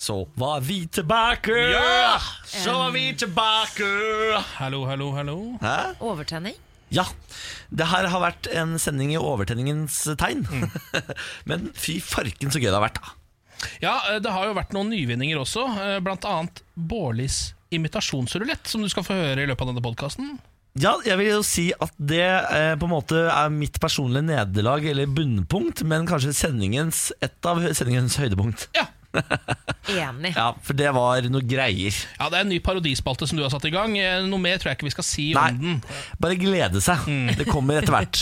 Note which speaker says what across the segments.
Speaker 1: så var vi tilbake!
Speaker 2: Ja!
Speaker 1: Så var vi tilbake!
Speaker 2: Hallo, hallo, hallo.
Speaker 1: Hæ?
Speaker 3: Overtenning?
Speaker 1: Ja. Det her har vært en sending i overtenningens tegn. Men fy farken så gøy det har vært, da.
Speaker 2: Ja, eh, det har jo vært noen nyvinninger også, eh, blant annet Bårlis imitasjonsrulett, som du skal få høre i løpet av denne podkasten.
Speaker 1: Ja, jeg vil jo si at det eh, på en måte er mitt personlige nederlag eller bunnpunkt, men kanskje sendingens, et av sendingens høydepunkt.
Speaker 2: Ja.
Speaker 3: Enig.
Speaker 1: Ja, for det var noe greier.
Speaker 2: ja, det er en ny parodispalte som du har satt i gang. Eh, Noe mer tror jeg ikke vi skal si
Speaker 1: Nei.
Speaker 2: om den.
Speaker 1: Bare glede seg.
Speaker 2: Mm.
Speaker 1: Det kommer etter hvert.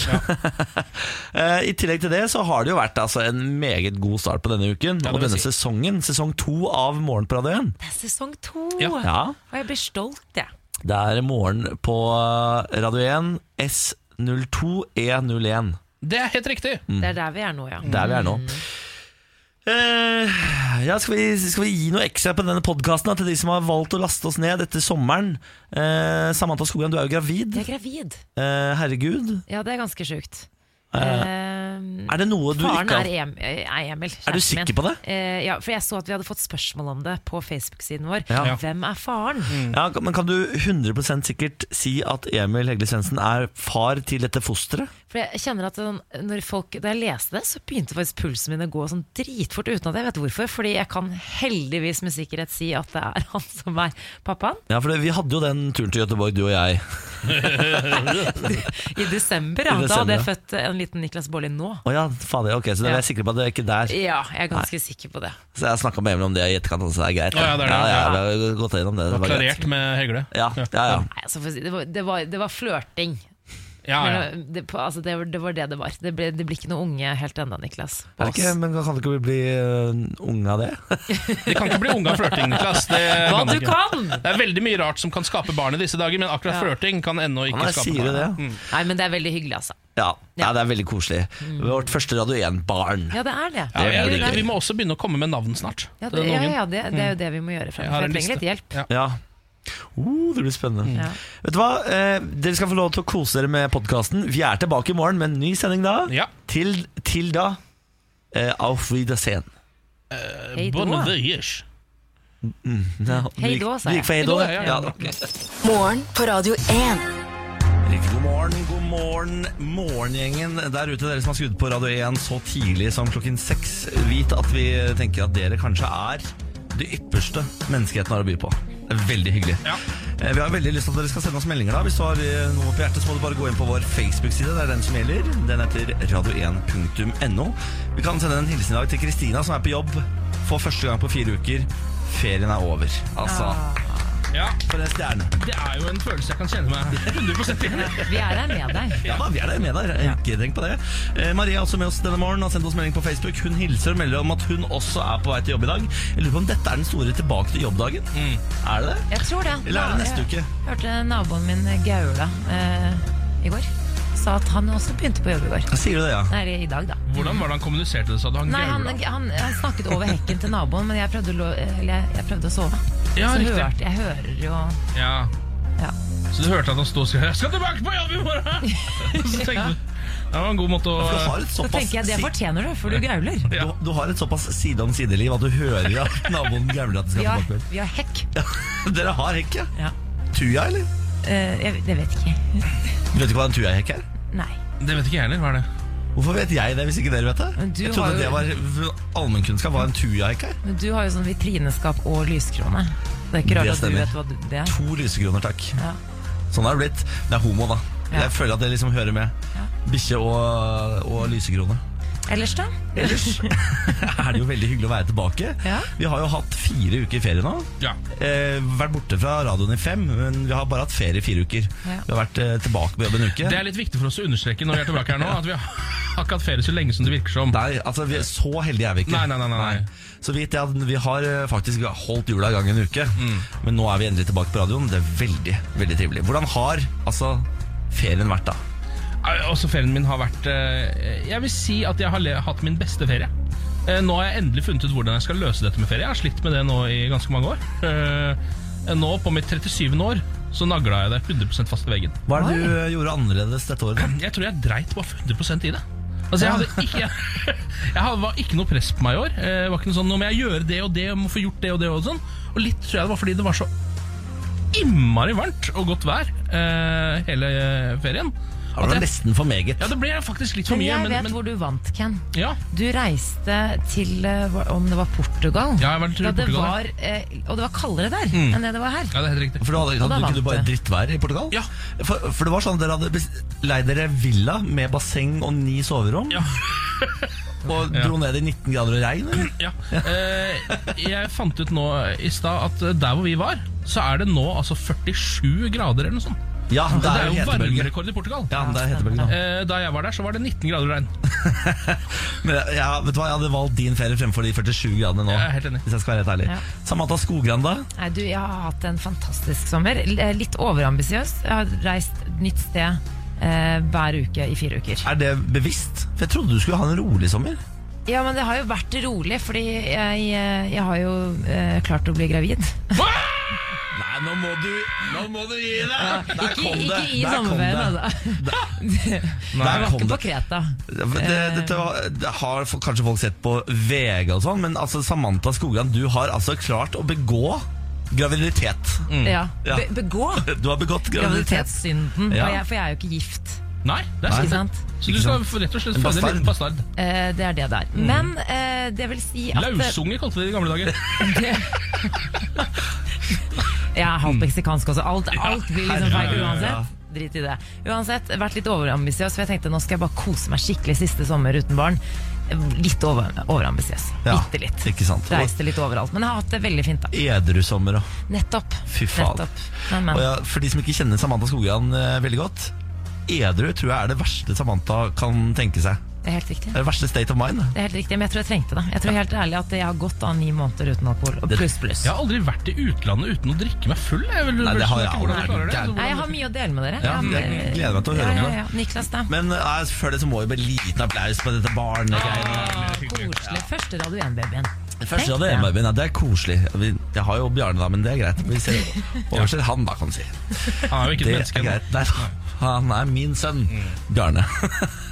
Speaker 1: Eh, I tillegg til det så har det jo vært altså, en meget god start på denne uken
Speaker 2: Ja, det
Speaker 1: og
Speaker 2: vil
Speaker 1: denne
Speaker 2: si.
Speaker 1: sesongen. Sesong to av Morgenparade 1.
Speaker 3: Det er sesong to!
Speaker 2: Ja.
Speaker 1: Ja.
Speaker 3: Og jeg blir stolt, jeg.
Speaker 1: Det er morgen på eh, Radio 1, S02E01.
Speaker 2: Det er helt riktig.
Speaker 3: Det er der vi er nå, ja.
Speaker 1: E Der vi Mm. er nå.
Speaker 2: Mm.
Speaker 1: Eh, ja, skal, vi, skal vi gi noe ekstra på denne podkasten til de som har valgt å laste oss ned etter sommeren? Eh, Samantha Skogran, du er jo gravid.
Speaker 3: Jeg er gravid.
Speaker 1: Eh, herregud.
Speaker 3: Ja, det er ganske sjukt. Eh,
Speaker 1: Er det noe du
Speaker 3: Faren
Speaker 1: ikke
Speaker 3: er
Speaker 1: har
Speaker 3: Em- eh, er Emil. Eh,
Speaker 1: Er du sikker på det?
Speaker 3: ja, for jeg så at vi hadde fått spørsmål om det på Facebook-siden vår.
Speaker 1: Ja. Mm.
Speaker 3: Hvem er faren?
Speaker 1: ja, Men kan du 100 sikkert si at Emil Hegle Svendsen er far til dette fosteret?
Speaker 3: For jeg kjenner at sånn, når folk, Da jeg leste det, så begynte faktisk pulsen min å gå sånn dritfort uten at jeg vet hvorfor. Fordi jeg kan heldigvis med sikkerhet si at det er han som er pappaen.
Speaker 1: Ja, for det, vi hadde jo den turen til Gøteborg, du og jeg.
Speaker 3: I desember, ja.
Speaker 1: I
Speaker 3: Da
Speaker 1: desember,
Speaker 3: hadde jeg født en liten Niklas Baarli nå.
Speaker 1: Å ja, fader. Ok, så dere
Speaker 3: Ja.
Speaker 1: er sikre på at det er ikke der.
Speaker 3: Ja, jeg er ganske sikker på det.
Speaker 1: Så jeg snakka med Emil om det i etterkant, så det er greit.
Speaker 2: Å ja, det er det.
Speaker 1: vi har gått gjennom det.
Speaker 2: Det
Speaker 1: det
Speaker 2: var
Speaker 1: var greit.
Speaker 2: klarert med Hegle.
Speaker 1: Ja, ja, ja.
Speaker 3: Nei, altså, for å si- det var, det var, det var flørting.
Speaker 2: Ja, ja.
Speaker 3: Men Det, på- altså, det, var- det var det det var. Det ble, det blir ikke noe unge helt ennå, Niklas. på
Speaker 1: Er det ikke,
Speaker 3: oss.
Speaker 1: men kan det ikke bli uh, unge av det?
Speaker 2: De kan ikke bli unge av flørting, Niklas. Det,
Speaker 3: Hva
Speaker 2: kan de
Speaker 3: du
Speaker 2: ikke.
Speaker 3: kan!
Speaker 2: det er veldig mye rart som kan skape barn i disse dager, men akkurat
Speaker 3: Ja.
Speaker 2: flørting kan ennå
Speaker 1: Ja,
Speaker 2: ikke
Speaker 1: jeg
Speaker 2: skape
Speaker 1: sier
Speaker 2: barn.
Speaker 1: det,
Speaker 2: Mm.
Speaker 3: Nei, men det er veldig hyggelig, altså.
Speaker 1: Ja, ja det er veldig koselig. Vårt første Radio 1-barn.
Speaker 3: Ja, det er det.
Speaker 2: Ja,
Speaker 1: Det er
Speaker 2: jeg-
Speaker 1: veldig gøy.
Speaker 2: vi må også begynne å komme med navn snart.
Speaker 3: Ja,
Speaker 2: til den
Speaker 3: det, ja,
Speaker 2: ungen.
Speaker 3: ja, det, det er jo det vi må gjøre
Speaker 2: Jeg har
Speaker 3: fremover. Jeg
Speaker 2: en
Speaker 3: trenger litt
Speaker 2: liste.
Speaker 3: hjelp.
Speaker 2: Ja.
Speaker 1: Ja. Uh, det blir spennende.
Speaker 2: Mm.
Speaker 3: Ja.
Speaker 1: Vet du hva? Eh, dere skal få lov til å kose dere med podkasten. Vi er tilbake i morgen med en ny sending da.
Speaker 2: Ja.
Speaker 1: Til, til da eh, Auf Wiedersehen.
Speaker 3: Hei då.
Speaker 2: Bonne Voyage.
Speaker 1: Ja,
Speaker 3: Hei
Speaker 1: du
Speaker 3: då,
Speaker 1: gikk-
Speaker 3: sa
Speaker 1: du
Speaker 3: jeg.
Speaker 1: gikk for hei
Speaker 2: Hei
Speaker 1: då,
Speaker 2: då,
Speaker 1: ja.
Speaker 2: ja,
Speaker 1: ja
Speaker 2: ja.
Speaker 1: ok.
Speaker 4: Morgen på Radio 1.
Speaker 1: Riktig god morgen, god morgen, morgengjengen der ute, dere som har skrudd på Radio 1 så tidlig som klokken seks. Vit at vi tenker at dere kanskje er det ypperste menneskeheten har å by på. Det er Veldig hyggelig.
Speaker 2: Ja.
Speaker 1: Eh, Vi har veldig lyst til at dere skal sende oss meldinger. da Hvis du har eh, noe på hjertet, så må du bare gå inn på vår Facebook-side. Det er den som gjelder. Den heter radio1.no. Vi kan sende en hilsen i dag til Kristina, som er på jobb for første gang på fire uker. Ferien er over. Altså,
Speaker 2: Ja,
Speaker 1: for en stjerne.
Speaker 2: det er jo en følelse jeg kan kjenne meg 100 igjen i.
Speaker 3: Vi er her med deg.
Speaker 1: Ja, da, vi er der med der. Ikke tenk på det. Eh, Marie er også med oss denne morgenen. Har sendt oss melding på Facebook. Hun hilser og melder om at hun også er på vei til jobb i dag. Jeg lurer på om dette er den store tilbake til jobbdagen.
Speaker 3: Mm.
Speaker 1: Er det det?
Speaker 3: Jeg tror det.
Speaker 1: Eller er det neste uke?
Speaker 3: Jeg hørte naboen min Gaula eh, i går. Sa at han også begynte på jobb i går.
Speaker 1: Ja, Sier du det, ja?
Speaker 3: Nei, eller i dag, da.
Speaker 2: Hvordan var det han kommuniserte det? Sa du han
Speaker 3: Nei, han,
Speaker 2: gaula?
Speaker 3: han, han snakket over hekken til naboen, men jeg prøvde å, lo- eller jeg, jeg prøvde å sove.
Speaker 2: Ja,
Speaker 3: så
Speaker 2: riktig.
Speaker 3: hørte jeg hører jo
Speaker 2: ja.
Speaker 3: ja.
Speaker 2: Så du hørte at han sto og sa 'Jeg skal tilbake på jobb i morgen!' Så tenkte du Det var en god måte å
Speaker 1: Du har et
Speaker 3: Så
Speaker 1: såpass,
Speaker 3: tenker jeg det
Speaker 1: si-
Speaker 3: fortjener du, for du gauler.
Speaker 2: Ja.
Speaker 1: du, du har et såpass side om side-liv at du hører at naboen gauler at du
Speaker 3: Vi
Speaker 1: skal
Speaker 3: har,
Speaker 1: tilbake.
Speaker 3: vi har hekk.
Speaker 1: Dere har hekk, ja?
Speaker 3: Ja.
Speaker 1: Tuja, eller?
Speaker 3: Eh, jeg, det vet ikke.
Speaker 1: Du vet ikke hva en tujahekk er?
Speaker 3: Nei.
Speaker 2: Det vet ikke jeg heller. Hva er det?
Speaker 1: Hvorfor vet jeg det, hvis ikke dere vet det?
Speaker 3: Men du
Speaker 1: Jeg
Speaker 3: har
Speaker 1: trodde det
Speaker 3: jo-
Speaker 1: var allmennkunnskap hva en tujahekk er.
Speaker 3: Men du har jo sånn vitrineskap og lyskrone. Det er ikke rart
Speaker 1: Det
Speaker 3: at du
Speaker 1: stemmer.
Speaker 3: vet hva du, det er.
Speaker 1: To lysekroner, takk.
Speaker 3: Ja.
Speaker 1: Sånn har det blitt. Det er homo, da.
Speaker 3: Ja.
Speaker 1: Jeg føler at det liksom hører med.
Speaker 3: Ja.
Speaker 1: Bikkje og, og lysekrone.
Speaker 3: Ellers, da?
Speaker 1: Ellers er det jo veldig hyggelig å være tilbake.
Speaker 3: Ja.
Speaker 1: Vi har jo hatt fire uker ferie nå.
Speaker 2: Ja.
Speaker 1: Eh, vært borte fra radioen i fem, men vi har bare hatt ferie i fire uker.
Speaker 3: Ja.
Speaker 1: Vi har vært eh, tilbake på jobb en uke.
Speaker 2: Det er litt viktig for oss å understreke når vi er tilbake her nå, at vi har ikke hatt ferie så lenge som det virker som.
Speaker 1: Nei, altså vi, Så heldige er vi ikke.
Speaker 2: Nei, nei, nei, nei, nei.
Speaker 1: Så vidt jeg at vi har eh, faktisk holdt jula i gang en uke.
Speaker 2: Mm.
Speaker 1: Men nå er vi endelig tilbake på radioen. Det er veldig veldig trivelig. Hvordan har altså ferien vært, da?
Speaker 2: Eh, Også ferien min har vært eh, Jeg vil si at jeg har le hatt min beste ferie. Eh, Nå har jeg endelig funnet ut hvordan jeg skal løse dette med ferie. Jeg har slitt med det nå i ganske mange år. Eh, Nå, på mitt 37. år, så nagla jeg det 100 fast i veggen.
Speaker 1: Hva er det du eh, gjorde annerledes dette året? da?
Speaker 2: Jeg tror jeg dreit bare 100 i det. Altså, jeg, hadde ikke, jeg, hadde, var ikke noe press på meg i år. Eh, Det var ikke noe sånn, Nå må jeg gjøre det og det, jeg må få gjort det og det. Og sånn Og litt tror jeg det var fordi det var så innmari varmt og godt vær eh, hele eh, ferien.
Speaker 1: Det var
Speaker 2: At jeg,
Speaker 1: nesten for meget.
Speaker 2: ja, det ble faktisk litt for
Speaker 3: Men
Speaker 2: mye.
Speaker 3: jeg
Speaker 2: Men,
Speaker 3: vet
Speaker 2: men,
Speaker 3: hvor du vant, Ken.
Speaker 2: ja,
Speaker 3: Du reiste til eh, hva- om det var Portugal.
Speaker 2: Ja, Mm. jeg var til
Speaker 3: da det
Speaker 2: Portugal,
Speaker 3: var, eh, og det var kaldere der enn det det var her.
Speaker 2: ja, det er helt riktig.
Speaker 1: For du hadde,
Speaker 3: Og da
Speaker 1: hadde
Speaker 3: vant
Speaker 1: ikke du bare
Speaker 3: du.
Speaker 1: drittvær i Portugal?
Speaker 2: Ja.
Speaker 1: For, for det var sånn at dere hadde bes- leid dere villa med basseng og ni soverom?
Speaker 2: Ja.
Speaker 1: og
Speaker 2: Ja.
Speaker 1: dro ned i 19 grader og regn? Eller?
Speaker 2: Ja. Eh, jeg fant ut nå i stad at eh, der hvor vi var, så er det nå altså 47 grader eller noe sånt.
Speaker 1: Ja, det
Speaker 2: Det
Speaker 1: er jo hetebølger.
Speaker 2: varmerekord i Portugal.
Speaker 1: Ja, det er hetebølger nå.
Speaker 2: Eh, Da jeg var der, så var det 19 grader og regn.
Speaker 1: Men jeg- ja, vet du hva, jeg hadde valgt din ferie fremfor de 47 gradene nå.
Speaker 2: Jeg er helt enig.
Speaker 1: Hvis jeg skal være helt ærlig.
Speaker 3: Ja.
Speaker 1: Samantha Skogran, da?
Speaker 3: Nei, du, jeg har hatt en fantastisk sommer. L- eh, Litt overambisiøs. Jeg har reist et nytt sted eh, hver uke i fire uker.
Speaker 1: Er det bevisst? For jeg trodde du skulle ha en rolig sommer.
Speaker 3: Ja, men det har jo vært rolig, fordi jeg, eh, jeg har jo eh, klart å bli gravid.
Speaker 1: Nei, nå må du, nå må du gi deg! Der
Speaker 3: Ikke,
Speaker 1: kom det.
Speaker 3: ikke i
Speaker 1: Der kom
Speaker 3: sommerferien,
Speaker 1: det.
Speaker 3: altså.
Speaker 1: Der
Speaker 3: Jeg var
Speaker 1: kom
Speaker 3: ikke
Speaker 1: det.
Speaker 3: på Kreta. Eh.
Speaker 1: Det, dette var- det har f- kanskje folk sett på VG og sånn, men altså Samantha Skogran, du har altså klart å begå graviditet.
Speaker 3: Ja.
Speaker 1: Mm. Ja.
Speaker 3: Be begå
Speaker 1: Du har begått graviditet.
Speaker 3: graviditetssynden.
Speaker 1: Ja.
Speaker 3: Og jeg, for jeg er jo ikke gift.
Speaker 2: Nei, det er
Speaker 1: Nei.
Speaker 3: Ikke
Speaker 2: sant.
Speaker 3: sant?
Speaker 2: Så du skal rett og slett
Speaker 1: En
Speaker 2: føde en liten bastard.
Speaker 3: Eh, det er det der.
Speaker 1: Mm.
Speaker 3: Men eh, det vil si at
Speaker 2: Lausunge kalte vi det i gamle dager.
Speaker 3: Jeg er halvt meksikansk også. Alt, alt blir liksom feil
Speaker 2: herregud,
Speaker 1: Mm. ja.
Speaker 3: uansett. Drit i det. Uansett, vært litt overambisiøs, for jeg tenkte nå skal jeg bare kose meg skikkelig siste sommer uten barn. Litt over, overambisiøs.
Speaker 1: Ja,
Speaker 3: Bitte litt.
Speaker 1: ikke sant.
Speaker 3: Reiste litt overalt. Men jeg har hatt det veldig fint, da.
Speaker 1: Edru sommer og
Speaker 3: Nettopp.
Speaker 1: Fy faen.
Speaker 3: Nettopp. Men, men.
Speaker 1: Og ja, For de som ikke kjenner Samantha Skogran eh, veldig godt. Edru tror jeg er det verste Samantha kan tenke seg.
Speaker 3: Det er helt riktig.
Speaker 1: Det er det verste state of mind.
Speaker 3: Det er helt riktig, Men jeg tror jeg trengte det. Jeg tror helt ærlig at jeg har gått av ni måneder uten alkohol. Og
Speaker 1: Det-
Speaker 3: pluss, pluss.
Speaker 2: Jeg har aldri vært i utlandet uten å drikke meg full. Jeg vil,
Speaker 1: Nei, det har
Speaker 2: skjønner
Speaker 1: jeg
Speaker 2: ikke hvordan
Speaker 1: aldri.
Speaker 2: du klarer det.
Speaker 1: Gæren.
Speaker 2: Så hvordan-
Speaker 3: Nei, jeg har mye å dele med dere.
Speaker 1: Ja, jeg gleder meg til å høre om
Speaker 3: ja,
Speaker 1: det.
Speaker 3: ja, ja. Niklas, da.
Speaker 1: Men eh, før det så må vi bare en liten applaus på dette barnegreiene.
Speaker 3: Ah, Koselig. Første Radio 1-babyen.
Speaker 1: Første av det,
Speaker 3: Tenk det.
Speaker 1: babyen, ja, det er koselig. Vi- Jeg har jo Bjarne, da, men det er greit. Vi ser overser han, da, kan vi si.
Speaker 2: Han er jo ikke et
Speaker 1: Det
Speaker 2: menneske
Speaker 1: er
Speaker 2: ennå.
Speaker 1: greit. Nei, han er min sønn,
Speaker 2: Mm.
Speaker 1: Bjarne.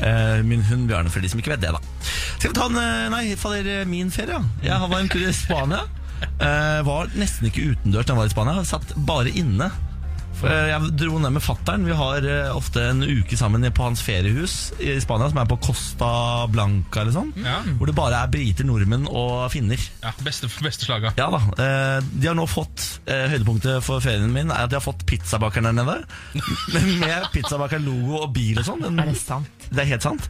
Speaker 1: Eh, min hund Bjarne, for de som ikke vet det, da. Skal vi ta en eh, Nei, fader, min ferie, ja. Jeg var en tur i Spania. Eh, var nesten ikke utendørs da jeg var i Spania. Satt bare inne. Eh, Jeg dro ned med fattern. Vi har eh, ofte en uke sammen på hans feriehus i Spania, som er på Costa Blanca eller sånn.
Speaker 2: Ja.
Speaker 1: Hvor det bare er briter, nordmenn og finner.
Speaker 2: Ja, beste, beste slaga.
Speaker 1: Ja da. eh, De har nå fått eh, Høydepunktet for ferien min er at de har fått pizzabakeren der nede. Med pizzabaker-logo og bil og sånn. Den-
Speaker 3: Er det sant?
Speaker 1: Det er helt sant.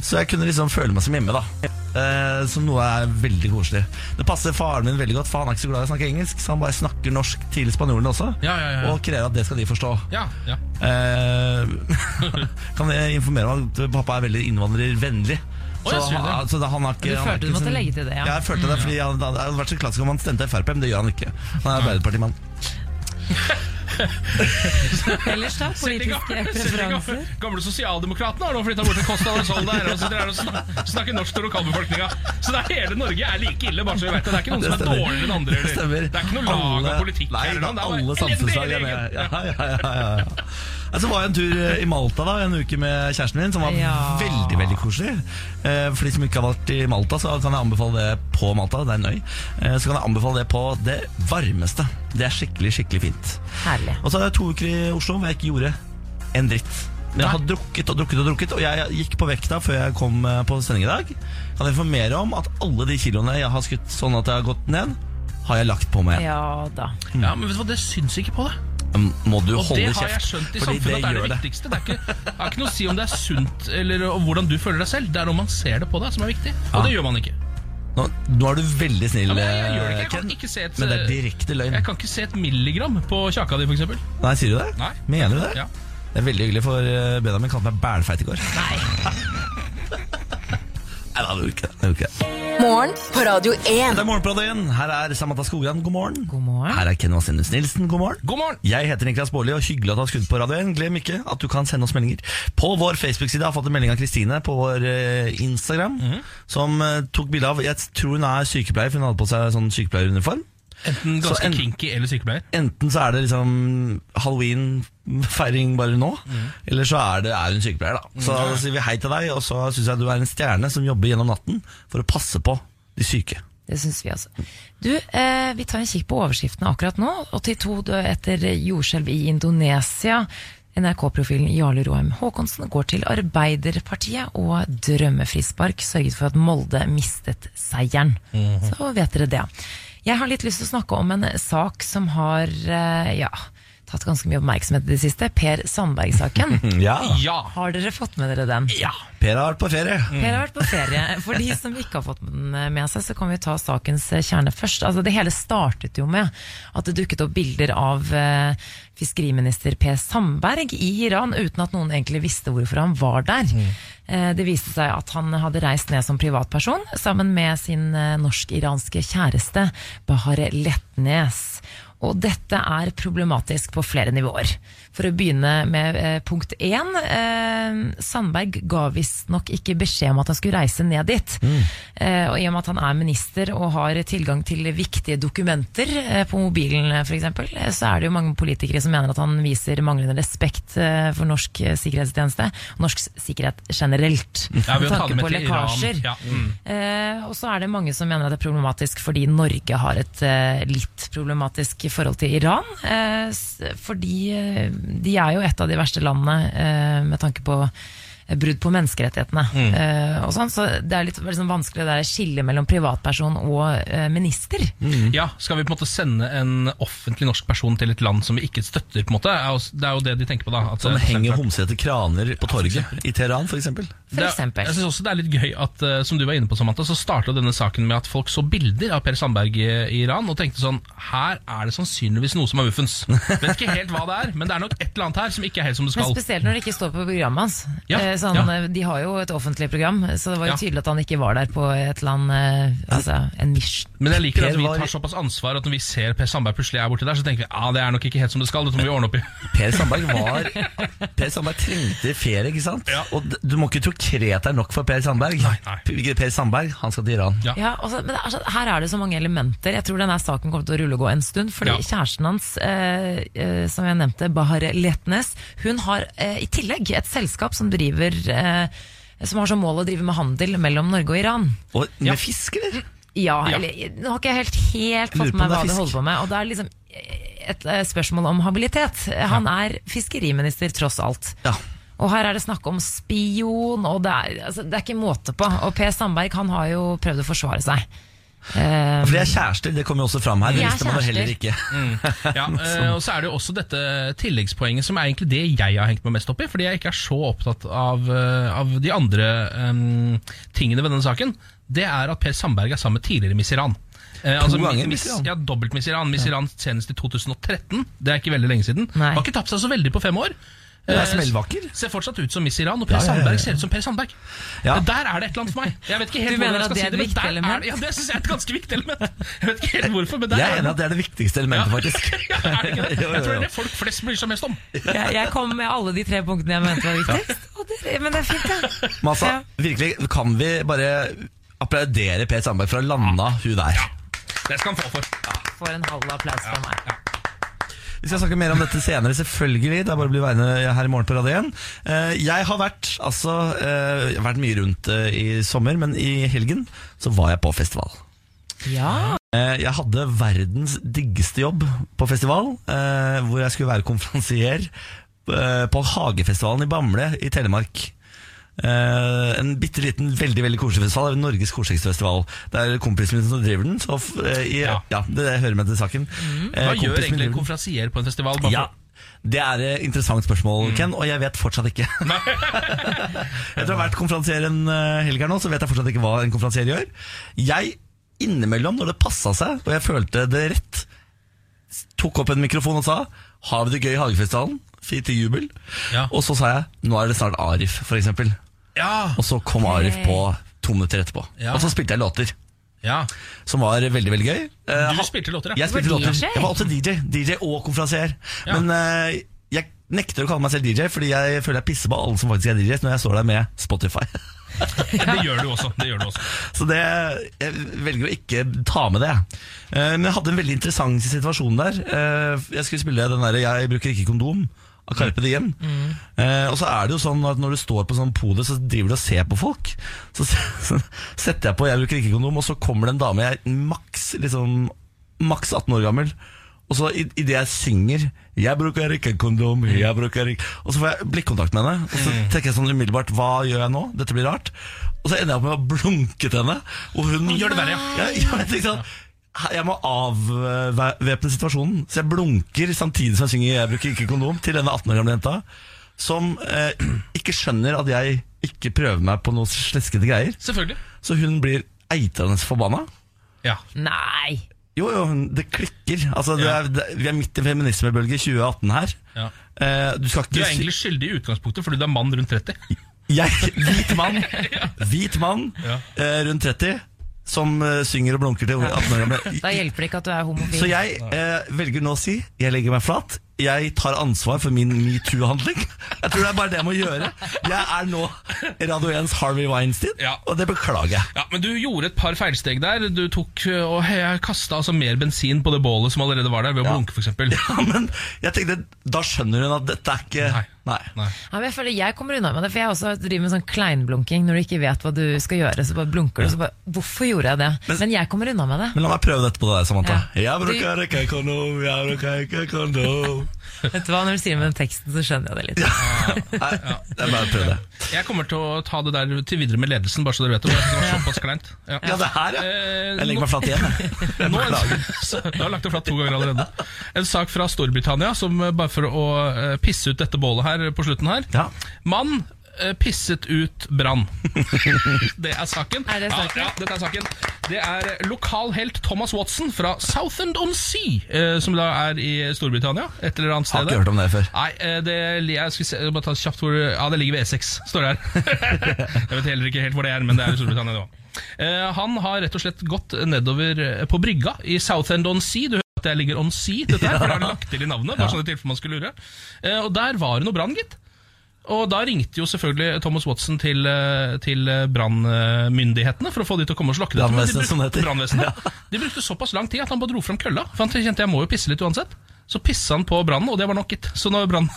Speaker 1: Så jeg kunne liksom føle meg som hjemme, da. Eh, Som noe er veldig koselig. Det passer faren min veldig godt, for han er ikke så glad i å snakke engelsk. Så han bare snakker norsk til spanjolene også,
Speaker 2: Ja, ja, ja, ja.
Speaker 1: og krever at det skal de forstå.
Speaker 2: Ja, ja.
Speaker 1: Eh, kan jeg informere om at pappa er veldig innvandrervennlig.
Speaker 2: Å, jeg ser det.
Speaker 1: han- så da- han har ikke, han
Speaker 3: Du
Speaker 1: har
Speaker 3: følte
Speaker 1: ikke
Speaker 3: du måtte
Speaker 1: sin-
Speaker 3: legge til det, ja.
Speaker 1: Jeg følte det, fordi han, det hadde vært så klassisk om han stemte Frp, men det gjør han ikke. Han er Arbeiderpartimann.
Speaker 3: Ellers, da?
Speaker 2: Selv de gamle- selv
Speaker 3: Politiske
Speaker 2: de gamle-
Speaker 3: preferanser?
Speaker 2: Gamle sosialdemokratene har nå flytta bort til Costa del Sol der og sitter her og sn- snakker norsk til lokalbefolkninga. Så det er hele Norge er like ille, bare så vi vet det. Det er ikke noen som er
Speaker 1: stemmer.
Speaker 2: dårligere enn andre.
Speaker 1: Det
Speaker 2: Eller.
Speaker 1: stemmer.
Speaker 2: Det er ikke noe lag av
Speaker 1: Alle-
Speaker 2: politikk
Speaker 1: Nei,
Speaker 2: her. eller noe. Det er bare
Speaker 1: alle samfunnslag er med. Ja,
Speaker 2: elendig
Speaker 1: ja, ja, ja, ja. Altså, var jeg en tur eh, i Malta da, en uke med kjæresten min, som var
Speaker 3: Ja.
Speaker 1: veldig veldig koselig. Eh, For de som ikke har vært i Malta, så kan jeg anbefale det på Malta. Det er en øy. Eh, Så kan jeg anbefale det på det varmeste. Det er skikkelig, skikkelig fint.
Speaker 3: Herlig.
Speaker 1: Og så hadde jeg to uker i Oslo hvor jeg ikke gjorde en dritt. Men jeg har drukket og drukket og drukket, og jeg gikk på vekta før jeg kom eh, på sending i dag. Kan jeg informere om at alle de kiloene jeg har skutt sånn at jeg har gått ned, har jeg lagt på meg. igjen.
Speaker 3: Ja da.
Speaker 1: Mm.
Speaker 2: Ja, men vet du hva, det syns ikke på det.
Speaker 1: Må du
Speaker 2: Og
Speaker 1: holde
Speaker 2: det
Speaker 1: kjeft.
Speaker 2: har jeg skjønt i
Speaker 1: fordi
Speaker 2: samfunnet at det er
Speaker 1: gjør
Speaker 2: det viktigste. Det er ikke, det er ikke noe å si om det er sunt eller og hvordan du føler deg selv. Det er om man ser det på deg som er viktig, og
Speaker 1: Ja.
Speaker 2: det gjør man ikke.
Speaker 1: Nå, nå er du veldig snill,
Speaker 2: Ja,
Speaker 1: eh,
Speaker 2: men jeg, jeg gjør det ikke. Jeg kan
Speaker 1: Ken.
Speaker 2: ikke se et,
Speaker 1: Men det er direkte løgn.
Speaker 2: jeg kan ikke se et milligram på kjaka di, for eksempel.
Speaker 1: Nei, sier du det?
Speaker 2: Nei.
Speaker 1: Mener du det?
Speaker 2: Ja.
Speaker 1: Det er veldig hyggelig, for eh, Benjamin kalte meg bælfeit i går. Nei. Nei, da, det gjorde ikke det. det. gjorde ikke det.
Speaker 4: Morgen på Radio 1.
Speaker 1: Det er Morgenbladet igjen. Her er Samantha Skogran, god morgen.
Speaker 3: God morgen.
Speaker 1: Her er Ken Vasenus Nilsen, god morgen.
Speaker 2: God morgen!
Speaker 1: Jeg heter Niklas Baarli, og hyggelig at du har skrudd på radioen. Glem ikke at du kan sende oss meldinger. På vår Facebook-side har jeg fått en melding av Kristine på vår eh, Instagram, som eh, tok bilde av Jeg tror hun er sykepleier, for hun hadde på seg sånn sykepleieruniform.
Speaker 2: Enten
Speaker 1: Så
Speaker 2: ganske
Speaker 1: en-
Speaker 2: kinky eller sykepleier.
Speaker 1: Enten så er det liksom halloween-feiring bare nå, eller så er, det, er hun sykepleier. da Så da sier vi hei til deg, og så syns jeg du er en stjerne som jobber gjennom natten for å passe på de syke.
Speaker 3: Det syns vi også. Du, eh, vi tar en kikk på overskriftene akkurat nå. 82 døde etter jordskjelv i Indonesia. NRK-profilen Jarle Roheim Haakonsen går til Arbeiderpartiet, og drømmefrispark sørget for at Molde mistet seieren. Så vet dere det. Jeg har litt lyst til å snakke om en sak som har eh, ja, tatt ganske mye oppmerksomhet i det siste. Per Sandberg-saken.
Speaker 1: Ja.
Speaker 2: Ja!
Speaker 3: har dere fått med dere den?
Speaker 1: ja. Per har vært på ferie.
Speaker 3: Per har vært på ferie. For de som ikke har fått den med seg, så kan vi ta sakens kjerne først. Altså, det hele startet jo med at det dukket opp bilder av eh, fiskeriminister Per Sandberg i Iran, uten at noen egentlig visste hvorfor han var der. Eh, det viste seg at han hadde reist ned som privatperson sammen med sin eh, norsk-iranske kjæreste Bahare Letnes. Og dette er problematisk på flere nivåer. For å begynne med eh, punkt én. Eh, Sandberg ga visstnok ikke beskjed om at han skulle reise ned dit. Eh, og i og med at han er minister og har tilgang til viktige dokumenter eh, på mobilen f.eks., så er det jo mange politikere som mener at han viser manglende respekt eh, for norsk eh, sikkerhetstjeneste og norsk s- sikkerhet generelt.
Speaker 2: Ja, ved å ta
Speaker 3: Med
Speaker 2: det
Speaker 3: tanke
Speaker 2: med
Speaker 3: på
Speaker 2: til Iran.
Speaker 3: lekkasjer.
Speaker 2: Ja, mm.
Speaker 3: Eh, og så er det mange som mener at det er problematisk fordi Norge har et eh, litt problematisk forhold til Iran. Eh, s- fordi eh, de er jo et av de verste landene eh, med tanke på eh, brudd på menneskerettighetene.
Speaker 2: Mm.
Speaker 3: Eh, og sånn, så det er litt liksom, vanskelig det der skillet mellom privatperson og eh, minister.
Speaker 2: Mm. Ja, Skal vi på en måte sende en offentlig norsk person til et land som vi ikke støtter? på en måte? Er jo- Det er jo det de tenker på da. At,
Speaker 1: Som
Speaker 2: eh,
Speaker 1: henger
Speaker 2: for
Speaker 1: homsete kraner på torget i Teheran, f.eks.
Speaker 3: For eksempel.
Speaker 2: Jeg synes også det er litt gøy at, eh, som du var inne på, Samantha, så starta denne saken med at folk så bilder av Per Sandberg i i Iran og tenkte sånn Her er det sannsynligvis noe som er muffens. Vet ikke helt hva det er, men det er nok et eller annet her som ikke er helt som det
Speaker 3: Men
Speaker 2: skal.
Speaker 3: spesielt når det ikke står på programmet hans.
Speaker 2: Ja,
Speaker 3: Eh, så han,
Speaker 2: ja.
Speaker 3: eh, De har jo et offentlig program, så det var jo
Speaker 2: Ja.
Speaker 3: tydelig at han ikke var der på et eller annet eh, altså, en mission.
Speaker 2: Men jeg liker at
Speaker 1: Per
Speaker 2: vi
Speaker 1: var-
Speaker 2: tar såpass ansvar at når vi ser Per Sandberg plutselig er borti der, så tenker vi ja, det er nok ikke helt som det skal. Dette må vi ordne opp i.
Speaker 1: Per Sandberg var Per Sandberg trengte ferie, ikke sant?
Speaker 2: Ja.
Speaker 1: Og d- du må ikke tro Kreta er nok for Per Sandberg.
Speaker 2: Nei, nei.
Speaker 1: Per- Per Sandberg, han skal til Iran.
Speaker 2: Ja.
Speaker 3: Ja, altså, men det er, så- her er det så mange elementer. Jeg tror denne saken kommer til å rulle og gå en stund. Fordi
Speaker 2: Ja.
Speaker 3: kjæresten hans, eh, eh, som jeg nevnte, Bahar Letnes, hun har eh, i tillegg et selskap som driver eh, som har som mål å drive med handel mellom Norge og Iran.
Speaker 1: Og
Speaker 2: Ja.
Speaker 1: med fisk, eller?
Speaker 3: Ja,
Speaker 2: Ja.
Speaker 3: eller Nå har ikke jeg helt, helt
Speaker 1: Lurer
Speaker 3: fått
Speaker 1: på
Speaker 3: med
Speaker 1: om det er
Speaker 3: hva de
Speaker 1: fisk.
Speaker 3: holder på med. Og det er liksom eh, et eh, spørsmål om habilitet. Eh, Han er fiskeriminister, tross alt.
Speaker 1: Ja.
Speaker 3: Og her er det snakk om spion, og det er, altså, det er ikke måte på. Og Per Sandberg han har jo prøvd å forsvare seg. Eh,
Speaker 1: For de er kjærester, det kommer jo også fram her.
Speaker 3: De
Speaker 1: Det
Speaker 3: er
Speaker 1: visste man jo heller
Speaker 3: kjærester.
Speaker 1: ikke.
Speaker 2: Ja, eh, og så er det jo også dette tilleggspoenget som er egentlig det jeg har hengt meg mest opp i, fordi jeg ikke er så opptatt av, eh, av de andre em, tingene ved denne saken. Det er at Per Sandberg er sammen med tidligere Miss Iran. Eh,
Speaker 1: ganger
Speaker 2: Miss
Speaker 1: Miss Iran.
Speaker 2: Ja, dobbelt Miss Iran. Miss Iran senest i 2013. Det er ikke veldig lenge siden.
Speaker 3: Nei.
Speaker 2: Har ikke tapt seg så veldig på fem år.
Speaker 1: Hun er
Speaker 2: Eh,
Speaker 1: smellvakker.
Speaker 2: Ser fortsatt ut som Miss Iran, og Per
Speaker 1: Ja, ja, ja, ja.
Speaker 2: Sandberg ser ut som Per Sandberg.
Speaker 1: Ja.
Speaker 2: Der er det et eller annet for meg. Jeg vet ikke
Speaker 3: Du
Speaker 2: helt
Speaker 3: mener
Speaker 2: hvordan jeg
Speaker 3: at
Speaker 2: skal
Speaker 3: det
Speaker 2: si det,
Speaker 3: er et
Speaker 2: men
Speaker 3: viktig
Speaker 2: der er
Speaker 3: element?
Speaker 2: det, ja, det synes jeg er et ganske viktig element. Jeg vet ikke helt hvorfor, men der er
Speaker 1: Jeg er
Speaker 2: det.
Speaker 1: enig at det er det viktigste elementet, faktisk.
Speaker 2: Ja, er det ikke det?
Speaker 1: Jo, jo, jo.
Speaker 2: Jeg tror det er det folk flest bryr seg mest om.
Speaker 3: jeg, jeg kom med alle de tre punktene jeg mente var viktigst. Og det, men det er fint, det.
Speaker 1: Masa,
Speaker 3: Ja.
Speaker 1: virkelig, kan vi bare applaudere Per Sandberg for å ha landa hun der?
Speaker 2: Det skal han få for.
Speaker 3: Får en halv applaus fra meg.
Speaker 1: Vi skal snakke mer om dette senere, selvfølgelig. Det er bare å bli værende her i morgen på Radio 1. Eh, Jeg har vært, altså, eh, jeg har vært mye rundt eh, i sommer, men i helgen så var jeg på festival.
Speaker 3: Ja,
Speaker 1: Eh, Jeg hadde verdens diggeste jobb på festival, eh, hvor jeg skulle være konferansier eh, på Hagefestivalen i Bamble i Telemark. Eh, en bitte liten, veldig veldig koselig festival. Det er Norges koseligste festival. Det er kompisen min som driver den. Så, f- eh, i, ja.
Speaker 2: Ja. Mhm.
Speaker 1: det, det hører med til saken. Eh,
Speaker 2: Hva
Speaker 1: kompisen
Speaker 2: gjør
Speaker 1: min
Speaker 2: egentlig en
Speaker 1: driver den.
Speaker 2: konferansier på Mm. en festival? Bare
Speaker 1: Ja, det er et interessant spørsmål, Ken, og jeg vet fortsatt ikke. Etter å ha vært konferansier en eh, helg her nå, så vet jeg fortsatt ikke hva en konferansier gjør. Jeg, innimellom, når det passa seg, og jeg følte det rett, s- tok opp en mikrofon og sa 'Har vi det gøy i Hagefestivalen?' Fint til jubel.
Speaker 2: Ja.
Speaker 1: Og så sa jeg 'Nå er det snart Arif', for eksempel.
Speaker 2: for- ja.
Speaker 1: Og så kom Arif på to minutter etterpå.
Speaker 2: Ja.
Speaker 1: Og så spilte jeg låter.
Speaker 2: ja.
Speaker 1: Som var veldig, veldig gøy. Eh,
Speaker 2: Du spilte låter, ja.
Speaker 1: jeg spilte
Speaker 3: Du var
Speaker 1: låter.
Speaker 3: DJ?
Speaker 1: Jeg var også DJ. DJ og konferansier.
Speaker 2: Ja.
Speaker 1: Men eh, jeg nekter å kalle meg selv DJ fordi jeg føler jeg pisser på alle som faktisk er DJs når jeg står der med Spotify.
Speaker 2: Det gjør du også. det gjør du også
Speaker 1: Så det, jeg velger å ikke ta med det. jeg. Eh, Men jeg hadde en veldig interessant situasjon der. Eh, Jeg skulle spille den derre 'Jeg bruker ikke kondom' av Carpe Diem. Eh, Og så er det jo sånn at når du står på sånn podium, så driver du og ser på folk. Så, så setter jeg på 'Jeg bruker ikke kondom', og så kommer det en dame jeg er maks, liksom, maks 18 år gammel. Og så i- idet jeg synger 'Jeg bruker ikke kondom', jeg bruker ikke Og så får jeg blikkontakt med henne, og så tenker jeg sånn umiddelbart 'Hva gjør jeg nå? Dette blir rart'. Og så ender jeg opp med å blunke til henne, og hun
Speaker 2: Gjør det verre, ja.
Speaker 1: ja. Jeg, jeg, tenkte sånn, «Hæ, jeg må avvæpne situasjonen, så jeg blunker samtidig som jeg synger 'Jeg bruker ikke kondom' til denne 18 år gamle jenta, som eh, ikke skjønner at jeg ikke prøver meg på noe sleskete greier.
Speaker 2: Selvfølgelig.
Speaker 1: Så hun blir eitrende forbanna.
Speaker 2: Ja.
Speaker 3: Nei!
Speaker 1: Jo, jo, hun- det klikker. Altså, det
Speaker 2: Ja.
Speaker 1: er, det, vi er midt i feminismebølge 2018 her.
Speaker 2: Ja.
Speaker 1: Eh, du skal
Speaker 2: Du
Speaker 1: ikke
Speaker 2: er egentlig skyldig i utgangspunktet fordi du er mann rundt 30.
Speaker 1: jeg, Hvit mann, hvit mann
Speaker 2: Ja.
Speaker 1: eh, rundt 30 som eh, synger og blunker til 18 år gamle.
Speaker 3: Da hjelper det ikke at du er homofil.
Speaker 1: Så jeg eh, velger nå å si Jeg legger meg flat Jeg tar ansvar for min MeToo-handling Jeg tror det er bare det jeg må gjøre Jeg er nå Radio 1s Harvey Weinstein
Speaker 2: Ja.
Speaker 1: Og det beklager jeg
Speaker 2: Ja, Men du gjorde et par feilsteg der. Du tok øh, og kasta altså mer bensin på det bålet som allerede var der, ved å
Speaker 1: Ja.
Speaker 2: blunke, f.eks.
Speaker 1: ja, Men jeg tenkte Da skjønner hun at dette er ikke
Speaker 2: Nei.
Speaker 1: Nei,
Speaker 2: Nei.
Speaker 3: Ja, men jeg føler jeg kommer unna med det, for jeg også driver med sånn kleinblunking. Når du ikke vet hva du skal gjøre, så bare blunker du. Så bare, hvorfor gjorde jeg det? Men, jeg kommer unna med det.
Speaker 1: Men la meg prøve dette på deg, Samantha Jeg
Speaker 3: Du-
Speaker 1: bruker ikke kondom Jeg bruker ikke kondom
Speaker 3: Vet du hva, Når du sier det med den teksten, så skjønner jeg det litt.
Speaker 1: Nei, det er bare å prøve det
Speaker 2: Jeg kommer til å ta det der til videre med ledelsen, bare så dere vet det. for Det var såpass kleint. Ja.
Speaker 1: Ja, det her, ja
Speaker 2: Eh,
Speaker 1: Jeg legger meg flat igjen jeg. Jeg
Speaker 2: Nå,
Speaker 1: beklager
Speaker 2: så, du har lagt det flatt to ganger allerede. En sak fra Storbritannia, som eh, bare for å eh, pisse ut dette bålet her på slutten her.
Speaker 1: Ja.
Speaker 2: Mann eh, pisset ut brann. det er saken.
Speaker 3: Er det saken?
Speaker 2: Ja, ja, dette er saken. Det er eh, lokal helt Thomas Watson fra Southend-on-Sea, eh, som da er i Storbritannia. Et eller annet sted.
Speaker 1: Har ikke hørt om det før
Speaker 2: Nei, eh, det, jeg skal se, jeg må bare ta kjapt hvor Ja, det ligger ved E6, står det her. jeg vet heller ikke helt hvor det er, men det er i Storbritannia det òg. han har rett og slett gått nedover eh, på brygga i Southend on Sea. Du hører at jeg ligger on sea, dette her, for det har de lagt til i navnet. bare sånn i tilfelle man skulle lure. Eh, og der var det noe brann, gitt. Og da ringte jo selvfølgelig Thomas Watson til, eh, til eh, brannmyndighetene for å få de til å komme og slokke dette. men de
Speaker 1: Brannvesenet, som det
Speaker 2: brukte-
Speaker 1: heter.
Speaker 2: Brannvesenet. De brukte såpass lang tid at han bare dro fram kølla. For han kjente jeg må jo pisse litt uansett. Så pissa han på brannen, og det var nok, gitt. Så når brann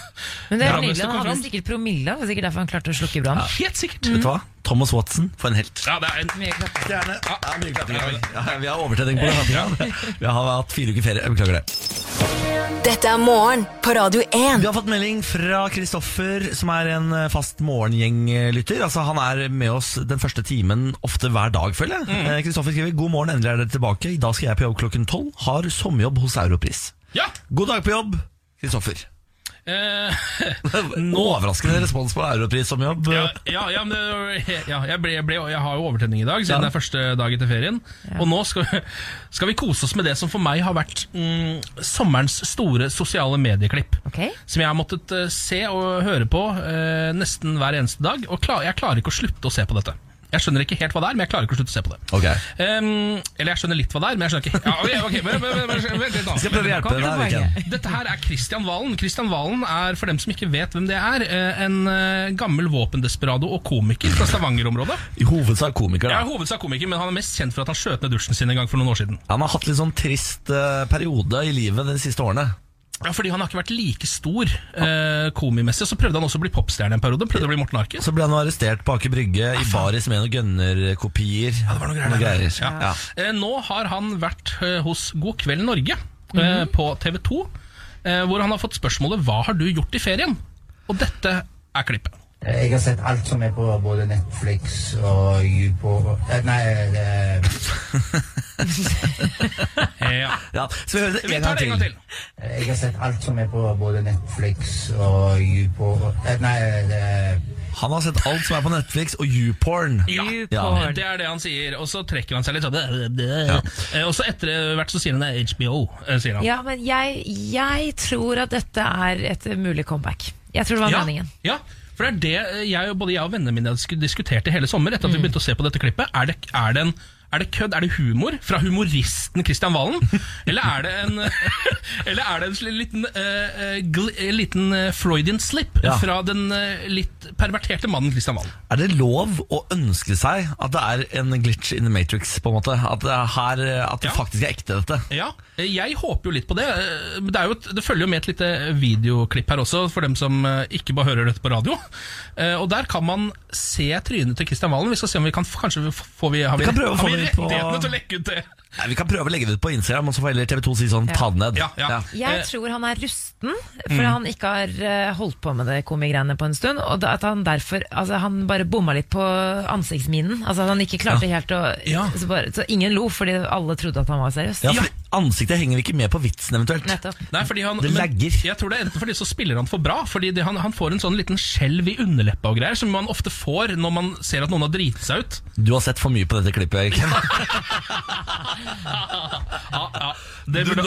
Speaker 3: Men det
Speaker 2: Ja,
Speaker 3: er
Speaker 2: hvis
Speaker 3: nydelig,
Speaker 2: det
Speaker 3: Han
Speaker 2: kommer
Speaker 3: hadde
Speaker 2: fram.
Speaker 3: sikkert promille, det var sikkert derfor han klarte å slukke brannen.
Speaker 2: Helt sikkert.
Speaker 1: Vet du hva? Thomas Watson, for en helt
Speaker 2: Ja, det er en
Speaker 3: Mye klart.
Speaker 1: Gjerne. Ja, mye klapping. Ja, vi har overtenning på det. Ja. Vi har hatt fire uker ferie. Jeg beklager det.
Speaker 4: Dette er morgen på Radio
Speaker 1: Vi
Speaker 4: 1.
Speaker 1: har fått melding fra Kristoffer, som er en eh, fast morgengjenglytter. Altså, han er med oss den første timen ofte hver dag, føler jeg. Eh, Kristoffer skriver God morgen, endelig er dere tilbake. I dag skal jeg på jobb klokken tolv. Har sommerjobb hos Europris.
Speaker 2: Ja!
Speaker 1: God dag på jobb, Kristoffer.
Speaker 2: Eh,
Speaker 1: Overraskende respons på Europris som jobb.
Speaker 2: ja, ja, ja, men det, ja jeg, ble, jeg, ble, jeg har jo overtenning i dag, siden
Speaker 1: Ja.
Speaker 2: det er første dag etter ferien. Og nå skal, skal vi kose oss med det som for meg har vært mm, sommerens store sosiale medieklipp.
Speaker 3: Ok.
Speaker 2: Som jeg har måttet eh, se og høre på eh, nesten hver eneste dag. Og klar, jeg klarer ikke å slutte å se på dette. Jeg skjønner ikke helt hva det er, men jeg klarer ikke å slutte å se på det.
Speaker 1: Ok.
Speaker 2: Ehm, eller jeg skjønner litt hva det er, men jeg skjønner ikke. Ja, ok, ok, men, men, men, men, vent litt da.
Speaker 1: Vi skal prøve å hjelpe deg denne uken.
Speaker 2: Dette her er Kristian Valen. Kristian Valen er, for dem som ikke vet hvem det er, eh, en eh, gammel våpendesperado og komiker fra Stavanger-området.
Speaker 1: I hovedsak komiker,
Speaker 2: Jeg
Speaker 1: da.
Speaker 2: er hovedsak komiker, men han er mest kjent for at han skjøt ned dusjen sin en gang for noen år siden.
Speaker 1: Han har hatt litt sånn trist eh, periode i livet de siste årene.
Speaker 2: Ja, Fordi han har ikke vært like stor eh, komimessig. Så prøvde han også å bli popstjerne en periode. Prøvde å bli Morten Harket.
Speaker 1: Så ble han arrestert på Aker Brygge i baris med noen gønnerkopier. Ja, det var noen greier.
Speaker 2: Ja.
Speaker 1: Ja.
Speaker 2: Eh, Nå har han vært eh, hos God kveld Norge eh,
Speaker 1: Mhm.
Speaker 2: på TV 2, eh, hvor han har fått spørsmålet 'Hva har du gjort i ferien?' Og dette er klippet.
Speaker 5: Eh, Jeg har sett alt som er på både Netflix og YouPorn eh, Nei eh,
Speaker 2: Ja.
Speaker 1: Ja, så vi hører det
Speaker 2: Vi
Speaker 1: en
Speaker 2: tar
Speaker 1: gang
Speaker 2: det en gang
Speaker 1: til.
Speaker 2: til.
Speaker 5: Jeg har sett alt som er på både Netflix og YouPorn eh, Nei eh,
Speaker 1: Han har sett alt som er på Netflix og YouPorn.
Speaker 2: Ja,
Speaker 1: Ja.
Speaker 2: det er det han sier, og så trekker han seg litt sånn Eh, Og så etter hvert så sier han det er HBO. eh, Sier han.
Speaker 3: Ja, men jeg, jeg tror at dette er et mulig comeback. Jeg tror det var meningen.
Speaker 2: ja, for
Speaker 3: Mm.
Speaker 2: det er det eh, jeg, og- både jeg og vennene mine har disku- diskutert i hele sommer etter at vi begynte å se på dette klippet. Er det, er det en Er det kødd? Er det humor fra humoristen Kristian Valen? Eller er det en, eller er det en sli- liten, eh, eh, gl- eh, liten eh, Freudian slip
Speaker 1: Ja.
Speaker 2: fra den eh, litt perverterte mannen Kristian Valen?
Speaker 1: Er det lov å ønske seg at det er en glitch in the matrix, på en måte? At det, er her, eh, at det
Speaker 2: Ja.
Speaker 1: faktisk er ekte, dette?
Speaker 2: Ja, eh, jeg håper jo litt på det. Eh, men Det, er jo et, det følger jo med et lite videoklipp her også, for dem som eh, ikke bare hører dette på radio. Eh, Og der kan man se trynet til Kristian Valen. Vi skal se om vi kan f- Kanskje vi f- får vi, har vi,
Speaker 1: Vi kan prøve å
Speaker 2: har vi
Speaker 1: få det på-
Speaker 2: rettighetene til å lekke ut det?
Speaker 1: Nei, vi kan prøve å legge det ut på Instagram, og så får heller TV 2 si sånn ta det ned.
Speaker 2: Ja, ja. Eh,
Speaker 3: Jeg
Speaker 2: Mm.
Speaker 3: tror han er rusten, for han ikke har eh, holdt på med det komigreiene på en stund. Og da- at han derfor altså, Han bare bomma litt på ansiktsminen. Altså at han ikke klarte helt å
Speaker 2: Ja.
Speaker 3: så, bare, så ingen lo, fordi alle trodde at han var seriøs.
Speaker 1: Ja, for Ansiktet henger ikke med på vitsen, eventuelt.
Speaker 3: Nettopp.
Speaker 2: Nei, fordi han,
Speaker 1: Det
Speaker 2: men
Speaker 1: lagger.
Speaker 2: Jeg tror det er enten fordi så spiller han for bra, fordi det, han, han får en sånn liten skjelv i underleppa og greier, som man ofte får når man ser at noen har driti seg ut.
Speaker 1: Du har sett for mye på dette klippet, Erik.
Speaker 2: Ja, ja, det burde...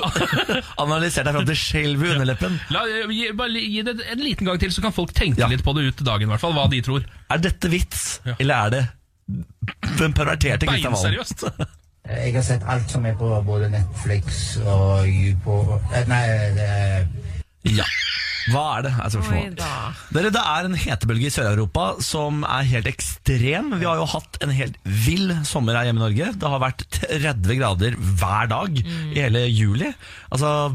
Speaker 1: Analysert deg fram til skjelv i underleppen.
Speaker 2: La, gi, bare li- gi det en liten gang til, så kan folk tenke
Speaker 1: Ja.
Speaker 2: litt på det ut dagen, i hvert fall, hva de tror.
Speaker 1: Er dette vits,
Speaker 2: Ja.
Speaker 1: eller er det den perverterte Kristian Valen?
Speaker 2: Beinseriøst.
Speaker 5: eh, Jeg har sett alt som er på både Netflix og YouPo eh, Nei, det er
Speaker 1: Ja. Hva er det? er
Speaker 3: Oi
Speaker 1: spørsmålet.
Speaker 3: da.
Speaker 1: Dere, Det er en hetebølge i Sør-Europa som er helt ekstrem. Vi har jo hatt en helt vill sommer her hjemme i Norge. Det har vært 30 grader hver dag
Speaker 3: Mm.
Speaker 1: i hele juli. Altså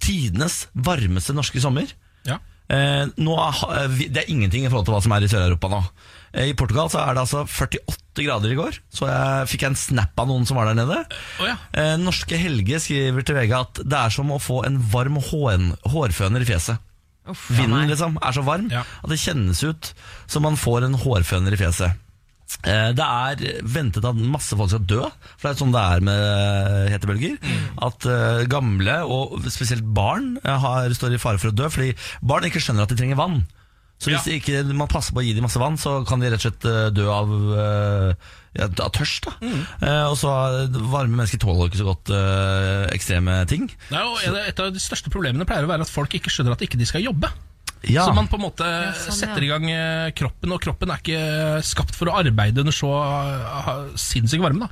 Speaker 1: tidenes varmeste norske sommer.
Speaker 2: Ja.
Speaker 1: Eh, nå, ha- vi- det er ingenting i forhold til hva som er i Sør-Europa nå. Eh, I Portugal så er det altså 48 grader i går, så jeg fikk en snap av noen som var der nede.
Speaker 2: Å ja.
Speaker 1: Eh, Norske Helge skriver til VG at det er som å få en varm hån, hårføner i fjeset.
Speaker 3: Uff,
Speaker 1: Vinden
Speaker 3: nei.
Speaker 1: liksom er så varm
Speaker 2: Ja.
Speaker 1: at det kjennes ut som man får en hårføner i fjeset. Eh, Det er ventet at masse folk skal dø, for det er sånn det er med hetebølger. At eh, gamle, og spesielt barn, eh, har, står i fare for å dø fordi barn ikke skjønner at de trenger vann. Så hvis
Speaker 2: Ja.
Speaker 1: ikke man passer på å gi dem masse vann, så kan de rett og slett eh, dø av, eh, ja, av tørst. Da. Eh, Og så eh, varme mennesker tåler ikke så godt eh, ekstreme ting.
Speaker 2: Nei, og en- Et av de største problemene pleier å være at folk ikke skjønner at ikke de skal jobbe.
Speaker 1: Ja.
Speaker 2: Så man på en måte
Speaker 3: sånn, ja.
Speaker 2: setter i gang eh, kroppen, og kroppen er ikke skapt for å arbeide under så eh, sinnssyk varme.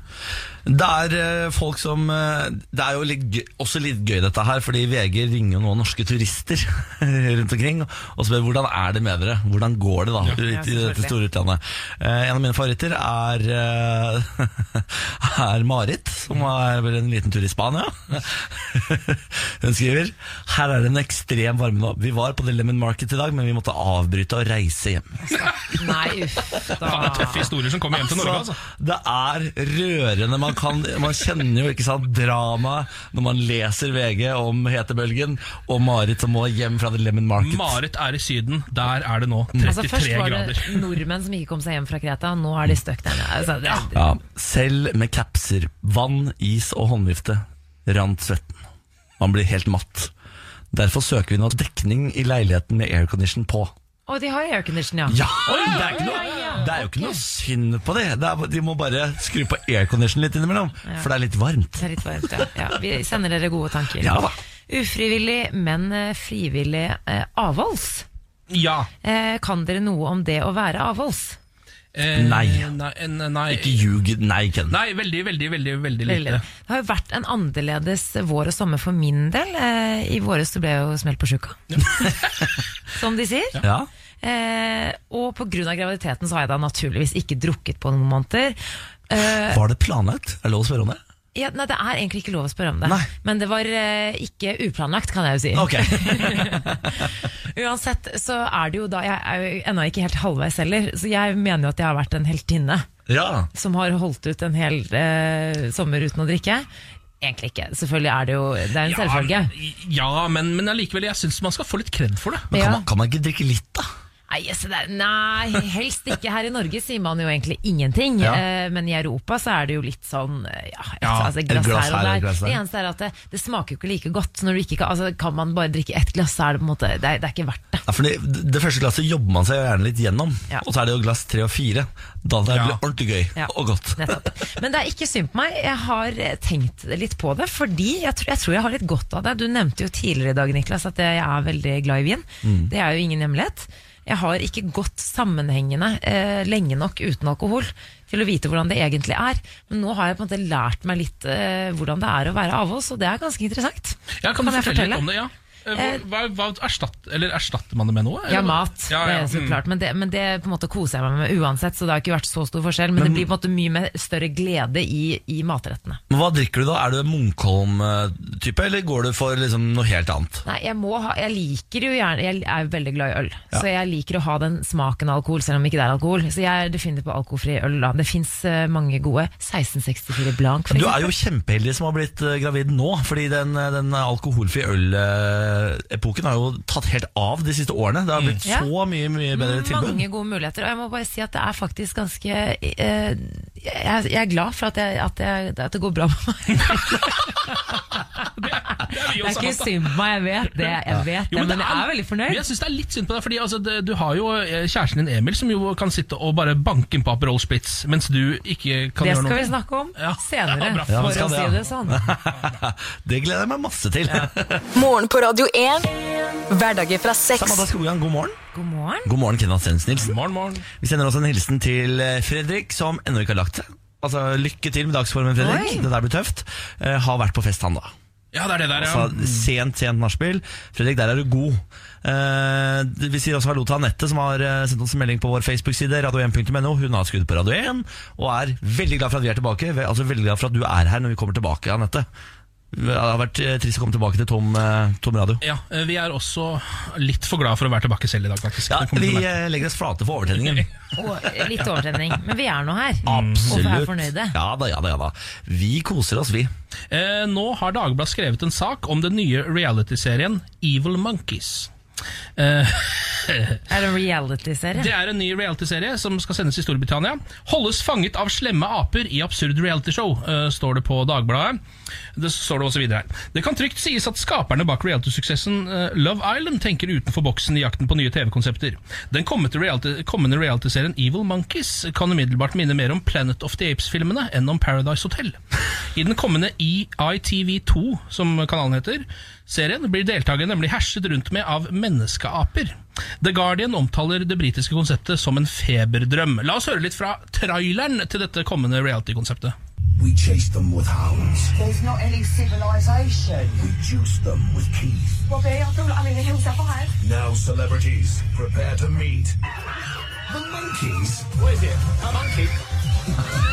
Speaker 2: da
Speaker 1: Det er eh, folk som eh, Det er jo litt gøy, også litt gøy dette her, fordi VG ringer jo nå norske turister rundt omkring og spør hvordan er det med dere. Hvordan går det da ut
Speaker 3: Ja,
Speaker 1: i dette
Speaker 3: selvfølgelig.
Speaker 1: store utlandet? Eh, En av mine favoritter er, eh, er Marit, som er vel en liten tur i Spania. Hun skriver Her er det en ekstrem varme nå. Vi var på The Lemon Market i dag, men vi måtte avbryte og reise hjem.
Speaker 3: Nei, uff
Speaker 2: Faen, det er
Speaker 3: da.
Speaker 2: tøffe historier som kommer hjem til Norge. altså
Speaker 1: Det er rørende. Man, kan, man kjenner jo ikke sant, drama når man leser VG om hetebølgen og Marit som må hjem fra The Lemon Market.
Speaker 2: altså. Marit er i Syden, der er det nå
Speaker 1: Mm.
Speaker 3: Altså,
Speaker 2: 33
Speaker 3: først var det
Speaker 2: grader.
Speaker 3: nordmenn som ikke kom seg hjem fra Kreta, og nå er de stuck der. nede. Altså, det,
Speaker 1: ja, selv med kapser, vann, is og håndvifte rant svetten. Man blir helt matt. Derfor søker vi nå dekning i leiligheten med aircondition på.
Speaker 3: Og de har aircondition, ja.
Speaker 1: Ja, det er, ikke noe, det er jo ikke noe synd på det. det er, de må bare skru på aircondition litt innimellom, for det er litt varmt.
Speaker 3: Det er litt varmt, ja. ja. Vi sender dere gode tanker.
Speaker 1: Ja da.
Speaker 3: Ufrivillig, men eh, frivillig eh, avholds.
Speaker 2: Ja.
Speaker 3: Eh, kan dere noe om det å være avholds?
Speaker 2: Eh,
Speaker 1: Nei.
Speaker 2: Nei, en- nei.
Speaker 1: Ikke ljug. Nei, Ken.
Speaker 2: nei, veldig, veldig, veldig, veldig
Speaker 3: Eller-
Speaker 2: lite.
Speaker 3: Det har jo vært en annerledes vår og sommer for min del. Eh, I våres så ble jeg jo smelt på sjuka. Som de sier.
Speaker 1: Ja.
Speaker 3: Eh, og pga. graviditeten så har jeg da naturligvis ikke drukket på noen måneder. Eh,
Speaker 1: Var det planlagt? Er det lov å spørre om det?
Speaker 3: ja, nei, det er egentlig ikke lov å spørre om det.
Speaker 1: Nei.
Speaker 3: Men det var eh, ikke uplanlagt, kan jeg jo si.
Speaker 1: Ok.
Speaker 3: Uansett så er det jo da Jeg er jo ennå ikke helt halvveis heller, så jeg mener jo at jeg har vært en heltinne
Speaker 1: Ja.
Speaker 3: som har holdt ut en hel eh, sommer uten å drikke. Egentlig ikke. Selvfølgelig er det jo Det er en selvfølge.
Speaker 2: Ja, men, men allikevel, jeg syns man skal få litt kred for det.
Speaker 1: Men
Speaker 3: Ja.
Speaker 1: kan, man, kan man ikke drikke litt, da?
Speaker 3: Nei, yes, det er, nei, helst ikke. Her i Norge sier man jo egentlig ingenting.
Speaker 1: Ja.
Speaker 3: eh, men i Europa så er det jo litt sånn eh, ja, et,
Speaker 2: Ja,
Speaker 3: altså,
Speaker 1: et
Speaker 3: glass,
Speaker 1: glass
Speaker 3: her og der.
Speaker 1: glass der.
Speaker 3: Det eneste er at det, det smaker jo ikke like godt. Når du ikke kan, altså, kan man bare drikke ett glass, så er det på en måte Det er, det er ikke verdt det.
Speaker 1: Ja, fordi det første glasset jobber man seg jo gjerne litt gjennom,
Speaker 3: Ja.
Speaker 1: og så er det jo glass tre og fire. Da det blir
Speaker 2: Ja.
Speaker 1: ordentlig gøy
Speaker 3: Ja.
Speaker 1: og godt.
Speaker 3: Nettopp. Men det er ikke synd på meg. Jeg har eh, tenkt litt på det, fordi jeg tror, jeg tror jeg har
Speaker 2: Mm.
Speaker 3: litt godt av det. Du nevnte jo tidligere i dag, Niklas, at jeg er veldig glad i vin. Det er jo ingen hemmelighet. Jeg har ikke gått sammenhengende eh, lenge nok uten alkohol til å vite hvordan det egentlig er. Men nå har jeg på en måte lært meg litt eh, hvordan det er å være avholds, og det er ganske interessant.
Speaker 2: Ja, kan, du fortelle, litt om det? Ja. Eh, Hva, hva erstatt, eller erstatter man det med noe? eller?
Speaker 3: Ja, mat.
Speaker 2: Ja, ja.
Speaker 3: Det er så
Speaker 2: mm.
Speaker 3: klart. Men det, men det på en måte koser jeg meg med uansett, så det har ikke vært så stor forskjell. Men, det blir på en måte mye mer, større glede i, i matrettene.
Speaker 1: Men Hva drikker du da? Er du Munkholm-type, eller går du for liksom noe helt annet?
Speaker 3: Nei, jeg, må ha, jeg liker jo gjerne Jeg er jo veldig glad i øl, så jeg liker å ha den smaken av alkohol, selv om ikke det er alkohol. Så jeg er definitivt på alkoholfri øl, da. Det fins mange gode. 1664 Blanc, for
Speaker 1: Du er
Speaker 3: eksempel.
Speaker 1: jo kjempeheldig som har blitt eh, gravid nå, fordi den, eh, den alkoholfri øl-epoken har jo tatt helt av de siste årene. Det har blitt
Speaker 3: Mm. Ja.
Speaker 1: så mye, mye bedre tilbud.
Speaker 3: Mange gode muligheter. Og jeg må bare si at det er faktisk ganske eh, jeg, jeg er glad for at, jeg, at, jeg, at det går bra med meg.
Speaker 2: Det er vi
Speaker 3: Det er
Speaker 2: også
Speaker 3: ikke
Speaker 2: hatt, da.
Speaker 3: synd på meg, jeg vet det. Jeg vet
Speaker 2: Jo,
Speaker 3: det, men
Speaker 2: det
Speaker 3: jeg er veldig
Speaker 2: Men
Speaker 3: fornøyd.
Speaker 1: sånn
Speaker 2: Jeg synes det er litt synd på deg, fordi altså, det, du har jo eh, kjæresten din Emil, som jo kan sitte og bare banke inn på Aperol Spritz, mens du ikke kan
Speaker 3: Det
Speaker 2: gjøre
Speaker 3: skal
Speaker 2: noe.
Speaker 3: vi snakke om
Speaker 2: Ja.
Speaker 3: senere,
Speaker 2: Ja, bra.
Speaker 1: Ja,
Speaker 3: for
Speaker 1: vi skal
Speaker 3: å
Speaker 1: det,
Speaker 3: si
Speaker 1: ja.
Speaker 3: det sånn.
Speaker 1: Det gleder jeg meg masse til.
Speaker 4: Morgen på Radio 1. Hverdager fra seks.
Speaker 1: Samantha Skogran, god morgen.
Speaker 3: God morgen.
Speaker 1: God morgen, Kenneth Sensen Nilsen.
Speaker 2: Morgen, morgen.
Speaker 1: Vi sender også en hilsen til eh, Fredrik, som ennå ikke har lagt seg. Altså, Lykke til med dagsformen, Fredrik.
Speaker 3: Oi.
Speaker 1: Det der blir tøft. Eh, har vært på fest, han, da.
Speaker 2: Ja, det er det der, ja.
Speaker 1: Altså, sent, sent nachspiel. Fredrik, der er du god. Eh, vi sier også hallo til Anette, som har eh, sendt oss en melding på vår Facebook-side. radio1.no Hun har skrudd på Radio 1, og er veldig glad for at vi er tilbake. Ve- Altså veldig glad for at du er her når vi kommer tilbake, Anette. Det har vært eh, trist å komme tilbake til tom, eh, tom radio.
Speaker 2: ja. eh, Vi er også litt for glad for å være tilbake selv i dag, faktisk.
Speaker 1: Ja,
Speaker 2: Det kommer
Speaker 1: vi
Speaker 2: til å merke.
Speaker 1: eh, legger oss flate for overtenningen.
Speaker 3: Og litt overtenning, men vi er nå her.
Speaker 1: Absolutt.
Speaker 3: Og er fornøyde.
Speaker 1: Ja da, ja da, ja da. Vi koser oss, vi.
Speaker 2: Eh, nå har Dagbladet skrevet en sak om den nye realityserien Evil Monkeys. Eh,
Speaker 3: Er det en reality-serie?
Speaker 2: det er en ny realityserie som skal sendes i Storbritannia. 'Holdes fanget av slemme aper i absurd realityshow', eh, står det på Dagbladet. Det står det også videre her. Det kan trygt sies at skaperne bak realitysuksessen eh, Love Island tenker utenfor boksen i jakten på nye TV-konsepter. Den kommende reality- kommende realityserien Evil Monkeys kan umiddelbart minne mer om Planet of the Apes-filmene enn om Paradise Hotel. I den kommende E EITV2, som kanalen heter, serien blir deltakerne nemlig herset rundt med av menneskeaper. The Guardian omtaler det britiske konseptet som en feberdrøm. La oss høre litt fra traileren til dette kommende reality-konseptet.
Speaker 6: We chased them with hounds.
Speaker 7: There's not any civilization.
Speaker 6: We juiced them with teeth.
Speaker 7: Robbie, I feel like I'm in the hills of fire.
Speaker 6: Now, celebrities, prepare to meet the monkeys. What is it? A monkey?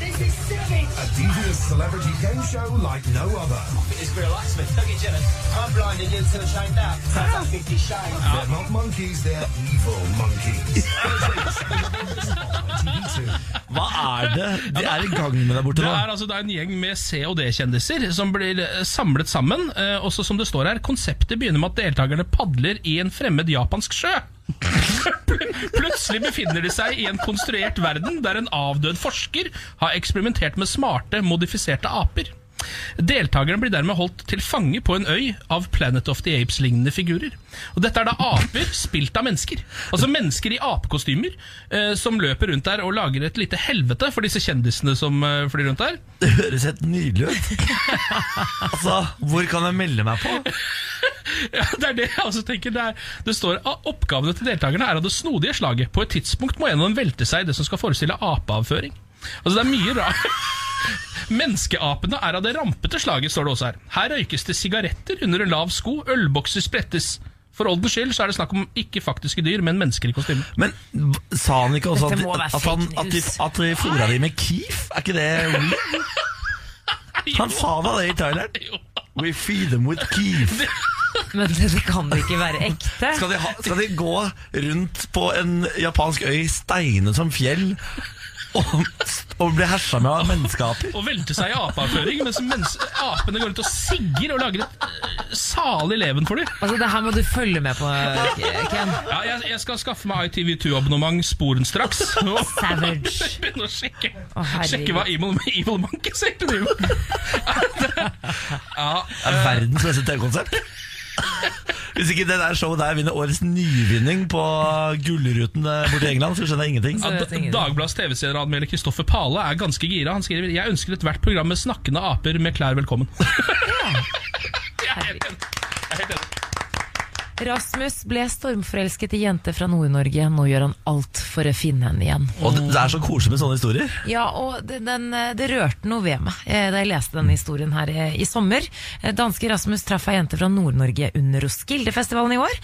Speaker 7: This is savage.
Speaker 6: A devious celebrity game show like no other.
Speaker 8: It's Bill Blacksmith. Don't get jealous. I'm blinded until I'm chained up. Sounds like 50 shades.
Speaker 6: They're not monkeys, they're evil monkeys. TV2.
Speaker 1: Hva er det de er i gang med der borte
Speaker 2: Det er
Speaker 1: nå?
Speaker 2: altså det er en gjeng med C- og D-kjendiser som blir eh, samlet sammen. Eh, også som det står her, Konseptet begynner med at deltakerne padler i en fremmed japansk sjø. Pl- Plutselig befinner de seg i en konstruert verden der en avdød forsker har eksperimentert med smarte, modifiserte aper. Deltakerne blir dermed holdt til fange på en øy av Planet of the Apes-lignende figurer. Og Dette er da aper spilt av mennesker. Altså mennesker i apekostymer eh, som løper rundt der og lager et lite helvete for disse kjendisene som eh, flyr rundt der.
Speaker 1: Det høres helt nydelig ut. Altså, hvor kan jeg melde meg på?
Speaker 2: Ja, det er det jeg også tenker. Det, er, det står at oppgavene til deltakerne er av det snodige slaget. På et tidspunkt må en av dem velte seg i det som skal forestille apeavføring. Altså, det er mye rart. Menneskeapene er av det rampete slaget, står det også her. Her røykes det sigaretter under en lav sko, ølbokser sprettes. For oldens skyld så er det snakk om ikke faktiske dyr, men mennesker i kostyme.
Speaker 1: Men v- sa han ikke også at,
Speaker 3: Dette må være
Speaker 1: at, han,
Speaker 3: fake
Speaker 1: at, de,
Speaker 3: news.
Speaker 1: at de fôra de med Keef? Er ikke det weed? Han sa da det i Thailand.
Speaker 2: Jo.
Speaker 1: We feed them with Keef.
Speaker 3: Men det, det kan det ikke være ekte.
Speaker 1: Skal de, ha, skal de gå rundt på en japansk øy steinet som fjell og, og bli hersa med av menneskeaper?
Speaker 2: Og velte seg i apeavføring mens mens apene går rundt og sigger og lager et eh, salig leven for dem.
Speaker 3: Altså, det her må du følge med på, Ken.
Speaker 2: Ja, jeg, jeg skal skaffe meg ITV2-abonnement sporenstraks.
Speaker 3: Savage.
Speaker 2: Begynne å sjekke
Speaker 3: Å, herregud.
Speaker 2: Sjekke hva Evil, evil Monkeys egentlig driver med.
Speaker 1: Det er verdens beste TV-konsept. Hvis ikke det der showet der vinner årets nyvinning på Gullruten eh, borte i England, så skjønner jeg ingenting.
Speaker 3: Så vet ingen.
Speaker 2: Dagbladets TV-serieanmelder Kristoffer Pale er ganske gira. Han skriver Jeg ønsker ethvert program med snakkende aper med klær velkommen. Jeg er helt enig. Jeg er helt enig.
Speaker 3: Rasmus ble stormforelsket i jente fra Nord-Norge. Nå gjør han alt for å finne henne igjen.
Speaker 1: Og det, det er så koselig med sånne historier.
Speaker 3: Ja, og det, den, eh, det rørte noe ved meg eh, da jeg leste denne historien her eh, i sommer. Eh, Danske Rasmus traff ei jente fra Nord-Norge under Roskildefestivalen i år.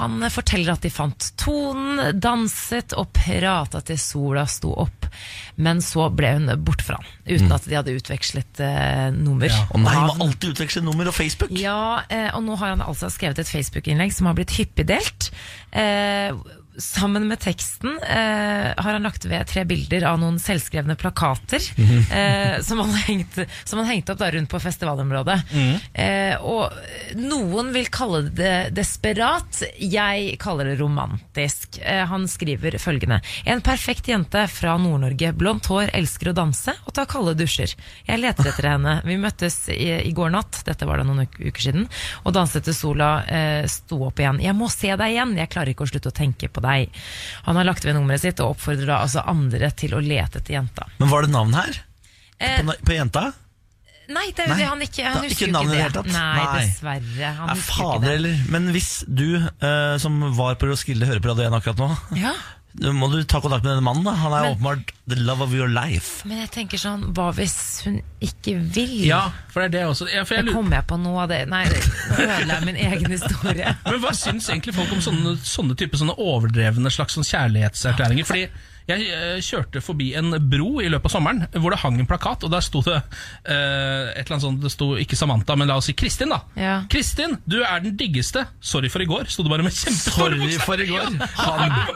Speaker 3: Han eh, forteller at de fant tonen, danset og prata til sola sto opp. Men så ble hun borte fra han, uten at de hadde utvekslet eh, nummer.
Speaker 1: Å nei,
Speaker 3: Navn.
Speaker 1: man alltid utveksler nummer og Facebook.
Speaker 3: Ja, eh, og nå har han altså skrevet et Facebook-innlegg som har blitt hyppig delt. Eh, sammen med teksten eh, har han lagt ved tre bilder av noen selvskrevne plakater eh, som, han hengte, som han hengte opp da rundt på festivalområdet. Eh, og noen vil kalle det desperat, jeg kaller det romantisk. Eh, han skriver følgende. En perfekt jente fra Nord-Norge, blondt hår, elsker å danse og ta kalde dusjer. Jeg leter etter henne. Vi møttes i, i går natt, dette var da noen uk- uker siden, og danset til sola eh, sto opp igjen. Jeg må se deg igjen, jeg klarer ikke å slutte å tenke på deg. Han har lagt ved nummeret sitt og oppfordrer da altså andre til å lete etter jenta.
Speaker 1: Men var det navn her?
Speaker 3: Eh,
Speaker 1: På, på jenta?
Speaker 3: nei, det er jo
Speaker 1: nei,
Speaker 3: det han ikke Han
Speaker 1: da-
Speaker 3: husker
Speaker 1: ikke
Speaker 3: jo
Speaker 1: navnet i
Speaker 3: ikke
Speaker 1: det hele
Speaker 3: det.
Speaker 1: tatt.
Speaker 3: Nei,
Speaker 1: Nei.
Speaker 3: dessverre. Han
Speaker 1: Ja,
Speaker 3: husker
Speaker 1: fader
Speaker 3: ikke det.
Speaker 1: heller. Men hvis du eh, som var på Roskilde hører på Radio 1 akkurat nå,
Speaker 3: Ja.
Speaker 1: da må du ta kontakt med denne mannen. da Han er
Speaker 3: Men-
Speaker 1: åpenbart the love of your life.
Speaker 3: Men jeg tenker sånn, hva hvis hun ikke vil?
Speaker 2: Ja, for det er det også. Ja, for jeg
Speaker 3: Det
Speaker 2: lurer-
Speaker 3: kommer jeg på nå. Det, nei, nå ødela jeg min egen historie.
Speaker 2: Men hva syns egentlig folk om sånne, sånne type sånne overdrevne slags sånn kjærlighetserklæringer? Fordi jeg eh, kjørte forbi en bro i løpet av sommeren hvor det hang en plakat, og der sto det eh, et eller annet sånt, det sto ikke Samantha, men la oss si Kristin, da.
Speaker 3: Ja.
Speaker 2: Kristin, du er den diggeste. Sorry for i går, sto det bare med kjempestore
Speaker 1: Sorry for i går.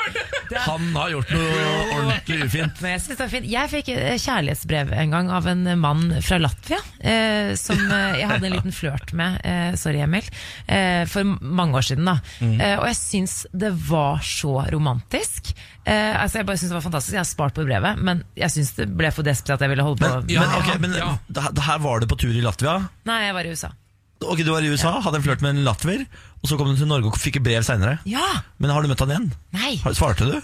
Speaker 1: Han, han har gjort noe ordentlig ufint.
Speaker 3: Men jeg synes det er fint. Jeg fikk eh, kjærlighetsbrev en gang av en mann fra Latvia, eh, som eh, jeg hadde en liten flørt med, eh, sorry Emil, eh, for mange år siden. da. Eh, og jeg syns det var så romantisk. Eh, altså Jeg bare synes det var fantastisk. Jeg har spart på brevet, men jeg syns det ble for desperat at jeg ville holde på.
Speaker 1: Men, men, ok, men
Speaker 2: Ja.
Speaker 1: det her- det her var du på tur i Latvia.
Speaker 3: Nei, jeg var i USA.
Speaker 1: Ok, Du var i USA, hadde en flørt med en latver, og så kom du til Norge og fikk et brev seinere.
Speaker 3: Ja!
Speaker 1: Men har du møtt han igjen?
Speaker 3: Nei!
Speaker 1: Har- Svarte du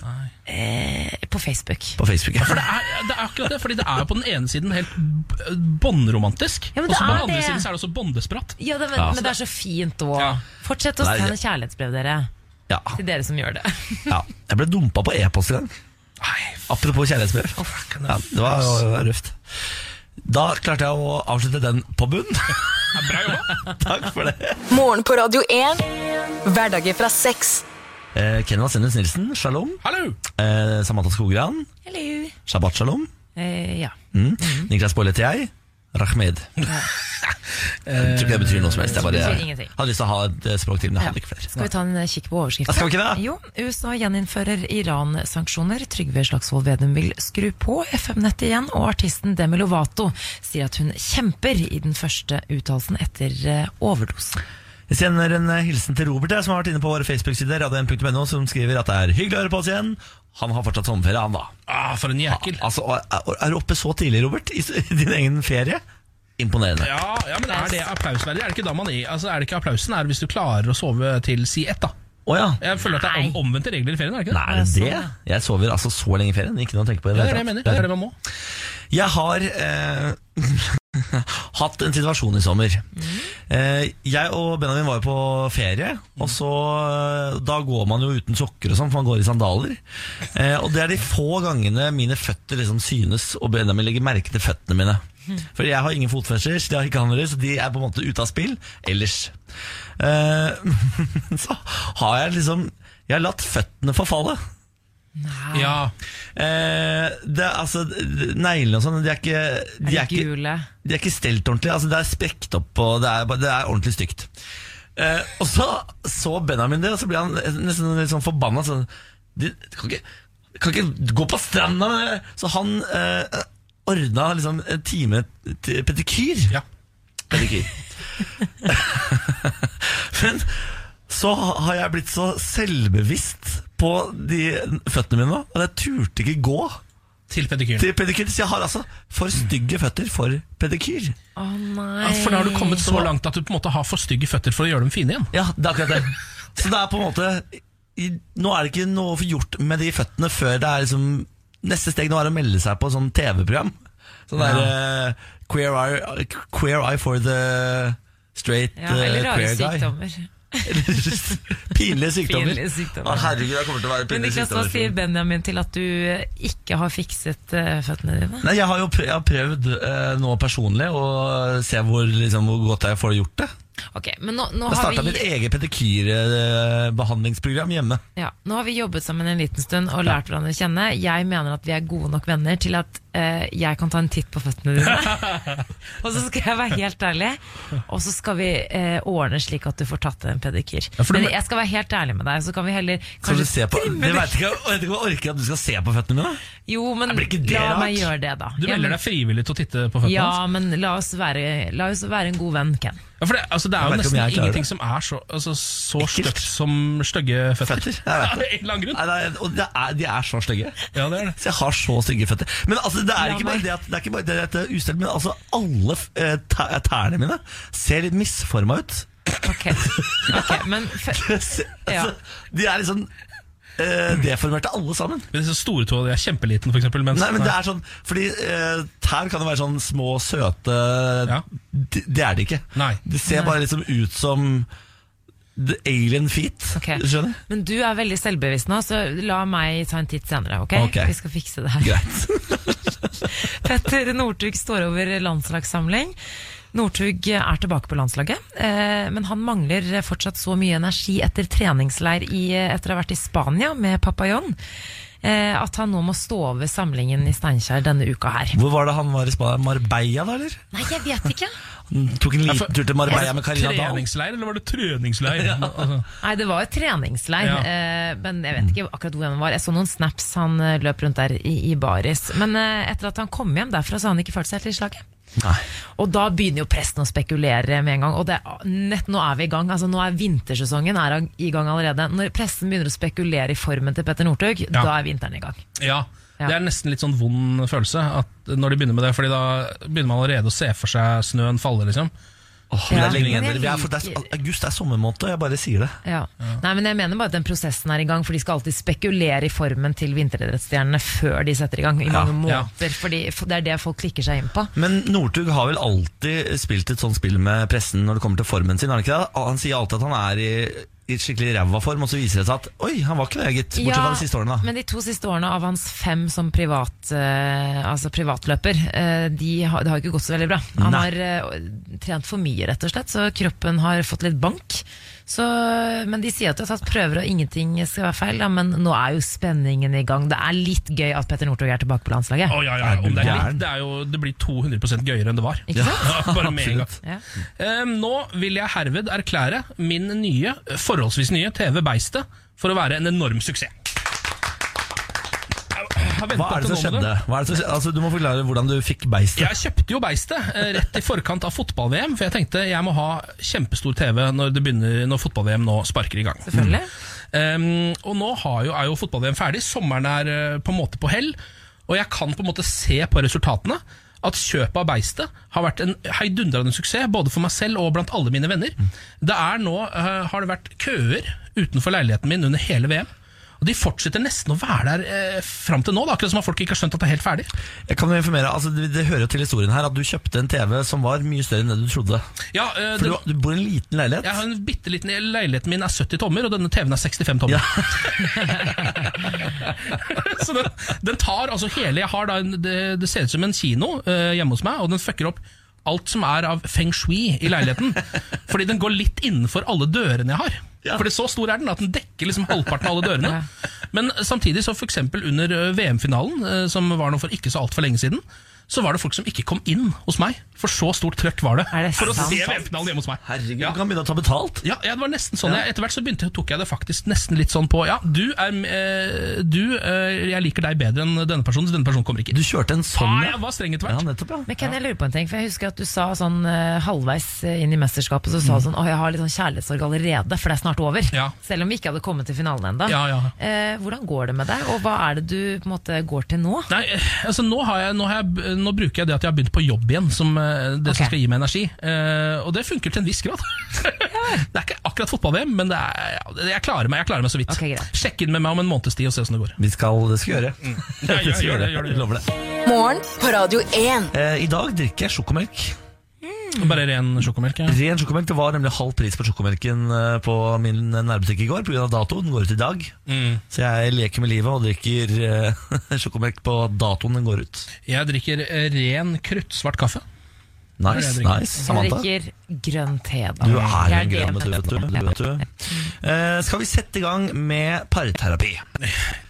Speaker 3: Eh, på Facebook.
Speaker 1: på Facebook?
Speaker 2: For det er, det er akkurat det, fordi det er jo på den ene siden helt b- båndromantisk,
Speaker 3: Ja, men
Speaker 2: og så
Speaker 3: det
Speaker 2: på den
Speaker 3: er
Speaker 2: andre
Speaker 3: det.
Speaker 2: siden så er det også båndesprat.
Speaker 3: Ja, det, men,
Speaker 1: Ja.
Speaker 3: men det er så fint òg.
Speaker 2: Ja.
Speaker 3: Fortsett å
Speaker 1: Nei,
Speaker 3: sende
Speaker 1: det-
Speaker 3: kjærlighetsbrev, dere.
Speaker 1: Ja.
Speaker 3: Til dere som gjør det.
Speaker 1: ja. Jeg ble dumpa på e-post i gang. Apropos kjærlighetsbrev. Ja, det var det var røft. Da klarte jeg å avslutte den på bunn.
Speaker 2: Bra jobba.
Speaker 1: Takk for det.
Speaker 4: Morgen på Radio 1. Hverdager fra seks.
Speaker 1: Eh, Kenvald Sennes Nilsen, shalom.
Speaker 2: Hallo!
Speaker 1: Eh, Samantha Skogran,
Speaker 3: Hello.
Speaker 1: shabbat shalom.
Speaker 3: Eh, ja.
Speaker 1: Mm. Niklas Bolle heter jeg. Rahmed. Jeg tror ikke det betyr noe som helst. Jeg bare
Speaker 3: Det betyr ingenting.
Speaker 1: hadde lyst til å ha et eh, språk til, men jeg hadde
Speaker 3: Ja.
Speaker 1: ikke flere. Ah,
Speaker 3: Skal vi ta en eh, kikk på overskriften?
Speaker 1: Skal vi ikke det?
Speaker 3: Jo, USA gjeninnfører Iran-sanksjoner. Trygve Slagsvold Vedum vil skru på FM-nettet igjen, og artisten Demi Lovato sier at hun kjemper i den første uttalelsen etter eh, overdosen.
Speaker 1: Jeg sender en eh, hilsen til Robert, jeg, som har vært inne på våre Facebook-sider, radio1.no, som skriver at det er hyggelig å høre på oss igjen. Han har fortsatt sommerferie, han da.
Speaker 2: Ah, for en jækel.
Speaker 1: Altså, er, er du oppe så tidlig, Robert, i s- i din egen ferie? Imponerende.
Speaker 2: Ja, ja, men er det applausverdig? Er det ikke da man er, altså, er det ikke applausen er hvis du klarer å sove til si ett, da?
Speaker 1: Å ja.
Speaker 2: Jeg føler at det er om, omvendte regler i ferien, er det ikke det?
Speaker 1: Nei, er det det? Jeg sover altså så lenge i ferien. Ikke noe å tenke på. i
Speaker 2: Det
Speaker 1: det
Speaker 2: er det
Speaker 1: hele
Speaker 2: jeg mener.
Speaker 1: tatt.
Speaker 2: Det er det man må.
Speaker 1: Jeg har eh, hatt en situasjon i sommer.
Speaker 3: Mm.
Speaker 1: Eh, jeg og Benjamin var jo på ferie,
Speaker 3: Mm.
Speaker 1: og så eh, Da går man jo uten sokker og sånn, for man går i sandaler. Eh, og det er de få gangene mine føtter liksom synes, og Benjamin legger merke til føttene mine.
Speaker 3: Mm.
Speaker 1: For jeg har ingen fotfester, så de har ikke han heller, så de er på en måte ute av spill ellers. Eh, så har jeg liksom Jeg har latt føttene forfalle.
Speaker 2: Ja.
Speaker 1: Eh, det, er altså, neglene og sånn, de er ikke de
Speaker 3: Er
Speaker 1: er
Speaker 3: det
Speaker 1: ikke-
Speaker 3: gule?
Speaker 1: de er ikke stelt ordentlig. Altså, det er sprekt opp, og det er, bare- det er ordentlig stygt. Eh, og så så Benjamin det, og så ble han nesten litt sånn forbanna. Sånn, de, de kan, ikke, kan ikke gå på stranda med det! Så han eh, ordna liksom en time til pedikyr.
Speaker 2: Ja.
Speaker 1: Pedikyr. Men så har jeg blitt så selvbevisst på de føttene mine nå, at jeg turte ikke gå
Speaker 2: Til pedikyren.
Speaker 1: til pedikyr. Så jeg har altså for stygge føtter for pedikyr.
Speaker 3: Å nei.
Speaker 1: Ah,
Speaker 2: Ja, for da har du kommet så langt at du på en måte har for stygge føtter for å gjøre dem fine igjen.
Speaker 1: Ja, det er akkurat det. Så det er på en måte i, Nå er det ikke noe gjort med de føttene før det er liksom Neste steg nå er å melde seg på sånn TV-program. Sånn der eh, queer, eye, queer Eye for the Straight
Speaker 3: Ja, eller
Speaker 1: eh,
Speaker 3: rare
Speaker 1: Queer Guy.
Speaker 3: sykdommer.
Speaker 1: Pinlige sykdommer.
Speaker 3: Pinlige sykdommer.
Speaker 1: Å, herregud, jeg kommer til å være
Speaker 3: Men
Speaker 1: pinlig
Speaker 3: Niklas, hva sier Benjamin til at du eh, ikke har fikset eh, føttene dine?
Speaker 1: Nei, jeg har jo prøvd, jeg har prøvd eh, nå personlig å se hvor, liksom, hvor godt jeg får gjort det.
Speaker 3: Ok, men nå, nå
Speaker 1: Jeg
Speaker 3: har
Speaker 1: starta mitt
Speaker 3: vi...
Speaker 1: eget pedikyrbehandlingsprogram hjemme.
Speaker 3: Ja, nå har vi jobbet sammen en liten stund og lært hverandre å kjenne. Jeg mener at vi er gode nok venner til at eh, jeg kan ta en titt på føttene dine. og så skal jeg være helt ærlig, og så skal vi eh, ordne slik at du får tatt en pedikyr.
Speaker 1: Ja, for du-
Speaker 3: Men jeg skal være helt ærlig med deg, så kan vi heller
Speaker 1: Skal du
Speaker 3: kanskje
Speaker 1: se på,
Speaker 3: trimme
Speaker 1: det
Speaker 3: det.
Speaker 1: vet ikke, jeg vet ikke om jeg orker at du skal se på føttene mine.
Speaker 3: Jo, men
Speaker 1: blir ikke det
Speaker 3: la
Speaker 1: rart?
Speaker 3: meg gjøre det, da.
Speaker 2: Du
Speaker 3: ja,
Speaker 2: melder
Speaker 3: men,
Speaker 2: deg frivillig til å titte på føttene
Speaker 3: ja,
Speaker 2: hans?
Speaker 3: men la oss, være, la oss være en god venn, Ken.
Speaker 2: Ja, for det, altså, det er jo
Speaker 1: Jeg vet ikke om
Speaker 2: nesten
Speaker 1: jeg klarer
Speaker 2: ingenting
Speaker 1: det.
Speaker 2: som er så, altså, så
Speaker 1: Ekkelt.
Speaker 2: stygt som stygge føtter.
Speaker 1: Føtter, jeg vet
Speaker 2: Av
Speaker 1: det.
Speaker 2: en eller annen grunn.
Speaker 1: Nei, nei, og det er, de er så stygge.
Speaker 2: Ja, det er det.
Speaker 1: Så jeg har så stygge føtter. Men altså, det er
Speaker 3: La
Speaker 1: ikke
Speaker 3: meg.
Speaker 1: bare det at det er ikke bare det at det er ustelt, men altså, alle f- eh, tæ- tærne mine ser litt misforma ut.
Speaker 3: Ok, Ok, men fø-
Speaker 1: altså,
Speaker 3: Ja.
Speaker 1: De er liksom eh, deformerte alle sammen.
Speaker 2: Men Disse store tåa de er kjempeliten, for eksempel. Mens,
Speaker 1: Nei, men det er sånn Fordi eh, tær kan jo være sånn små, søte
Speaker 2: Ja.
Speaker 1: de, Det er de ikke.
Speaker 2: Nei.
Speaker 1: De ser bare liksom ut som the alien feet.
Speaker 3: Ok.
Speaker 1: Skjønner?
Speaker 3: Men du er veldig selvbevisst nå, så la meg ta en titt senere. ok?
Speaker 1: Ok.
Speaker 3: Vi skal fikse det her.
Speaker 1: Greit.
Speaker 3: Petter Northug står over landslagssamling. Northug er tilbake på landslaget, eh, men han mangler fortsatt så mye energi etter treningsleir i, etter å ha vært i Spania med Papajon, eh, at han nå må stå over samlingen i Steinkjer denne uka her.
Speaker 1: Hvor var det han var i Spania? Marbella, da, eller?
Speaker 3: Nei, jeg vet ikke.
Speaker 1: Han tok en
Speaker 2: Ja,
Speaker 1: liten
Speaker 2: for-
Speaker 1: tur til Marbella med Carina Dahl.
Speaker 2: Treningsleir, eller var det treningsleir? altså,
Speaker 3: Nei, det var jo treningsleir,
Speaker 2: Ja.
Speaker 3: eh, men jeg vet ikke akkurat hvor han var. Jeg så noen snaps han eh, løp rundt der i, i baris. Men eh, etter at han kom hjem derfra, så har han ikke følt seg helt i slaget.
Speaker 1: Nei.
Speaker 3: Og da begynner jo pressen å spekulere med en gang. Og det, nett nå er vi i gang. altså Nå er vintersesongen er i gang allerede. Når pressen begynner å spekulere i formen til Petter Northug, da er vinteren i gang.
Speaker 2: ja.
Speaker 3: Ja.
Speaker 2: Det er nesten litt sånn vond følelse at når de begynner med det, Fordi da begynner man allerede å se for seg snøen falle, liksom.
Speaker 1: Åh, men det
Speaker 3: Ja.
Speaker 1: er lenge igjen.
Speaker 3: Men
Speaker 1: dere.
Speaker 3: jeg
Speaker 1: Vi er for- det er,
Speaker 3: liker-
Speaker 1: august er sommermåned, og jeg bare sier det.
Speaker 3: Ja. Nei, men jeg mener bare at den prosessen er i gang, for de skal alltid spekulere i formen til vinteridrettsstjernene før de setter i gang, i
Speaker 1: Ja,
Speaker 3: mange
Speaker 2: ja.
Speaker 3: måneder. Fordi f- det er det folk klikker seg inn på.
Speaker 1: Men Northug har vel alltid spilt et sånt spill med pressen når det kommer til formen sin? har Han ikke det? Han sier alltid at han er i, i skikkelig ræva form, og så viser det seg at oi, han var ikke det, gitt. Bortsett fra de siste årene, da.
Speaker 3: Men de to siste årene av hans fem som privat, eh, altså privatløper, eh, de har, det har ikke gått så veldig bra. Han
Speaker 1: Nei.
Speaker 3: har eh, trent for mye, rett og slett, så kroppen har fått litt bank. Så, men de sier at de har tatt prøver og ingenting skal være feil, da, men nå er jo spenningen i gang. Det er litt gøy at Petter Northug er tilbake på landslaget.
Speaker 2: Å, ja, ja,
Speaker 1: Er du
Speaker 2: om det, er
Speaker 1: gæren?
Speaker 2: litt, det, er jo, det blir 200 gøyere enn det var.
Speaker 3: Ikke sant?
Speaker 2: Ja, bare med en gang.
Speaker 3: Ja.
Speaker 2: Ehm, nå vil jeg herved erklære min nye, forholdsvis nye TV Beistet for å være en enorm suksess. Jeg har ventet
Speaker 1: Hva er det som
Speaker 2: til nå med
Speaker 1: skjedde? Hva er det som, skjedde? altså, du må forklare hvordan du fikk beistet.
Speaker 2: Jeg kjøpte jo beistet eh, rett i forkant av fotball-VM, for jeg tenkte jeg må ha kjempestor TV når, det begynner- når fotball-VM nå sparker i gang.
Speaker 3: Selvfølgelig.
Speaker 2: Ehm, og nå har jo, er jo fotball-VM ferdig, sommeren er eh, på en måte på hell, og jeg kan på en måte se på resultatene at kjøpet av beistet har vært en heidundrende suksess, både for meg selv og blant alle mine venner. Det er nå, eh, har det vært køer utenfor leiligheten min under hele VM, og de fortsetter nesten å være der uh, fram til nå, da, akkurat som at folk ikke har skjønt at det er helt ferdig.
Speaker 1: Jeg kan jo informere, altså, det, det hører jo til historien her at du kjøpte en TV som var mye større enn det du trodde.
Speaker 2: Ja, eh,
Speaker 1: For
Speaker 2: det-
Speaker 1: du, du bor i en liten leilighet.
Speaker 2: Jeg har en bitte liten Leiligheten min er 70 tommer, og denne TV-en er 65 tommer. så den, den tar altså hele Jeg har da en, det, det ser ut som en kino eh, hjemme hos meg, og den fucker opp alt som er av feng shui i leiligheten. fordi den går litt innenfor alle dørene jeg har.
Speaker 1: Ja.
Speaker 2: Fordi så stor er den at den dekker liksom halvparten av alle dørene. Men samtidig så for eksempel under eh, VM-finalen, eh, som var nå for ikke så altfor lenge siden, så var det folk som ikke kom inn hos meg, for så stort trøkk var det.
Speaker 3: Er det
Speaker 2: for å
Speaker 3: sant?
Speaker 2: se VM-finalen hjemme hos meg.
Speaker 1: Herregud,
Speaker 2: Ja.
Speaker 1: du kan begynne å ta betalt.
Speaker 2: Ja, ja, det var nesten sånn. Jeg, etter hvert så begynte, tok jeg det faktisk nesten litt sånn på Ja, du er eh, Du, eh, jeg liker deg bedre enn denne personen, så denne personen kommer ikke.
Speaker 1: Du kjørte en sånn,
Speaker 2: ah, jeg var streng etter
Speaker 1: Ja,
Speaker 2: hvert.
Speaker 1: nettopp, ja.
Speaker 3: Men Ken, jeg lurer på en ting, for jeg husker at du sa sånn eh, halvveis inn i mesterskapet, så
Speaker 1: Mm.
Speaker 3: sa du sånn, åh, jeg har litt sånn kjærlighetssorg allerede, for det er snart over.
Speaker 2: Ja.
Speaker 3: Selv om vi ikke hadde kommet til finalen enda.
Speaker 2: Ja, ja.
Speaker 3: Eh, hvordan går det med deg, og hva er det du på en måte går til nå?
Speaker 2: Nei, eh, altså nå, har jeg, nå, har jeg, eh, nå bruker jeg det at jeg har begynt på jobb igjen, som eh, det
Speaker 3: Ok.
Speaker 2: som skal gi meg energi. Eh, og det funker til en viss grad. det er ikke akkurat fotball-VM, men det er, ja, det- jeg, klarer meg, jeg klarer meg så vidt.
Speaker 3: Ok, greit.
Speaker 2: Sjekk inn med meg om en måneds tid og se åssen det går.
Speaker 1: Vi skal, det skal vi gjøre.
Speaker 2: Mm. Ja, gjør
Speaker 1: Vi skal
Speaker 2: det,
Speaker 1: gjøre
Speaker 2: gjør det, gjør det.
Speaker 1: Vi Lover det.
Speaker 4: Morgen på Radio 1.
Speaker 1: Eh, I dag drikker jeg sjokomelk.
Speaker 2: Bare ren sjokomelk. Ja.
Speaker 1: Ren sjokomelk, Det var nemlig halv pris på sjokomelken eh, på min nærbutikk i går pga. datoen. Den går ut i dag.
Speaker 2: Mm.
Speaker 1: Så jeg leker med livet og drikker eh, sjokomelk på datoen den går ut.
Speaker 2: Jeg drikker eh, ren kruttsvart kaffe.
Speaker 1: Nice,
Speaker 2: drikker.
Speaker 1: nice.
Speaker 3: Jeg
Speaker 1: Samantha.
Speaker 3: drikker grønn te, da.
Speaker 1: Du er
Speaker 3: Jeg
Speaker 1: en
Speaker 3: dere,
Speaker 1: grann, vet du.
Speaker 3: vet
Speaker 1: Vet
Speaker 3: du.
Speaker 1: du, vet du, vet du. Eh, skal vi sette i gang med parterapi?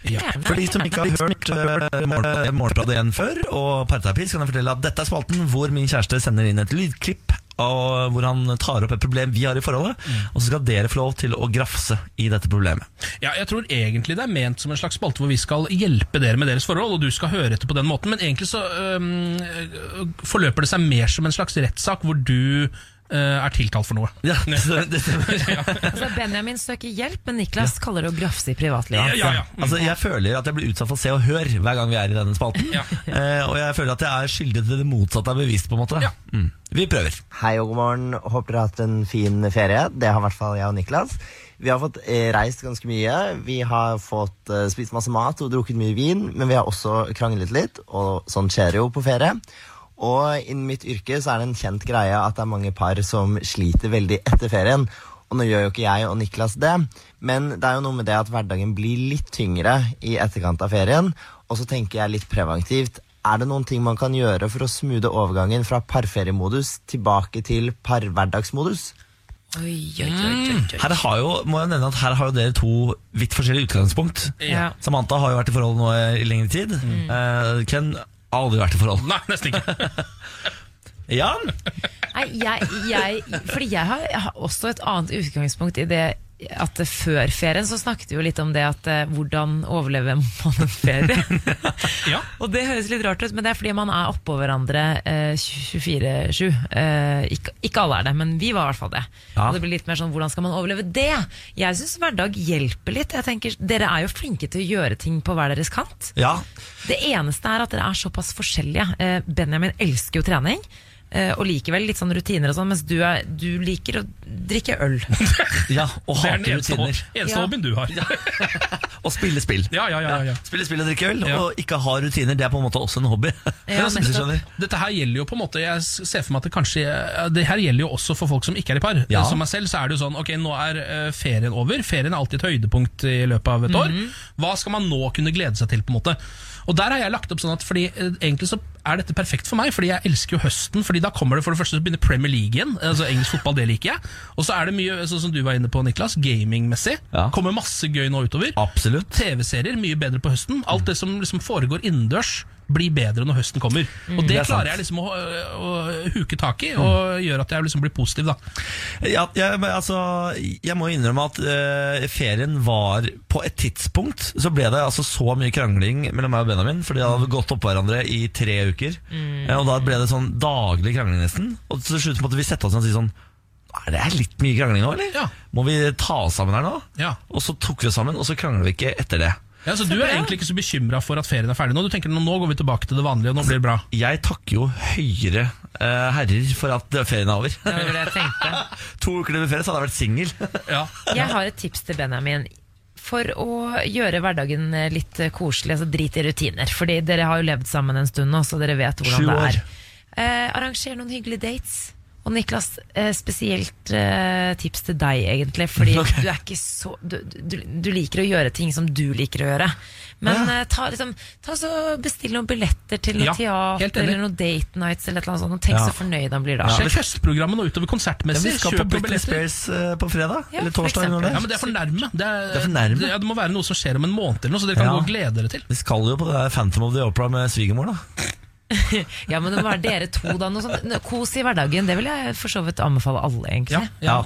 Speaker 3: Gjerne.
Speaker 1: For de som ikke har hørt eh, Morgen- Morgenbladet igjen før, og parterapi, så kan jeg fortelle at dette er spalten hvor min kjæreste sender inn et lydklipp og hvor han tar opp et problem vi har i forholdet, og så skal dere få lov til å grafse i dette problemet.
Speaker 2: Ja, jeg tror egentlig det er ment som en slags spalte hvor vi skal hjelpe dere med deres forhold, og du skal høre etter på den måten, men egentlig så øhm, øh, forløper det seg mer som en slags rettssak hvor du øh, er tiltalt for noe.
Speaker 1: Ja, det, det stemmer.
Speaker 3: Altså, Benjamin søker hjelp, men Niklas kaller det å grafse i privatlivet.
Speaker 2: Ja, ja. Mm.
Speaker 1: Altså, jeg føler at jeg blir utsatt for Se og Hør hver gang vi er i denne spalten.
Speaker 2: Ja.
Speaker 1: Eh, og jeg føler at jeg er skyldig til det motsatte av bevist, på en måte.
Speaker 2: Ja.
Speaker 1: Mm. Vi prøver.
Speaker 9: Hei og god morgen. Håper dere har hatt en fin ferie. Det har i hvert fall jeg og Niklas. Vi har fått eh, reist ganske mye. Vi har fått eh, spist masse mat og drukket mye vin, men vi har også kranglet litt, og sånt skjer jo på ferie. Og innen mitt yrke så er det en kjent greie at det er mange par som sliter veldig etter ferien. Og nå gjør jo ikke jeg og Niklas det, men det er jo noe med det at hverdagen blir litt tyngre i etterkant av ferien, og så tenker jeg litt preventivt. Er det noen ting man kan gjøre for å smoothe overgangen fra parferiemodus tilbake til parhverdagsmodus?
Speaker 3: Oi, oi, oi, oi, oi.
Speaker 1: Her har jo, må jeg nevne at her har jo dere to vidt forskjellige utgangspunkt.
Speaker 3: Ja.
Speaker 1: Samantha har jo vært i forhold nå i lengre tid.
Speaker 2: Mm.
Speaker 1: Eh, Ken har aldri vært i forhold.
Speaker 2: Nei, nesten ikke.
Speaker 1: Ja,
Speaker 3: Nei, jeg, jeg, fordi jeg har, jeg har også et annet utgangspunkt i det at eh, før ferien så snakket vi jo litt om det at eh, hvordan overlever man en ferie?
Speaker 2: Ja.
Speaker 3: Og det høres litt rart ut, men det er fordi man er oppå hverandre eh, 24-7. Eh, ikke, ikke alle er det, men vi var i hvert fall det.
Speaker 1: Ja.
Speaker 3: Og det blir litt mer sånn, hvordan skal man overleve det? Jeg syns hverdag hjelper litt. Jeg tenker, Dere er jo flinke til å gjøre ting på hver deres kant.
Speaker 1: ja.
Speaker 3: Det eneste er at dere er såpass forskjellige. Eh, Benjamin elsker jo trening. eh, Og likevel litt sånn rutiner og sånn, mens du, er, du liker å drikke øl.
Speaker 1: ja og
Speaker 2: Det er den
Speaker 1: hater
Speaker 2: eneste,
Speaker 1: rutiner.
Speaker 2: eneste
Speaker 3: Ja.
Speaker 2: hobbyen du har. Ja,
Speaker 1: Og spille spill.
Speaker 2: ja, ja. ja, ja.
Speaker 1: Spille spill og drikke øl,
Speaker 2: Ja.
Speaker 1: og ikke ha rutiner. Det er på en måte også en hobby.
Speaker 3: Ja,
Speaker 1: Hvis du
Speaker 3: nettopp.
Speaker 1: skjønner.
Speaker 2: Dette her gjelder jo på en måte Jeg s- ser for meg at det kanskje eh, Det her gjelder jo også for folk som ikke er i par.
Speaker 1: Ja.
Speaker 2: Som meg selv så er det jo sånn Ok, nå er eh, ferien over. Ferien er alltid et høydepunkt i løpet av et
Speaker 1: Mhm.
Speaker 2: år. Hva skal man nå kunne glede seg til? på en måte Og der har jeg lagt opp sånn at Fordi eh, Egentlig så er dette perfekt for meg, Fordi jeg elsker jo høsten. Fordi da kommer det for det første så begynner Premier League igjen. Altså Engelsk fotball, det liker jeg. Og så er det mye, sånn som du var inne på, Niklas, gamingmessig.
Speaker 1: Ja.
Speaker 2: Kommer masse gøy nå utover.
Speaker 1: Absolutt.
Speaker 2: TV-serier mye bedre på høsten. Alt det som liksom foregår innendørs, blir bedre når høsten kommer. Og det,
Speaker 1: Det er sant.
Speaker 2: klarer jeg liksom å, å huke tak i, og gjør at jeg liksom blir positiv, da.
Speaker 1: Ja, jeg, men altså, jeg må innrømme at eh, ferien var På et tidspunkt så ble det altså så mye krangling mellom meg og Benjamin, fordi de hadde gått oppå hverandre i tre uker. Eh, og da ble det sånn daglig krangling nesten. Og til slutt måtte vi sette oss ned og si sånn Er det her litt mye krangling nå, eller?
Speaker 2: Ja.
Speaker 1: Må vi ta oss sammen her nå?
Speaker 2: Ja.
Speaker 1: Og så tok vi oss sammen, og så krangler vi ikke etter det.
Speaker 2: Ja, så, Du er egentlig ikke så bekymra for at ferien er ferdig nå. Du tenker nå nå går vi tilbake til det vanlige, og nå blir det bra.
Speaker 1: Jeg takker jo høyere eh, herrer for at ferien er over.
Speaker 3: Det var det jeg tenkte.
Speaker 1: to uker til med ferie, så hadde jeg vært singel.
Speaker 2: Ja.
Speaker 3: Jeg har et tips til Benjamin. For å gjøre hverdagen litt koselig, altså drit i rutiner. Fordi dere har jo levd sammen en stund nå, så dere vet
Speaker 1: Sju
Speaker 3: hvordan det
Speaker 1: år.
Speaker 3: er. Eh, arranger noen hyggelige dates. Og Niklas, eh, spesielt eh, tips til deg, egentlig. Fordi
Speaker 1: Ok.
Speaker 3: du er ikke så du, du, du liker å gjøre ting som du liker å gjøre. Men
Speaker 1: Ah.
Speaker 3: eh, ta, liksom, ta så bestill noen billetter til noe
Speaker 2: Ja, helt
Speaker 3: teater
Speaker 2: enig.
Speaker 3: eller noen date nights eller et eller annet sånt. Og tenk
Speaker 1: Ja.
Speaker 3: så fornøyd han blir da.
Speaker 2: Sjekk høstprogrammet nå utover
Speaker 1: Ja,
Speaker 2: konsertmessig.
Speaker 1: vi skal på
Speaker 2: Kjøp noen
Speaker 1: Britney
Speaker 2: billetter.
Speaker 1: Spears eh, på fredag.
Speaker 3: Ja,
Speaker 1: eller
Speaker 3: for
Speaker 1: torsdag. eller noe
Speaker 3: eksempel.
Speaker 2: Ja,
Speaker 1: der.
Speaker 2: men Det er for nærme. Det, er,
Speaker 1: Det er for nærme.
Speaker 2: Ja, det må være noe som skjer om en måned, eller noe, så dere kan
Speaker 1: Ja.
Speaker 2: gå og glede dere til.
Speaker 1: Vi skal jo på det der Phantom of the Opera med svigermor, da.
Speaker 3: Ja, men det må være dere to da noe sånt. Nå, Kos i hverdagen, det vil jeg for så vidt anbefale alle egentlig
Speaker 2: Ja, ja.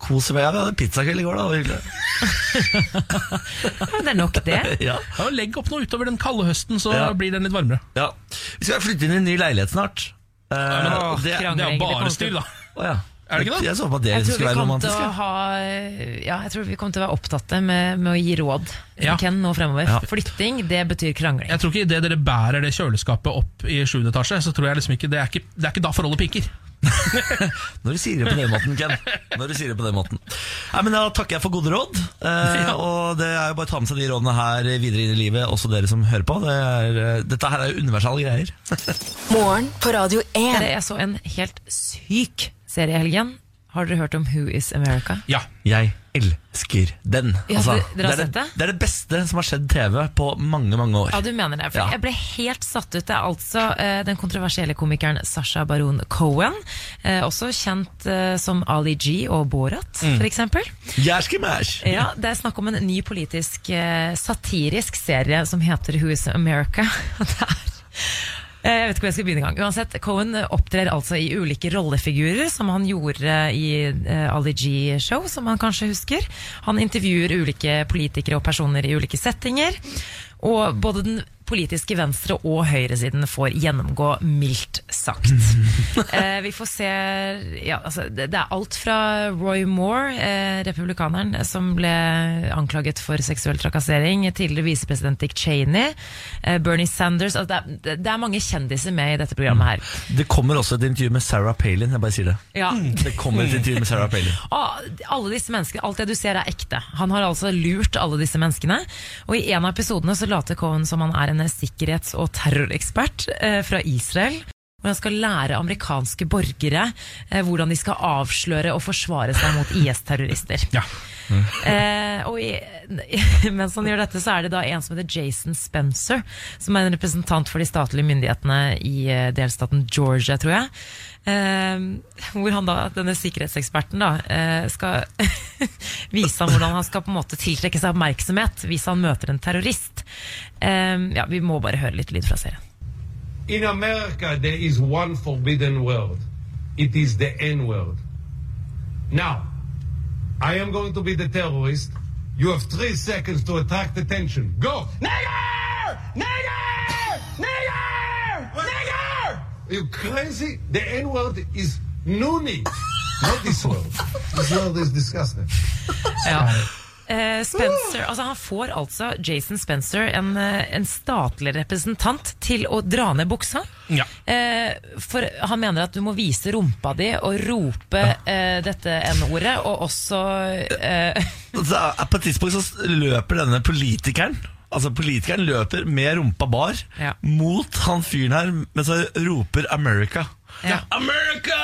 Speaker 1: Kose meg. Ja, Vi hadde pizzakveld i går, da. Det var hyggelig.
Speaker 3: Men det er nok det
Speaker 1: Ja.
Speaker 2: Ja, legg opp noe utover den kalde høsten, så
Speaker 1: Ja.
Speaker 2: blir den litt varmere.
Speaker 1: Ja. Vi skal flytte inn i en ny leilighet snart. Eh,
Speaker 2: men,
Speaker 1: og det,
Speaker 2: det er
Speaker 3: krangling, det
Speaker 2: bare
Speaker 3: kommer
Speaker 2: styr,
Speaker 3: til-
Speaker 2: da.
Speaker 1: å ja.
Speaker 2: Er det ikke det?
Speaker 1: Jeg så på at det liksom
Speaker 3: Jeg tror, vi
Speaker 1: skulle være
Speaker 3: kommer til
Speaker 1: romantisk.
Speaker 3: å
Speaker 1: jeg.
Speaker 3: ha, ja, jeg tror vi kommer til å være opptatte med, med å gi råd
Speaker 2: Ja.
Speaker 3: Ken, nå fremover.
Speaker 1: Ja.
Speaker 3: Flytting, det betyr krangling.
Speaker 2: Jeg tror ikke Idet dere bærer det kjøleskapet opp i 7. etasje, så tror jeg liksom ikke det, er ikke det er ikke da forholdet piker.
Speaker 1: Når du sier det på den måten, Ken. Når du sier det på den måten. Nei, men Da takker jeg for gode råd. Eh,
Speaker 2: Ja.
Speaker 1: Og det er jo bare å ta med seg de rådene her videre inn i livet, også dere som hører på. Det er, eh, dette her er jo universale greier.
Speaker 4: Morgen på Radio 1.
Speaker 3: Dere, Jeg så en helt syk serie i helgen. Har dere hørt om Who is America?
Speaker 2: Ja.
Speaker 1: Jeg elsker den. Altså,
Speaker 3: Ja, dere- dere har
Speaker 1: det, er
Speaker 3: sett det?
Speaker 1: det er det beste som har skjedd TV på mange, mange år.
Speaker 3: Ja, du mener det. For
Speaker 1: Ja.
Speaker 3: Jeg ble helt satt ut. Det er altså eh, den kontroversielle komikeren Sasha Baron Cohen, eh, også kjent eh, som Ali G og Borat, for eksempel.
Speaker 1: Jeg skal mash!
Speaker 3: Ja, det er snakk om en ny politisk eh, satirisk serie som heter Who is America. Det er Eh, jeg vet ikke hvor jeg skal begynne engang. Uansett, Cohen eh, opptrer altså i ulike rollefigurer, som han gjorde i eh, Ali G-show, som han kanskje husker. Han intervjuer ulike politikere og personer i ulike settinger. Og både den politiske venstre- og høyresiden får gjennomgå mildt sagt. Eh, vi får se ja, altså, det, det er alt fra Roy Moore, eh, republikaneren, som ble anklaget for seksuell trakassering, tidligere visepresident Dick Cheney, eh, Bernie Sanders altså, det, er, det er mange kjendiser med i dette programmet her.
Speaker 1: Det kommer også et intervju med Sarah Palin. Jeg bare sier det.
Speaker 3: Ja.
Speaker 1: Det kommer et intervju med Sarah Palin.
Speaker 3: Ah, alle disse menneskene, Alt det du ser er ekte. Han har altså lurt alle disse menneskene. Og i en av episodene så later Cohen som han er en sikkerhets- og terrorekspert eh, fra Israel. Hvor han skal lære amerikanske borgere eh, hvordan de skal avsløre og forsvare seg mot IS-terrorister.
Speaker 2: Ja.
Speaker 3: Eh, og i, mens han gjør dette, så er det da en som heter Jason Spencer, som er en representant for de statlige myndighetene i eh, delstaten Georgia, tror jeg. Eh, hvor han da, denne sikkerhetseksperten da, eh, skal vise ham hvordan han skal på en måte tiltrekke seg oppmerksomhet hvis han møter en terrorist. Eh, ja, vi må bare høre litt lyd fra serien.
Speaker 10: In America, there is one forbidden word. It is the N word. Now, I am going to be the terrorist. You have three seconds to attract attention. Go!
Speaker 8: Nigger! Nigger! Nigger! Nigger!
Speaker 10: You crazy? The N word is noonie. Not this word. This word is disgusting.
Speaker 3: Eh, Spencer, altså Han får altså Jason Spencer, en, eh, en statlig representant, til å dra ned buksa.
Speaker 2: Ja.
Speaker 3: Eh, for han mener at du må vise rumpa di og rope eh, dette N-ordet, og også eh,
Speaker 1: Så er- På et tidspunkt så s- løper denne politikeren Altså Politikeren løper med rumpa bar
Speaker 3: Ja.
Speaker 1: mot han fyren her, mens han roper 'America'.
Speaker 3: Ja.
Speaker 1: America!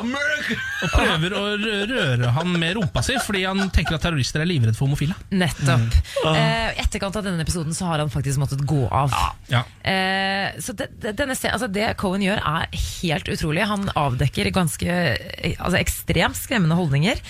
Speaker 1: America!
Speaker 2: Og prøver å rø- røre han med rumpa si, fordi han tenker at terrorister er livredd for homofile.
Speaker 3: Nettopp. Eh, I etterkant av denne episoden så har han faktisk måttet gå av.
Speaker 2: Ja.
Speaker 3: Eh, så det, det- denne, se- altså det Cohen gjør er helt utrolig. Han avdekker ganske eh, altså ekstremt skremmende holdninger.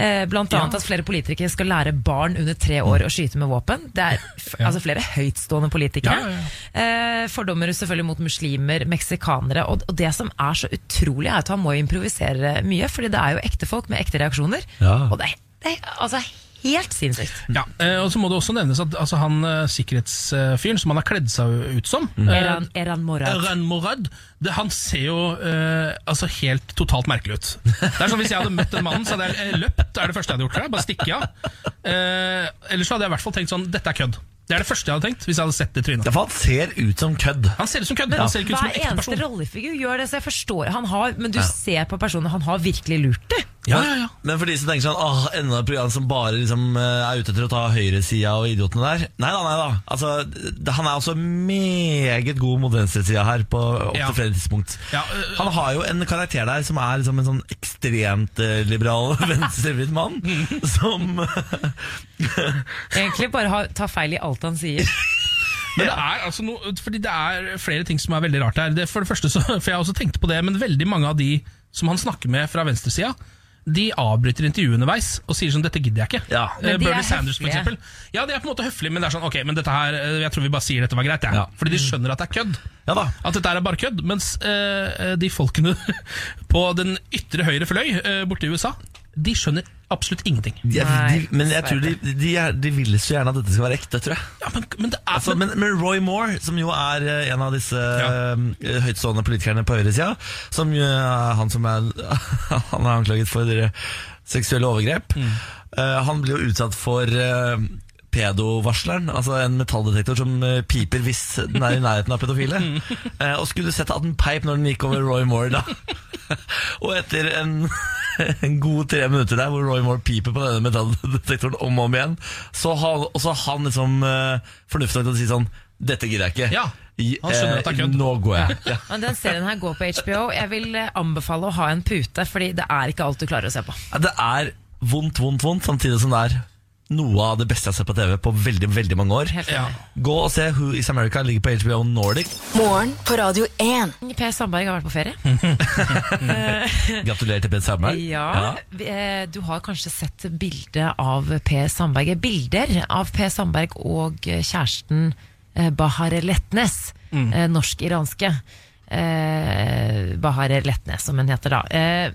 Speaker 3: Eh, blant annet at flere politikere skal lære barn under tre år å skyte med våpen. Det er f altså flere høytstående politikere.
Speaker 2: Ja, ja,
Speaker 3: Eh, fordommer selvfølgelig mot muslimer, meksikanere. Og, og det som er så utrolig, er at han må improvisere mye, fordi det er jo ekte folk med ekte reaksjoner.
Speaker 1: Ja.
Speaker 3: Og det er, det er altså helt sinnssykt.
Speaker 2: Ja, eh, og så må det også nevnes at altså, han eh, sikkerhetsfyren som han har kledd seg ut som eh,
Speaker 3: Eran, Eran Morad.
Speaker 2: Ran Morad, det, han ser jo eh, altså helt totalt merkelig ut. Det er som Hvis jeg hadde møtt den mannen, så hadde jeg eh, løpt. Det er det første jeg hadde gjort. tror jeg. Bare stikke av. Eh, ellers så hadde jeg i hvert fall tenkt sånn Dette er kødd. Det er det første jeg hadde tenkt hvis jeg hadde sett det
Speaker 1: Ja,
Speaker 2: trynet.
Speaker 1: for han ser ut som kødd.
Speaker 2: Han ser ut som kødd.
Speaker 3: Men
Speaker 2: Han ser ikke ut som
Speaker 3: hver
Speaker 2: en ekte
Speaker 3: eneste
Speaker 2: person.
Speaker 3: rollefigur gjør det, så jeg forstår. Han har, men du ser på personen, han har virkelig lurt det.
Speaker 2: Ja, ja, ja.
Speaker 1: Men for de som tenker sånn Åh, enda et program som bare liksom, eh, er ute etter å ta høyresida og idiotene der. Nei da, nei da. Altså, det, han er også meget god mot venstresida her, på opp til
Speaker 2: Ja.
Speaker 1: flere tidspunkt.
Speaker 2: Ja, øh,
Speaker 1: han har jo en karakter der som er liksom en sånn ekstremt eh, liberal venstrevridd mann, som
Speaker 3: Egentlig bare ha, ta feil i alt han sier.
Speaker 2: Men det er altså noe, fordi det er flere ting som er veldig rart her. Det, for det første, så, for jeg har også tenkt på det, men veldig mange av de som han snakker med fra venstresida, de avbryter intervjuet underveis og sier sånn 'dette gidder jeg ikke'.
Speaker 1: Ja.
Speaker 2: Eh,
Speaker 3: Men de er
Speaker 2: Bernie Sanders, for
Speaker 3: høflige.
Speaker 2: eksempel. Ja, de er på en måte høflige, men det er sånn 'ok, men dette her, eh, jeg tror vi bare sier dette var greit', jeg.
Speaker 1: Ja.
Speaker 2: Fordi de skjønner at det er kødd.
Speaker 1: Ja da.
Speaker 2: At dette her er bare øh, kødd. Mens eh, de folkene på den ytre høyre fløy eh, borte i USA de skjønner absolutt ingenting.
Speaker 1: De, de, men jeg tror de, de, er, de vil så gjerne at dette skal være ekte, tror jeg.
Speaker 2: men, men,
Speaker 1: altså, men, men Roy Moore, som jo er eh, en av disse eh, høytstående politikerne på høyresida, som jo er han som er, han er anklaget for eh, seksuelle overgrep, eh, han blir jo utsatt for eh, Pedovarsleren, altså en metalldetektor som eh, piper hvis den er i nærheten av pedofile. Eh, og skulle du sett at den peip når den gikk over Roy Moore, da? og etter en, en god tre minutter der hvor Roy Moore piper på denne metalldetektoren om og om igjen, så har og så har han liksom eh, fornuft nok til å si sånn Dette gidder jeg ikke. eh,
Speaker 2: han skjønner at det er kødd.
Speaker 1: Nå går jeg. Ja.
Speaker 3: Men den serien her går på HBO. Jeg vil eh, anbefale å ha en pute, fordi det er ikke alt du klarer å se på.
Speaker 1: Det er vondt, vondt, vondt, samtidig som det er noe av det beste jeg har sett på TV på veldig veldig mange år.
Speaker 3: Helt enig.
Speaker 1: Gå og se Who Is America ligger på HBO Nordic.
Speaker 3: Morgen på Radio 1. Per Sandberg har vært på ferie.
Speaker 1: Gratulerer til Ben Sandberg.
Speaker 3: Ja, vi- eh, Du har kanskje sett bildet av Per Sandberg Bilder av Per Sandberg og eh, kjæresten eh, Bahar Letnes,
Speaker 11: Mm.
Speaker 3: eh, norsk-iranske. Eh, Bahar Letnes, som hun heter da. Eh,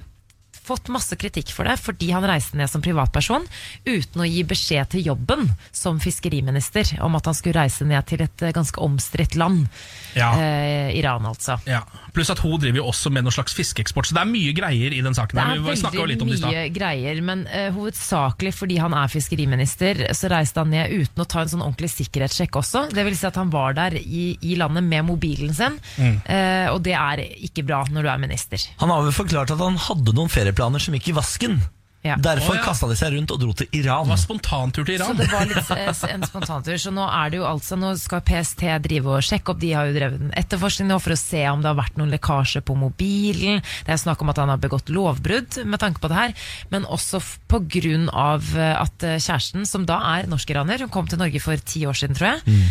Speaker 3: fått masse kritikk for det fordi han reiste ned som privatperson uten å gi beskjed til jobben som fiskeriminister om at han skulle reise ned til et eh, ganske omstridt land.
Speaker 2: Ja.
Speaker 3: Eh, Iran, altså.
Speaker 2: Ja. Pluss at hun driver jo også med noe slags fiskeeksport, så det er mye greier i den saken.
Speaker 3: Det
Speaker 2: her.
Speaker 3: er
Speaker 2: Vi snakket jo litt
Speaker 3: veldig
Speaker 2: om det i
Speaker 3: mye
Speaker 2: stad.
Speaker 3: greier, men eh, hovedsakelig fordi han er fiskeriminister, så reiste han ned uten å ta en sånn ordentlig sikkerhetssjekk også. Det vil si at han var der i, i landet med mobilen sin,
Speaker 1: Mm.
Speaker 3: eh, og det er ikke bra når du er minister.
Speaker 1: Han har vel forklart at han hadde noen ferieplaner som gikk i vasken.
Speaker 3: Ja.
Speaker 1: Derfor
Speaker 3: Å, ja.
Speaker 1: kasta de seg rundt og dro til Iran. Det var
Speaker 2: spontantur til
Speaker 3: Så det var litt eh, en spontantur. Så nå er det jo altså Nå skal PST drive og sjekke opp. De har jo drevet en etterforskning nå for å se om det har vært noen lekkasje på mobilen. Det er snakk om at han har begått lovbrudd med tanke på det her. Men også f- på grunn av eh, at eh, kjæresten, som da er norsk-iraner, hun kom til Norge for ti år siden, tror jeg.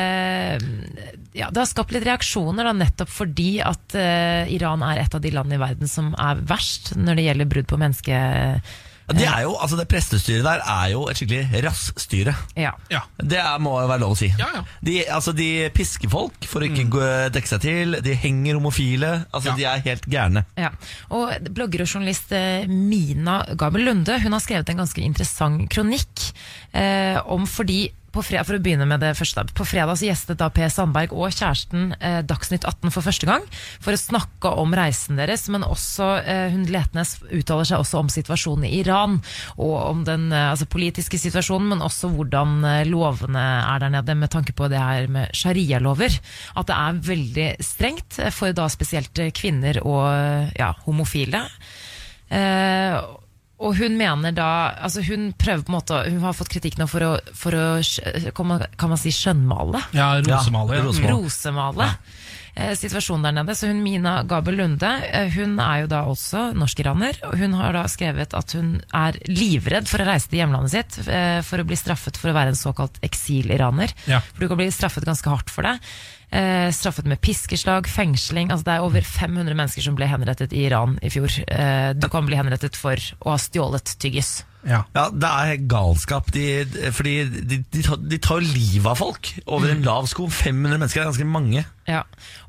Speaker 3: Eh, ja, det har skapt litt reaksjoner, da, nettopp fordi at eh, Iran er et av de landene i verden som er verst når det gjelder brudd på menneske...
Speaker 1: Ja, Det er jo, altså det prestestyret der er jo et skikkelig rassstyre.
Speaker 3: Ja.
Speaker 1: Det er, må jo være lov å si. De, altså, de pisker folk for å ikke
Speaker 3: Mm.
Speaker 1: gå- dekke seg til. De henger homofile. Altså, De er helt gærne.
Speaker 3: Ja, og Blogger og journalist eh, Mina Gabel Lunde Hun har skrevet en ganske interessant kronikk eh, om fordi på fredag, for å begynne med det første, da. på fredag så gjestet da Per Sandberg og kjæresten eh, Dagsnytt 18 for første gang for å snakke om reisen deres, men også eh, hun Letnes uttaler seg også om situasjonen i Iran, og om den eh, altså, politiske situasjonen, men også hvordan eh, lovene er der nede med tanke på det her med sharialover. At det er veldig strengt eh, for da spesielt eh, kvinner og eh, ja, homofile. Eh, og hun mener da altså Hun prøver på en måte å- Hun har fått kritikk nå for å, for å skj- kan man- kan man si skjønnmale?
Speaker 2: Ja, rosemale, Mm. ja.
Speaker 3: rosemale.
Speaker 2: Rosemale.
Speaker 3: Eh, Situasjonen der nede. Så hun Mina Gabel Lunde eh, Hun er jo da også norsk-iraner. og Hun har da skrevet at hun er livredd for å reise til hjemlandet sitt eh, for å bli straffet for å være en såkalt eksil-iraner.
Speaker 2: Ja.
Speaker 3: For du kan bli straffet ganske hardt for det. Eh, straffet med piskeslag, fengsling. Altså det er over 500 mennesker som ble henrettet i Iran i fjor. Eh, du kan bli henrettet for å ha stjålet tyggis.
Speaker 2: Ja.
Speaker 1: Det er helt galskap. De, fordi de, de, tar- de tar jo livet av folk over
Speaker 3: Mm.
Speaker 1: en lav sko. 500 mennesker er ganske mange.
Speaker 3: Ja,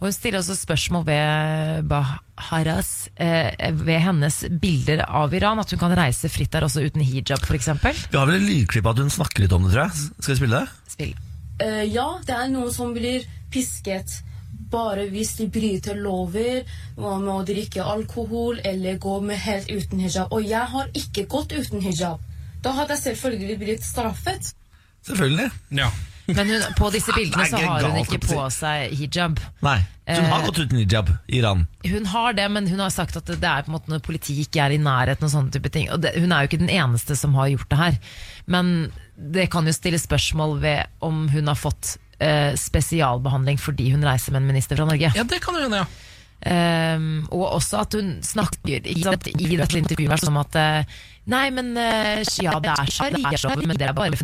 Speaker 3: og Hun stiller også spørsmål ved Baharas, eh, ved hennes bilder av Iran. At hun kan reise fritt der også uten hijab, f.eks.
Speaker 1: Vi har vel et lydklipp av at hun snakker litt om det, tror jeg. Skal vi spille det?
Speaker 3: Spill.
Speaker 12: Eh, ja, det er noen som blir pisket bare hvis de bryter lover, hva med å drikke alkohol eller gå med helt uten hijab. Og jeg har ikke gått uten hijab. Da hadde jeg selvfølgelig blitt straffet.
Speaker 1: Selvfølgelig.
Speaker 2: Ja.
Speaker 3: Men hun, på disse
Speaker 1: Nei,
Speaker 3: bildene så
Speaker 1: ikke galt,
Speaker 3: har hun ikke
Speaker 1: holdt jeg på
Speaker 3: på
Speaker 1: å
Speaker 3: seg hijab.
Speaker 1: Nei. Så hun
Speaker 3: Eh.
Speaker 1: har gått uten hijab i Iran.
Speaker 3: Hun har det, men hun har sagt at det er på en måte når politiet ikke er i nærheten og sånne type ting. Og det, hun er jo ikke den eneste som har gjort det her. Men det kan jo stille spørsmål ved om hun har fått eh, spesialbehandling fordi hun reiser med en minister fra Norge.
Speaker 2: Ja, det kan du gjøre, ja.
Speaker 3: Ehm, og også at hun snakker ikke sant, i dette intervjuet her som at eh, Nei, men eh, ja, det er sharialover, men det er bare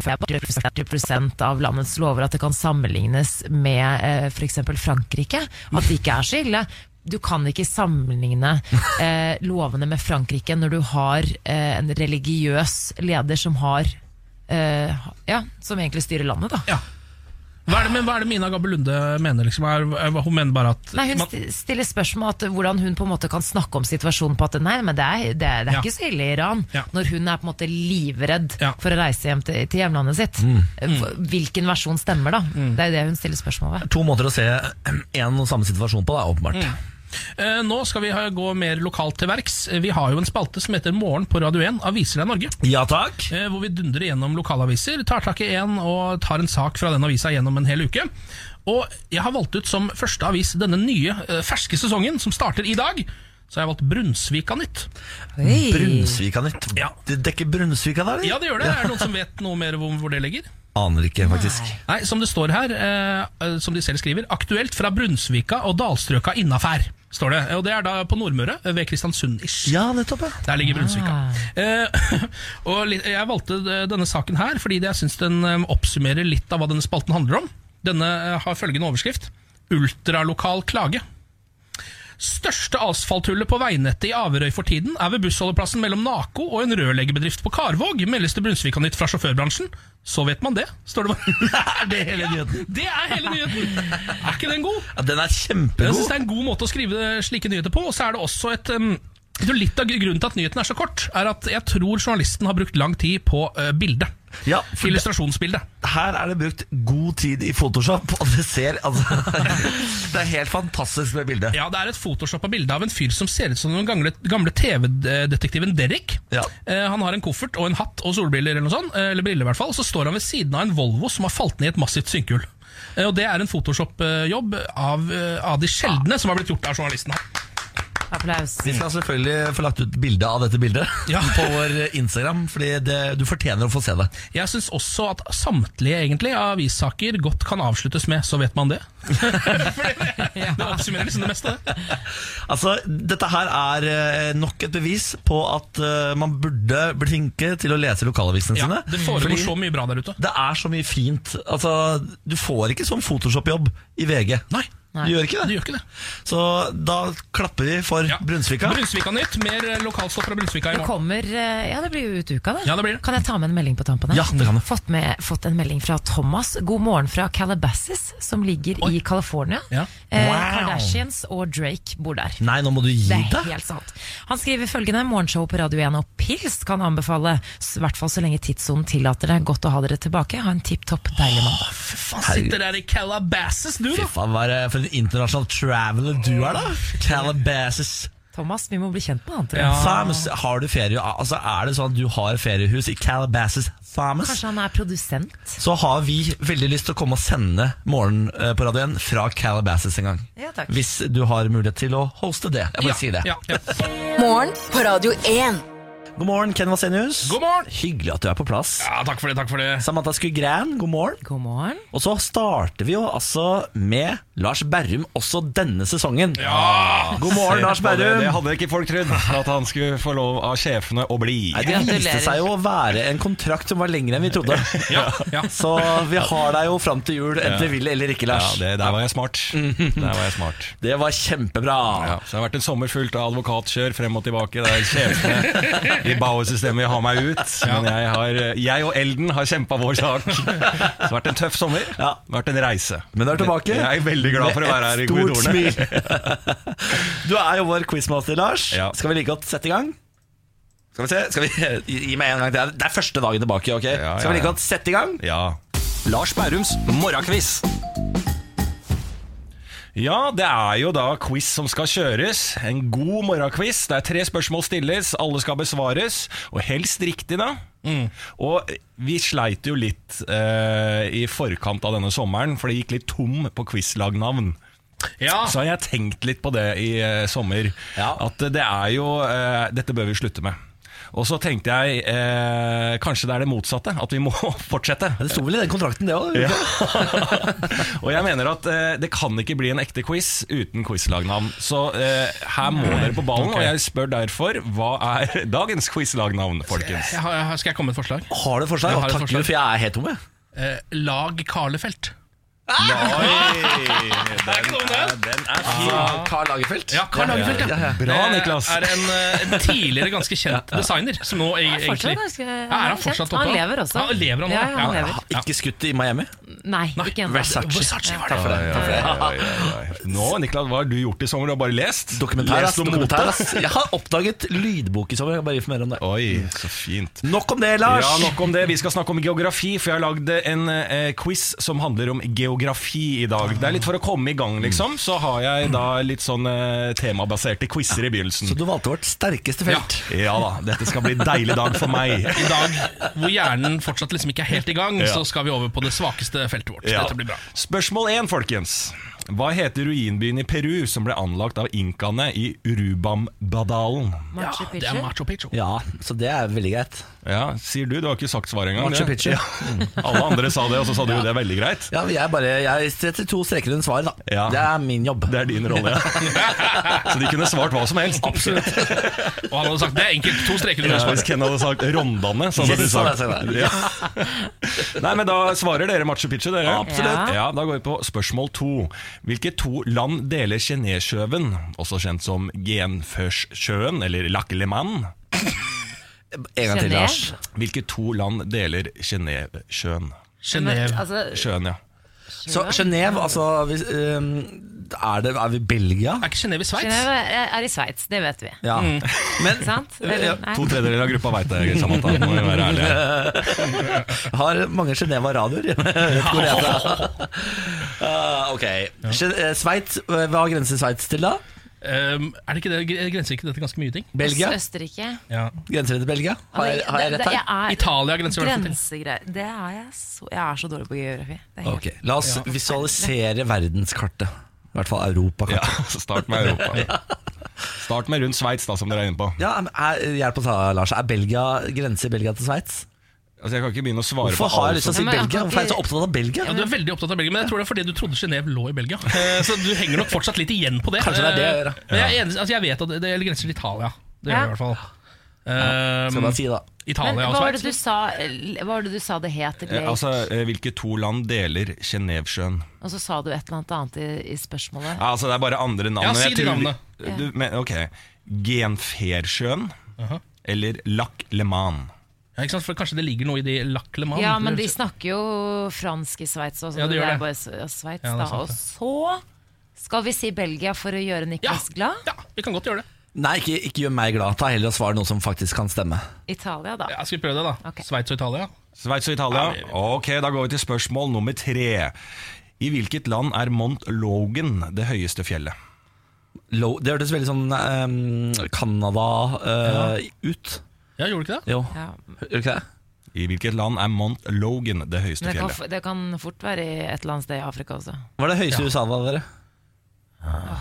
Speaker 3: 40 av landets lover at det kan sammenlignes med f.eks. Frankrike. At det ikke er så ille. Du kan ikke sammenligne eh, lovene med Frankrike når du har eh, en religiøs leder som har eh, Ja, som egentlig styrer landet, da.
Speaker 2: Hva er det, men hva er det Mina Gabbe Lunde mener? Liksom? Er, er, hun mener bare at
Speaker 3: Nei, Hun
Speaker 2: man-
Speaker 3: sti- stiller spørsmål at hvordan hun på en måte kan snakke om situasjonen på at nei, men det er, det er, det er
Speaker 2: Ja.
Speaker 3: ikke så ille i Iran, når hun er på en måte livredd for å reise hjem til, til hjemlandet sitt.
Speaker 1: Mm.
Speaker 3: F- Hvilken versjon stemmer, da?
Speaker 2: Mm.
Speaker 3: Det er jo det hun stiller spørsmål ved.
Speaker 1: To måter å se én og samme situasjon på, da, åpenbart.
Speaker 2: Eh, Nå skal vi ha, gå mer lokalt til verks. Eh, Vi har jo en spalte som heter Morgen på Radio 1, Aviser deg Norge.
Speaker 1: Ja takk
Speaker 2: Eh, Hvor vi dundrer gjennom lokalaviser, tar tak i én og tar en sak fra den avisa gjennom en hel uke. Og jeg har valgt ut som første avis denne nye, eh, ferske sesongen, som starter i dag, så har jeg valgt Brunsvika Nytt.
Speaker 1: Brunsvika nytt. Det dekker Brunsvika der, eller?
Speaker 2: Ja, det gjør det. Er det noen som vet noe mer om hvor det ligger?
Speaker 1: Aner ikke, faktisk.
Speaker 2: Nei, som det står her, eh, eh, som de selv skriver, aktuelt fra Brunsvika og dalstrøka innafær, står det. Og det er da på Nordmøre, eh, ved Kristiansund-ish.
Speaker 1: Ja, nettopp,
Speaker 2: Der ligger Brunsvika.
Speaker 1: Ah.
Speaker 2: Eh, og litt, jeg valgte eh, denne saken her, fordi jeg syns den eh, oppsummerer litt av hva denne spalten handler om. Denne eh, har følgende overskrift. Ultralokal klage. Største asfalthullet på veinettet i Averøy for tiden er ved bussholdeplassen mellom Nako og en rørleggerbedrift på Karvåg, meldes det Brunsvika Nytt fra sjåførbransjen. Så vet man det, står det bare.
Speaker 1: Er det hele nyheten?
Speaker 2: Det er hele nyheten! Er ikke den god?
Speaker 1: Ja, den er
Speaker 2: Jeg
Speaker 1: kjempegod.
Speaker 2: synes Det er en god måte å skrive slike nyheter på. Og så er det også et um, jeg tror Litt av grunnen til at nyheten er så kort, er at jeg tror journalisten har brukt lang tid på eh, bildet.
Speaker 1: for det-
Speaker 2: Illustrasjonsbildet.
Speaker 1: Her er det brukt god tid i Photoshop, og det ser altså Det er helt fantastisk med bildet.
Speaker 2: Ja, Det er et photoshoppa bilde av en fyr som ser ut som den gamle, gamle TV-detektiven Derek. Eh, han har en koffert og en hatt og solbriller, eller noe sånt, eh, eller briller i hvert fall. Så står han ved siden av en Volvo som har falt ned i et massivt synkehull. Eh, og det er en photoshop-jobb av, eh, av de sjeldne som har blitt gjort av journalisten.
Speaker 3: Applaus.
Speaker 1: Vi skal selvfølgelig få lagt ut bilde av dette bildet på vår Instagram, fordi det, du fortjener å få se det.
Speaker 2: Jeg syns også at samtlige egentlig avissaker godt kan avsluttes med 'så vet man det'. Det oppsummerer liksom det meste. det.
Speaker 1: Altså, Dette her er eh, nok et bevis på at eh, man burde bli flinke til å lese lokalavisene
Speaker 2: Ja,
Speaker 1: sine.
Speaker 2: det foregår så mye bra der ute.
Speaker 1: Det er så mye fint. Altså, Du får ikke sånn Photoshop-jobb i VG.
Speaker 2: Nei.
Speaker 1: Du gjør ikke det?
Speaker 2: Du gjør ikke det.
Speaker 1: Så da klapper vi for Brunsvika.
Speaker 2: Brunsvika Nytt, mer lokalstoff fra Brunsvika i
Speaker 3: Det
Speaker 2: morgen.
Speaker 3: kommer eh, Ja, det blir jo ut uka, det.
Speaker 2: Ja, det blir det.
Speaker 3: Kan jeg ta med en melding på tampen? her?
Speaker 2: Ja, det kan du.
Speaker 3: Fått, med, fått en melding fra Thomas. God morgen fra Calabasas, som ligger i California.
Speaker 1: Ja.
Speaker 3: Eh,
Speaker 1: Wow.
Speaker 3: Kardashians og Drake bor der.
Speaker 1: Nei, nå må du gi
Speaker 3: Det
Speaker 1: deg.
Speaker 3: er helt sant. Han skriver følgende morgenshow på Radio 1 og pils kan anbefale. I hvert fall så lenge tidssonen tillater det. Godt å ha dere tilbake. Ha en tipp topp deilig mann.
Speaker 2: Faen, sitter der i Calabasas, du, da!
Speaker 1: Fy faen, hva er det for en internasjonal traveler du er, da? Calabasas.
Speaker 3: Thomas, vi må bli kjent med han, tror jeg.
Speaker 1: Farms, har du ferie Altså Er det sånn at du har feriehus i Calabasas Farms,
Speaker 3: Kanskje han er produsent?
Speaker 1: så har vi veldig lyst til å komme og sende Morgen eh, på radioen fra Calabasas en gang.
Speaker 3: Ja, takk.
Speaker 1: Hvis du har mulighet til å hoste det. Jeg bare
Speaker 4: Ja,
Speaker 1: sier det.
Speaker 4: ja, Morgen på Radio 1.
Speaker 1: God morgen, Ken Vasenius. God
Speaker 2: morgen
Speaker 1: Hyggelig at du er på plass.
Speaker 2: Ja, takk for det, takk for det
Speaker 1: Samantha Skugran, god morgen.
Speaker 3: God morgen
Speaker 1: Og så starter vi jo altså med Lars Berrum også denne sesongen. God morgen,
Speaker 11: Se
Speaker 1: Lars
Speaker 11: på det.
Speaker 1: Berrum.
Speaker 11: Det hadde ikke folk trodd, at han skulle få lov av sjefene å bli.
Speaker 1: Nei, det viste seg jo å være en kontrakt som var lengre enn vi trodde. Så vi har deg jo fram til jul, enten
Speaker 11: Ja.
Speaker 1: vi vil eller ikke, Lars.
Speaker 11: Ja, det, der var jeg smart. Der var jeg smart.
Speaker 1: Det var kjempebra.
Speaker 11: Ja, så det har vært en sommer fullt av advokatkjør frem og tilbake. Der sjefene i Bauer-systemet har meg ut. Men jeg, har, jeg og Elden har kjempa vår sak. Så det har vært en tøff sommer. Det har vært en reise.
Speaker 1: Men du er tilbake.
Speaker 11: Jeg er veldig glad for å
Speaker 1: Med
Speaker 11: være her i
Speaker 1: et stort
Speaker 11: korridorene.
Speaker 1: Du er jo vår quizmaster, Lars. Skal vi like godt sette i gang? Skal vi se, skal vi gi- Gi meg en gang til. Det er første dagen tilbake. ok? Skal vi like
Speaker 11: ja.
Speaker 1: godt sette i gang?
Speaker 11: Lars Bærums morgenkviss. Ja, det er jo da quiz som skal kjøres. En god morgenquiz. Det er tre spørsmål stilles, alle skal besvares, og helst riktig, da. Og vi sleit jo litt eh, i forkant av denne sommeren, for det gikk litt tom på quizlagnavn. Så har jeg tenkt litt på det i eh, sommer. At eh, det er jo eh, Dette bør vi slutte med. Og så tenkte jeg eh, kanskje det er det motsatte, at vi må fortsette.
Speaker 1: Det sto vel i den kontrakten, det òg.
Speaker 11: Og jeg mener at eh, det kan ikke bli en ekte quiz uten quizlagnavn. Så eh, her må dere på ballen,
Speaker 2: Ok.
Speaker 11: og jeg spør derfor hva er dagens quizlagnavn, folkens?
Speaker 2: Jeg har, jeg har, skal jeg komme med et forslag?
Speaker 1: Har du
Speaker 2: Jeg har et
Speaker 1: Takk Gud, for jeg er helt tom, jeg.
Speaker 2: Eh, lag Karlefelt.
Speaker 11: Det er ikke noe om det. Den er fin.
Speaker 2: Ah.
Speaker 1: Karl Lagerfeldt?
Speaker 2: Ja, Karl Lagerfeldt, ja.
Speaker 11: Bra, Niklas.
Speaker 2: Det er en, eh, en tidligere ganske kjent
Speaker 1: Ja.
Speaker 2: designer som nå e-
Speaker 3: Han er fortsatt
Speaker 2: egentlig
Speaker 3: ganske-
Speaker 2: Ja,
Speaker 3: han
Speaker 2: Er
Speaker 3: er
Speaker 2: han fortsatt
Speaker 3: kjent. Han
Speaker 2: oppe?
Speaker 3: lever også.
Speaker 2: Ja, lever han nå?
Speaker 3: Ja, ja, han lever.
Speaker 1: Ikke skutt i Miami?
Speaker 3: Nei, ikke ennå.
Speaker 1: Versace.
Speaker 3: Versace var det.
Speaker 1: Takk for det.
Speaker 11: Oi,
Speaker 1: Takk for det.
Speaker 11: oi, oi, oi. Nå, Niklas, hva har du gjort i sommer? Du har bare lest?
Speaker 1: Dokumentar, ass,
Speaker 11: Lest om
Speaker 1: dokumentar,
Speaker 11: mote?
Speaker 1: ass. Jeg har oppdaget lydbok i sommer. Jeg kan bare informere om det.
Speaker 11: Oi, så fint
Speaker 1: Nok om det, Lars.
Speaker 11: Ja, nok om det. Vi skal snakke om geografi, for jeg har lagd en eh, quiz som handler om geografi i dag. Det er litt for å komme i gang, liksom. Så har jeg da litt sånn eh, temabaserte quizer i begynnelsen.
Speaker 1: Så du valgte vårt sterkeste felt.
Speaker 11: Ja. ja da, dette skal bli en deilig dag for meg.
Speaker 2: I dag hvor hjernen fortsatt liksom ikke er helt i gang,
Speaker 11: Ja.
Speaker 2: så skal vi over på det svakeste feltet vårt.
Speaker 11: Ja.
Speaker 2: Dette blir bra.
Speaker 11: Spørsmål én, folkens. Hva heter ruinbyen i Peru som ble anlagt av inkaene i Urubambadalen?
Speaker 3: Machu
Speaker 2: Det er Machu Picchu.
Speaker 1: Ja, så det er veldig greit.
Speaker 11: Ja, Sier du? Du har ikke sagt svaret engang.
Speaker 1: Machu
Speaker 11: det.
Speaker 1: Picchu.
Speaker 11: Ja. Alle andre sa det, og så sa du jo det er veldig greit.
Speaker 1: Ja, men jeg, bare, jeg setter to streker under svaret, da.
Speaker 11: Ja.
Speaker 1: Det er min jobb.
Speaker 11: Det er din rolle, ja. Så de kunne svart hva som helst.
Speaker 2: Absolutt. Og han hadde sagt det er enkelt. To streker under
Speaker 11: Ja, hvis
Speaker 2: svaret.
Speaker 11: Ken hadde sagt Rondane, så hadde
Speaker 1: Yes,
Speaker 11: du sagt
Speaker 1: hadde jeg sagt det.
Speaker 11: Ja. Nei, men da svarer dere Machu Picchu, dere.
Speaker 3: Absolutt.
Speaker 11: Ja, Da går vi på spørsmål to. Hvilke to land deler Kinesjøen, også kjent som Genførssjøen eller Lakkelemann?
Speaker 1: En gang til,
Speaker 3: Genéve.
Speaker 1: Lars.
Speaker 11: Hvilke to land deler Genévesjøen?
Speaker 3: Men,
Speaker 2: Genève.
Speaker 3: altså,
Speaker 11: Sjøen, ja.
Speaker 1: Så Genéve, altså hvis, ehm, er, det, er vi Belgia?
Speaker 2: Er ikke Genève i Sveits?
Speaker 3: Genève er i Sveits, det vet vi.
Speaker 1: Ja.
Speaker 3: Mm. Ikke sant?
Speaker 1: Ja,
Speaker 3: Eller, nei.
Speaker 11: To tredjedeler av gruppa veit det, Samantha. Må vi være ærlige.
Speaker 1: Har mange Geneva-radioer. Hvor er det? Eh, ok. Gen- eh, Sveits, eh, hva grenser Sveits til, da?
Speaker 2: Um, er det ikke det, gre- Grenser ikke dette ganske mye ting?
Speaker 1: Belgia?
Speaker 3: Østerrike.
Speaker 1: Grenser det til Belgia? Har jeg, har jeg
Speaker 3: Det-
Speaker 1: rett
Speaker 3: det-
Speaker 1: her?
Speaker 3: jeg er-
Speaker 2: Italia grenser i hvert fall til.
Speaker 3: Grensegreier. Det er jeg så Jeg er så dårlig på geografi. Det er helt-
Speaker 1: Ok, La oss visualisere verdenskartet. I hvert fall
Speaker 11: Ja,
Speaker 1: europakartet.
Speaker 11: så start med Europa. Start med rundt Sveits, da, som dere er inne på.
Speaker 1: Ja, men er, hjelp oss da, Lars. Er Belgia, grenser Belgia til Sveits?
Speaker 11: Altså, Jeg kan ikke begynne å svare
Speaker 1: Hvorfor
Speaker 11: på
Speaker 1: har jeg
Speaker 11: alle
Speaker 1: lyst til
Speaker 11: som
Speaker 1: å si
Speaker 3: Ja, men jeg
Speaker 1: Belgia?
Speaker 3: kan
Speaker 1: Hvorfor er jeg så
Speaker 3: ikke-
Speaker 1: opptatt av Belgia?
Speaker 2: Ja, Du er veldig opptatt av Belgia, men jeg tror det er fordi du trodde Genève lå i Belgia. Eh, Så du henger nok fortsatt litt igjen på det.
Speaker 1: Kanskje det er det jeg gjør,
Speaker 2: Eh, Men jeg, er enig- altså, jeg vet at det, det gjelder grenser til Italia. Det gjør
Speaker 3: Ja.
Speaker 2: det i hvert fall.
Speaker 1: Skal
Speaker 2: Um,
Speaker 1: jeg bare si, da.
Speaker 3: Men
Speaker 2: Italia
Speaker 3: hva
Speaker 2: og
Speaker 3: var det
Speaker 2: Sveits.
Speaker 3: du
Speaker 2: liksom.
Speaker 3: sa, hva var det du sa det het?
Speaker 11: Eh,
Speaker 3: Eller?
Speaker 11: Altså, eh, Hvilke to land deler Genévesjøen?
Speaker 3: og så sa du et eller annet annet i, i spørsmålet.
Speaker 11: Ja, altså, det er bare andre navn.
Speaker 2: Ja,
Speaker 11: og
Speaker 2: si
Speaker 11: jeg
Speaker 2: de
Speaker 11: tror-
Speaker 2: navnene.
Speaker 11: Du, men, ok. Genfersjøen
Speaker 2: Aha.
Speaker 11: eller Lac Le Mans?
Speaker 2: Ja, ikke sant? For kanskje det ligger noe i de Lacleman?
Speaker 3: Ja, men de snakker jo fransk i Sveits også.
Speaker 2: Ja, de
Speaker 3: det
Speaker 2: gjør
Speaker 3: er
Speaker 2: det.
Speaker 3: bare S- Sveits,
Speaker 2: Ja, det er
Speaker 3: da.
Speaker 2: sant,
Speaker 3: Og
Speaker 2: det.
Speaker 3: så skal vi si Belgia for å gjøre
Speaker 2: ja,
Speaker 3: Niklas glad.
Speaker 2: ja, vi kan godt gjøre det.
Speaker 1: Nei, ikke, ikke gjør meg glad. Ta heller og svar noe som faktisk kan stemme.
Speaker 3: Italia, da.
Speaker 2: Ja, skal vi prøve det, da?
Speaker 3: Ok.
Speaker 2: Sveits og Italia?
Speaker 11: Sveits og Italia? Ok, da går vi til spørsmål nummer tre. I hvilket land er Mont Logan det høyeste fjellet?
Speaker 1: Low, det hørtes veldig sånn ehm, Canada eh, ut.
Speaker 2: Ja, gjorde du ikke det?
Speaker 1: Jo,
Speaker 3: Ja.
Speaker 1: gjør ikke det?
Speaker 11: I hvilket land er Mont Logan det høyeste
Speaker 3: Men det kan,
Speaker 11: fjellet?
Speaker 3: f- det kan fort være i et eller annet sted i Afrika også.
Speaker 1: Hva er det høyeste i USA, da, dere? Ah.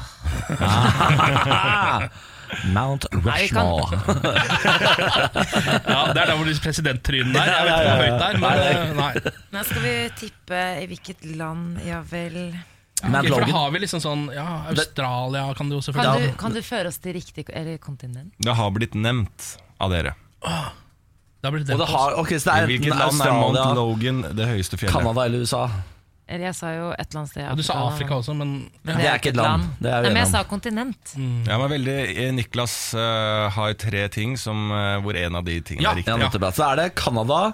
Speaker 1: Mount
Speaker 3: Nei, vi kan-
Speaker 1: Rushmore.
Speaker 2: Ja, Det er der hvor de presidenttrynene er. Jeg vet ikke hvor høyt det er, men eh, nei.
Speaker 3: Nå skal vi tippe i hvilket land, ja vel
Speaker 1: Mount
Speaker 2: Ok, for da
Speaker 1: Logan.
Speaker 2: har vi liksom sånn Ja, Australia kan det jo
Speaker 3: Kan
Speaker 2: selvfølgelig
Speaker 3: du, kan du føre oss til riktig eller kontinent?
Speaker 11: Det har blitt nevnt av dere.
Speaker 2: Da blir det
Speaker 1: Og det har, ok, så det
Speaker 11: I
Speaker 1: er
Speaker 11: hvilket
Speaker 1: enten
Speaker 11: land er Mount
Speaker 1: Australia,
Speaker 11: Logan det høyeste fjellet?
Speaker 1: Canada eller USA.
Speaker 3: Eller jeg sa jo et eller annet sted i
Speaker 2: Ja,
Speaker 3: Afrika.
Speaker 2: du sa Afrika også, men ja.
Speaker 1: Det er ikke et land. Det er vi
Speaker 3: Nei, men
Speaker 1: enige
Speaker 3: jeg sa
Speaker 1: om.
Speaker 3: kontinent.
Speaker 2: Mm.
Speaker 11: Ja, men veldig, eh, Niklas eh, har tre ting som, eh, hvor en av de tingene
Speaker 2: Ja.
Speaker 11: er riktig.
Speaker 1: Ja, nettopp, ja. Så er det Canada,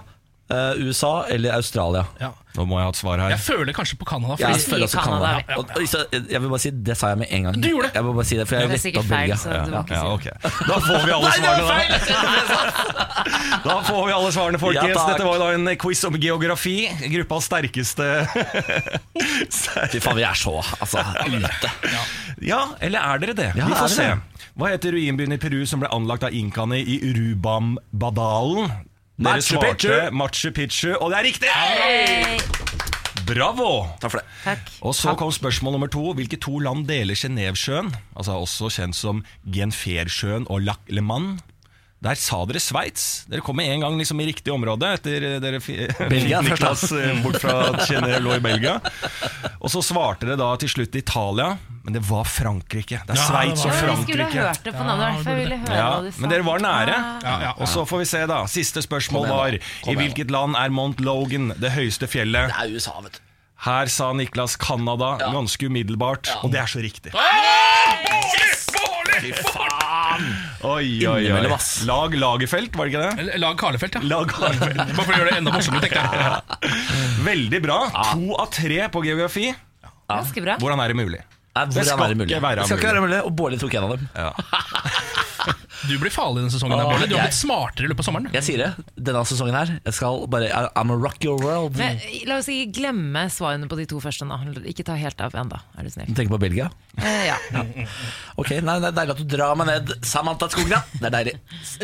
Speaker 1: eh, USA eller Australia.
Speaker 2: Ja.
Speaker 11: Nå må jeg ha et svar her.
Speaker 2: Jeg føler kanskje på Canada.
Speaker 1: Jeg,
Speaker 2: fordi-
Speaker 1: føler også
Speaker 3: Canada,
Speaker 1: Canada.
Speaker 3: ja.
Speaker 1: Og, og, så, jeg vil bare si, Det sa jeg med en gang.
Speaker 2: Du gjorde det.
Speaker 1: Jeg vil bare si det, for jeg
Speaker 3: Det er
Speaker 1: lette
Speaker 3: sikkert
Speaker 1: opp
Speaker 3: feil,
Speaker 1: Belgia.
Speaker 3: så du må
Speaker 11: Ja,
Speaker 3: ikke si det.
Speaker 11: ok Da får vi alle svarene, da. Da får vi alle svarene, folkens.
Speaker 1: Ja, takk.
Speaker 11: Dette var jo da en quiz om geografi. Gruppas sterkeste
Speaker 1: Fy faen, vi er så altså, ute.
Speaker 11: Ja, eller er dere det?
Speaker 1: Ja,
Speaker 11: vi
Speaker 1: er
Speaker 11: får
Speaker 1: det
Speaker 11: se.
Speaker 1: det?
Speaker 11: Hva heter ruinbyen i Peru som ble anlagt av inkaene i Urubambadalen? Dere
Speaker 1: Machu
Speaker 11: svarte
Speaker 1: Picchu.
Speaker 11: Machu Picchu, og det er riktig! Bravo!
Speaker 1: Takk for det.
Speaker 3: Takk.
Speaker 11: Og så kom spørsmål nummer to. Hvilke to land deler Genévesjøen, altså også kjent som Genfersjøen og Lac Le Mans? Der sa dere Sveits. Dere kom med en gang liksom i riktig område etter eh, dere fi-
Speaker 1: Belgia først, da.
Speaker 11: Niklas eh, bort fra at Genéve lå i Belgia. Og så svarte dere da til slutt Italia, men det var Frankrike. Det er Sveits
Speaker 3: Ja,
Speaker 11: og
Speaker 3: men jeg skulle ha
Speaker 11: Frankrike.
Speaker 3: hørt det på navnet. i hvert fall. Jeg ville høre
Speaker 11: Ja,
Speaker 3: hva du sa.
Speaker 11: men dere var nære.
Speaker 3: Ah.
Speaker 2: Ja, ja.
Speaker 11: Og så får vi se, da. Siste spørsmål var I hvilket land er Mont Logan det høyeste fjellet?
Speaker 1: Det er USA, vet du.
Speaker 11: Her sa Niklas Canada ganske umiddelbart, og det er så riktig.
Speaker 2: Fy faen!
Speaker 11: Oi, oi, oi.
Speaker 2: Innimellom, ass.
Speaker 11: Lag Lagerfeld, var det ikke det?
Speaker 2: Lag Karlefelt, ja.
Speaker 11: Lag Karlefelt.
Speaker 2: Bare for å gjøre det enda morsommere, tenkte jeg.
Speaker 11: Veldig bra. To av tre på geografi.
Speaker 3: Ganske bra.
Speaker 11: Hvordan er det mulig?
Speaker 2: hvordan
Speaker 11: det skal
Speaker 2: er det mulig?
Speaker 11: ikke være
Speaker 2: Det skal ikke
Speaker 11: mulig.
Speaker 2: være
Speaker 1: Og Bårdli tok en av dem.
Speaker 2: Du blir farlig denne sesongen. her,
Speaker 13: Åh,
Speaker 2: Bård. Du har
Speaker 13: jeg-
Speaker 2: blitt smartere i løpet av sommeren.
Speaker 13: Jeg sier det. Denne sesongen her Jeg skal bare I- I'm a rock your world.
Speaker 3: Men eh, la oss ikke glemme svarene på de to første. Da. Ikke ta helt av ennå, er du snill.
Speaker 13: Du tenker på Belgia?
Speaker 3: Eh, ja.
Speaker 13: Ja. Ok, nei, det er deilig at du drar meg ned. Samantha Skogna, det er deilig. S-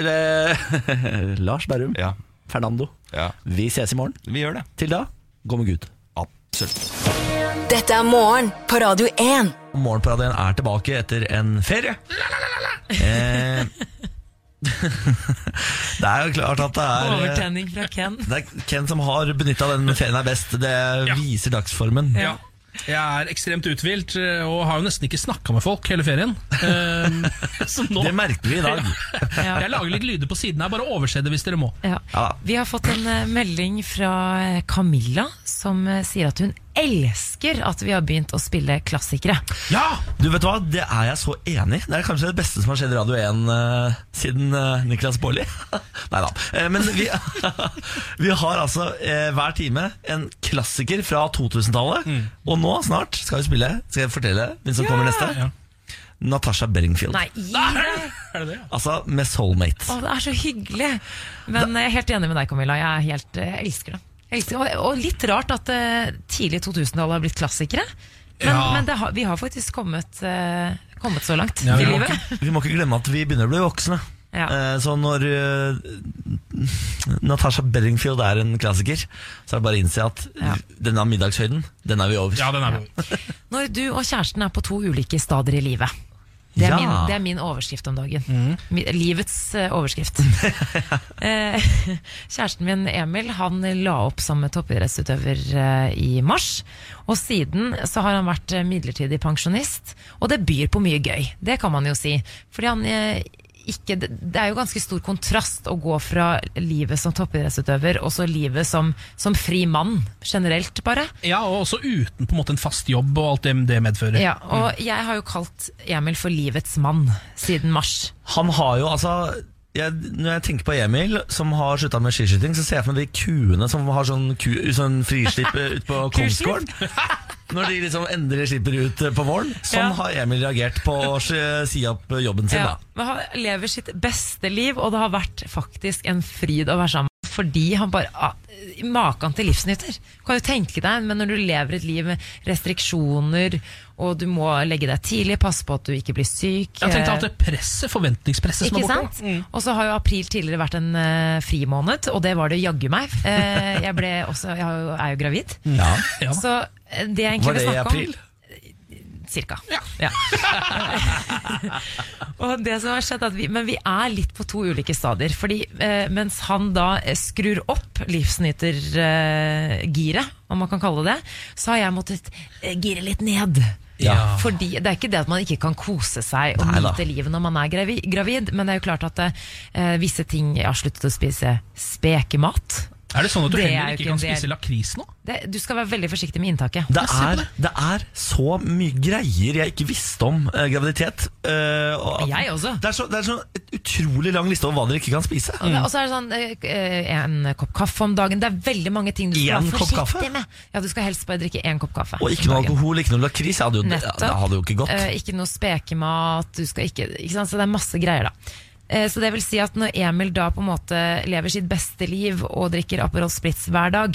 Speaker 13: eh, Lars Berrum, Fernando, vi ses i morgen.
Speaker 11: Vi gjør det.
Speaker 13: Til da, gå med Gud.
Speaker 1: Absolutt.
Speaker 4: Dette er morgen på Radio 1.
Speaker 1: Morgenparadien er tilbake etter en ferie. Eh, det er jo klart at det er eh,
Speaker 3: Overtenning fra Ken.
Speaker 1: Det er Ken som har benytta den ferien her best. Det viser dagsformen.
Speaker 2: Ja. Jeg er ekstremt uthvilt eh, og har jo nesten ikke snakka med folk hele ferien. Ehm, så nå-
Speaker 1: Det merker vi i dag.
Speaker 2: Ja. Jeg lager litt lyder på siden her, bare overse det hvis dere må.
Speaker 3: Ja. Vi har fått en eh, melding fra eh, Camilla som eh, sier at hun elsker at vi har begynt å spille klassikere.
Speaker 1: Du vet hva, Det er jeg så enig i. Det er kanskje det beste som har skjedd i Radio 1 eh, siden eh, Niklas Baarli. Nei da. Eh, men vi, vi har altså eh, hver time en klassiker fra 2000-tallet. Og nå snart skal vi spille Skal jeg fortelle hvem som kommer neste? Natasha Beringfield.
Speaker 3: Nei, gi deg!
Speaker 1: Altså med Soulmate.
Speaker 3: Å, det er så hyggelig. Men jeg er helt enig med deg, Camilla. Jeg er helt, eh, jeg elsker det. Jeg elsker, og, og litt rart at eh, tidlig 2000-tallet har blitt klassikere. Men,
Speaker 1: Ja.
Speaker 3: men det har, vi har faktisk kommet, eh, kommet så langt
Speaker 1: vi,
Speaker 3: i
Speaker 1: må
Speaker 3: livet.
Speaker 1: ikke, vi må ikke glemme at vi begynner å bli voksne.
Speaker 3: Ja.
Speaker 1: Eh, Så når eh, Natasha Bedringfield er en klassiker, så er det bare å innse at
Speaker 3: Ja.
Speaker 1: denne middagshøyden, den er vi over.
Speaker 3: Når du og kjæresten er på to ulike stader i livet. Det er,
Speaker 1: Ja.
Speaker 3: min, det er min overskrift om dagen. Mi, livets eh, overskrift. eh, kjæresten min Emil han la opp som toppidrettsutøver eh, i mars. Og siden så har han vært eh, midlertidig pensjonist, og det byr på mye gøy. Det kan man jo si. Fordi han eh, ikke, det det er jo ganske stor kontrast å gå fra livet som toppidrettsutøver og så livet som, som fri mann generelt, bare.
Speaker 2: Ja, og også uten på en måte en fast jobb og alt det det medfører.
Speaker 3: Ja, og
Speaker 2: Mm.
Speaker 3: jeg har jo kalt Emil for livets mann siden mars.
Speaker 1: Han har jo altså jeg, når jeg tenker på Emil, som har slutta med skiskyting, så ser jeg for meg de kuene som har sånn, ku, sånn frislipp eh, ut på Kongsgården. Når de liksom endelig slipper ut eh, på våren. Sånn
Speaker 3: Ja.
Speaker 1: har Emil reagert på å sk- si opp eh, jobben sin.
Speaker 3: Ja,
Speaker 1: da
Speaker 3: men han lever sitt beste liv, og det har vært faktisk en fryd å være sammen med, fordi han bare ah, Maken til livsnyter. Kan jo tenke deg, men når du lever et liv med restriksjoner, og du må legge deg tidlig, passe på at du ikke blir syk
Speaker 2: Jeg tenkte
Speaker 3: eh,
Speaker 2: alt det presset, forventningspresset som
Speaker 3: Ikke
Speaker 2: er borte. Mm.
Speaker 3: sant? Og så har jo april tidligere vært en eh, frimåned, og det var det jaggu meg. Eh, jeg, ble også, jeg har jo- er jo gravid.
Speaker 1: Ja.
Speaker 3: Så eh, det jeg egentlig
Speaker 1: Var det
Speaker 3: vil
Speaker 1: i
Speaker 3: snakke om
Speaker 1: april?
Speaker 3: Cirka. Ja. og det som har skjedd er at vi, Men vi er litt på to ulike stadier. Fordi eh, mens han da eh, skrur opp livsnytergiret, om man kan kalle det det, så har jeg måttet eh, gire litt ned.
Speaker 1: Ja.
Speaker 3: Fordi Det er ikke det at man ikke kan kose seg og
Speaker 1: Nei da.
Speaker 3: nyte livet når man er gravid, gravid, men det er jo klart at eh, visse ting Jeg har sluttet å spise spekemat.
Speaker 2: Er det sånn at du
Speaker 3: Det er
Speaker 2: heller
Speaker 3: jo
Speaker 2: ikke
Speaker 3: ikke
Speaker 2: kan
Speaker 3: en del-
Speaker 2: spise lakris nå?
Speaker 3: Det, du skal være veldig forsiktig med inntaket.
Speaker 1: Det er, det er så mye greier jeg ikke visste om eh, graviditet. eh, og at-
Speaker 3: Jeg også.
Speaker 1: Det er så, det er så et utrolig lang liste over hva dere ikke kan spise.
Speaker 3: Og det- og så er det sånn eh, eh, en kopp kaffe om dagen. Det er veldig mange ting du skal
Speaker 1: En
Speaker 3: være
Speaker 1: kopp
Speaker 3: forsiktig med. Ja, Du skal helst bare drikke én kopp kaffe.
Speaker 1: Og ikke noe
Speaker 3: om dagen.
Speaker 1: alkohol, ikke noe lakris. Jeg hadde jo,
Speaker 3: Nettopp.
Speaker 1: det hadde jo ikke gått.
Speaker 3: Eh, ikke noe spekemat, du skal ikke, ikke sant? Så det er masse greier, da. Eh, Så det vil si at når Emil da på en måte lever sitt beste liv og drikker Aperol Spritz hver dag,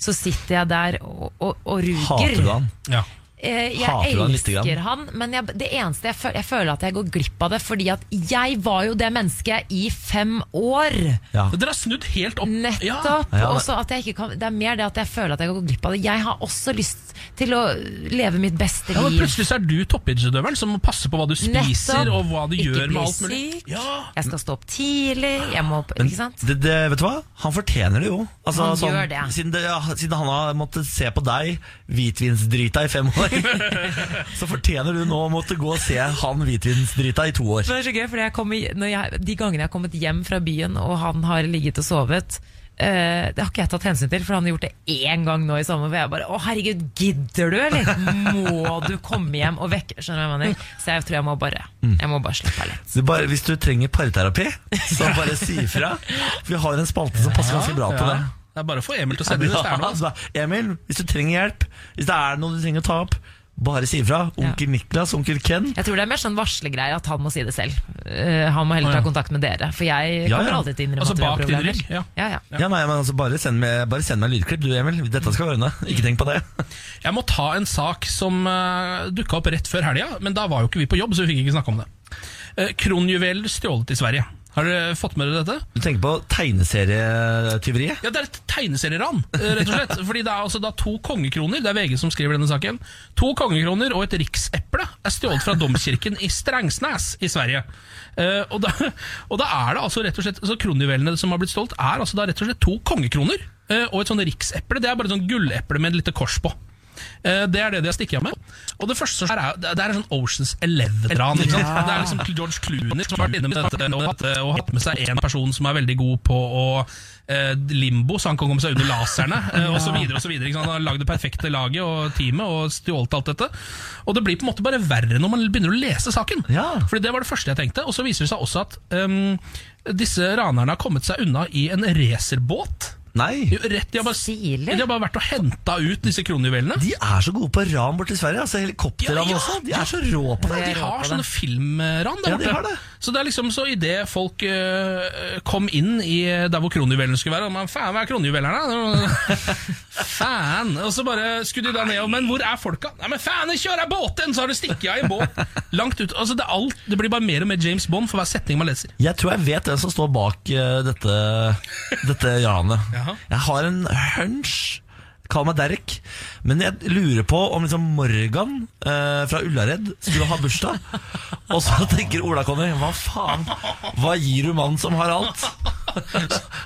Speaker 3: så sitter jeg der og, og, og ruger.
Speaker 1: Hater du han?
Speaker 2: Ja.
Speaker 3: Eh, Jeg
Speaker 1: Hater du han lite
Speaker 3: elsker
Speaker 1: grann?
Speaker 3: han, men jeg, det eneste jeg føler, jeg føler at jeg går glipp av det, fordi at jeg var jo det mennesket i fem år.
Speaker 2: Dere har snudd helt opp.
Speaker 3: Nettopp.
Speaker 2: Ja.
Speaker 3: Og så at jeg ikke kan, det er mer det at jeg føler at jeg går glipp av det. Jeg har også lyst til å leve mitt beste
Speaker 2: Ja, men
Speaker 3: liv.
Speaker 2: plutselig så er du toppidrettsutøveren som må passe på hva du spiser
Speaker 3: Nettopp.
Speaker 2: og hva du
Speaker 3: ikke
Speaker 2: gjør
Speaker 3: bli
Speaker 2: med alt mulig.
Speaker 3: Syk. Jeg skal stå opp tidlig. Jeg må, opp-
Speaker 1: Men
Speaker 3: ikke sant?
Speaker 1: Det, det, vet du hva? Han fortjener det jo. Altså, sånn,
Speaker 3: Han gjør det.
Speaker 1: Siden, det, siden han har måttet se på deg, hvitvinsdrita, i fem år, så fortjener du nå å måtte gå og se han hvitvinsdrita i to år.
Speaker 3: Det er så gøy, fordi jeg kommer, når jeg, De gangene jeg har kommet hjem fra byen, og han har ligget og sovet eh, det har ikke jeg tatt hensyn til, for han har gjort det én gang nå i sommer. Hvor jeg bare Å, herregud, gidder du, eller? Må du komme hjem og vekke Skjønner du hva jeg mener? Så jeg tror jeg må bare Jeg må bare slippe litt.
Speaker 1: Så bare, hvis du trenger parterapi, så bare si ifra. For vi har en spalte som passer ganske bra på
Speaker 2: Ja.
Speaker 1: det.
Speaker 2: Det er bare å få Emil til å sende inn hvis det er noe.
Speaker 1: Ja, altså, Emil, hvis du trenger hjelp, hvis det er noe du trenger å ta opp, bare si ifra. Onkel Niklas, onkel Ken.
Speaker 3: Jeg tror det er mer sånn varslegreie at han må si det selv. Eh, han må heller
Speaker 1: Å, ja.
Speaker 3: ta kontakt med dere, for jeg
Speaker 1: Ja,
Speaker 3: kommer
Speaker 1: ja.
Speaker 3: aldri til å innrømme
Speaker 1: Altså,
Speaker 3: at vi har
Speaker 1: bak din
Speaker 3: problemer.
Speaker 1: rygg, ja.
Speaker 3: Ja, ja.
Speaker 1: Ja, nei, men altså, bare, send meg, bare send meg en lydklipp, du Emil. Dette skal vi ordne. Ikke tenk på det.
Speaker 2: Jeg må ta en sak som uh, dukka opp rett før helga, men da var jo ikke vi på jobb, så vi fikk ikke snakke om det. Uh, Kronjuveler stjålet i Sverige. Har dere fått med dere dette?
Speaker 1: Du tenker på tegneserietyveriet?
Speaker 2: Ja, det er et tegneserieran, eh, rett og slett. Fordi det er altså da to kongekroner, det er VG som skriver denne saken. To kongekroner og et rikseple er stjålet fra domkirken i Strengsnes i Sverige. Eh, og, da, og da er det altså rett og slett Så kronjuvelene som har blitt stjålet, er altså da rett og slett to kongekroner eh, og et sånn rikseple. Det er bare et sånn gulleple med et lite kors på. Eh, Det er det de har stikket av med. Og det første som skjer er, det er en sånn Oceans Eleven-ran. ikke sant?
Speaker 13: Ja.
Speaker 2: Det er liksom George Clooney som har vært inne med dette og hatt, eh, og hatt med seg en person som er veldig god på å eh, limbo, så han kan komme seg under laserne eh, og så videre og så videre, ikke sant? Han har lagd det perfekte laget og teamet og stjålet alt dette. Og det blir på en måte bare verre når man begynner å lese saken. Fordi det var det første jeg tenkte. Og så viser det seg også at ehm, disse ranerne har kommet seg unna i en racerbåt.
Speaker 1: Nei.
Speaker 2: Jo, rett, de, har bare, de har bare vært og henta ut disse kronjuvelene.
Speaker 1: De er så gode på ran borte i Sverige. Altså Helikopterran også. De er så rå på det.
Speaker 2: De har sånne filmran der
Speaker 1: Ja, de har det.
Speaker 2: Så det er liksom så idet folk øh, kom inn i der hvor kronjuvelene skulle være og man, Faen, hva er kronjuvelene? faen! Og så bare skulle de da ned og Men hvor er folka? Nei, men faen, kjør av båten! Så har du stikket av i en båt. Langt ut. Altså, det, er alt, det blir bare mer og mer James Bond for hver setning man leser.
Speaker 1: Jeg tror jeg vet hvem som står bak eh, dette, dette ranet.
Speaker 2: Jaha.
Speaker 1: Jeg har en hunch. Kall meg Derek. Men jeg lurer på om liksom Morgan eh, fra Ullared skulle ha bursdag. Og så tenker Ola Conny hva faen? Hva gir du mannen som har alt?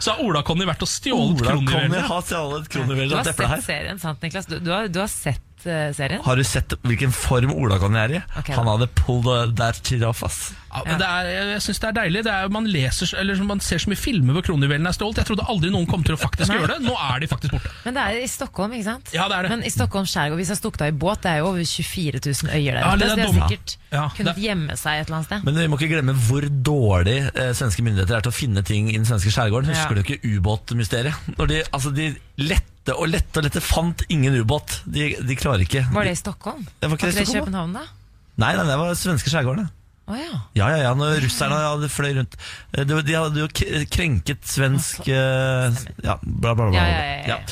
Speaker 2: Så har Ola Conny vært og stjålet
Speaker 1: Ola Conny
Speaker 2: kronjuvelene.
Speaker 1: har stjålet
Speaker 3: Du
Speaker 1: kronjuvelene
Speaker 3: har
Speaker 1: og dette
Speaker 3: sett
Speaker 1: her.
Speaker 3: serien, sant Niklas? Du, du, har, du har sett eh, serien?
Speaker 1: Har du sett hvilken form Ola Conny er i?
Speaker 3: Ok, da.
Speaker 1: Han hadde pulled eh, that shit off, ass.
Speaker 2: Ja, men det er, jeg- jeg syns det er deilig. Det er, man, leser, så- eller man ser så mye filmer hvor kronjuvelene er stjålet. Jeg trodde aldri noen kom til å faktisk
Speaker 3: Nei.
Speaker 2: gjøre det. Nå er de faktisk borte.
Speaker 3: Men det er i Stockholm, ikke sant?
Speaker 2: Ja, det er det.
Speaker 3: Men i Stockholm skjærgård, hvis jeg stukket av i båt, det er jo over 24 000 øyer der
Speaker 1: Ja, det
Speaker 3: ute,
Speaker 1: er
Speaker 3: så de har
Speaker 1: dumt.
Speaker 3: sikkert
Speaker 1: Ja,
Speaker 3: kunnet gjemme seg et eller annet sted.
Speaker 1: Men vi må ikke glemme hvor dårlig eh, svenske myndigheter er til å finne ting i den svenske skjærgården.
Speaker 3: Ja.
Speaker 1: Husker du ikke ubåtmysteriet? Når de, altså, de lette og lette og lette fant ingen ubåt. De, de klarer ikke.
Speaker 3: Var det i Stockholm?
Speaker 1: Det var ikke det i Stockholm, da?
Speaker 3: København, da?
Speaker 1: Nei, nei, det var svenske skjærgården. det.
Speaker 3: Å ja.
Speaker 1: Ja, ja, ja, når russerne hadde fløy rundt Eh, De, de hadde jo k- krenket svensk eh, Ja, bla, bla, bla. bla.
Speaker 2: Ja, ja, ja, ja.
Speaker 1: Ja.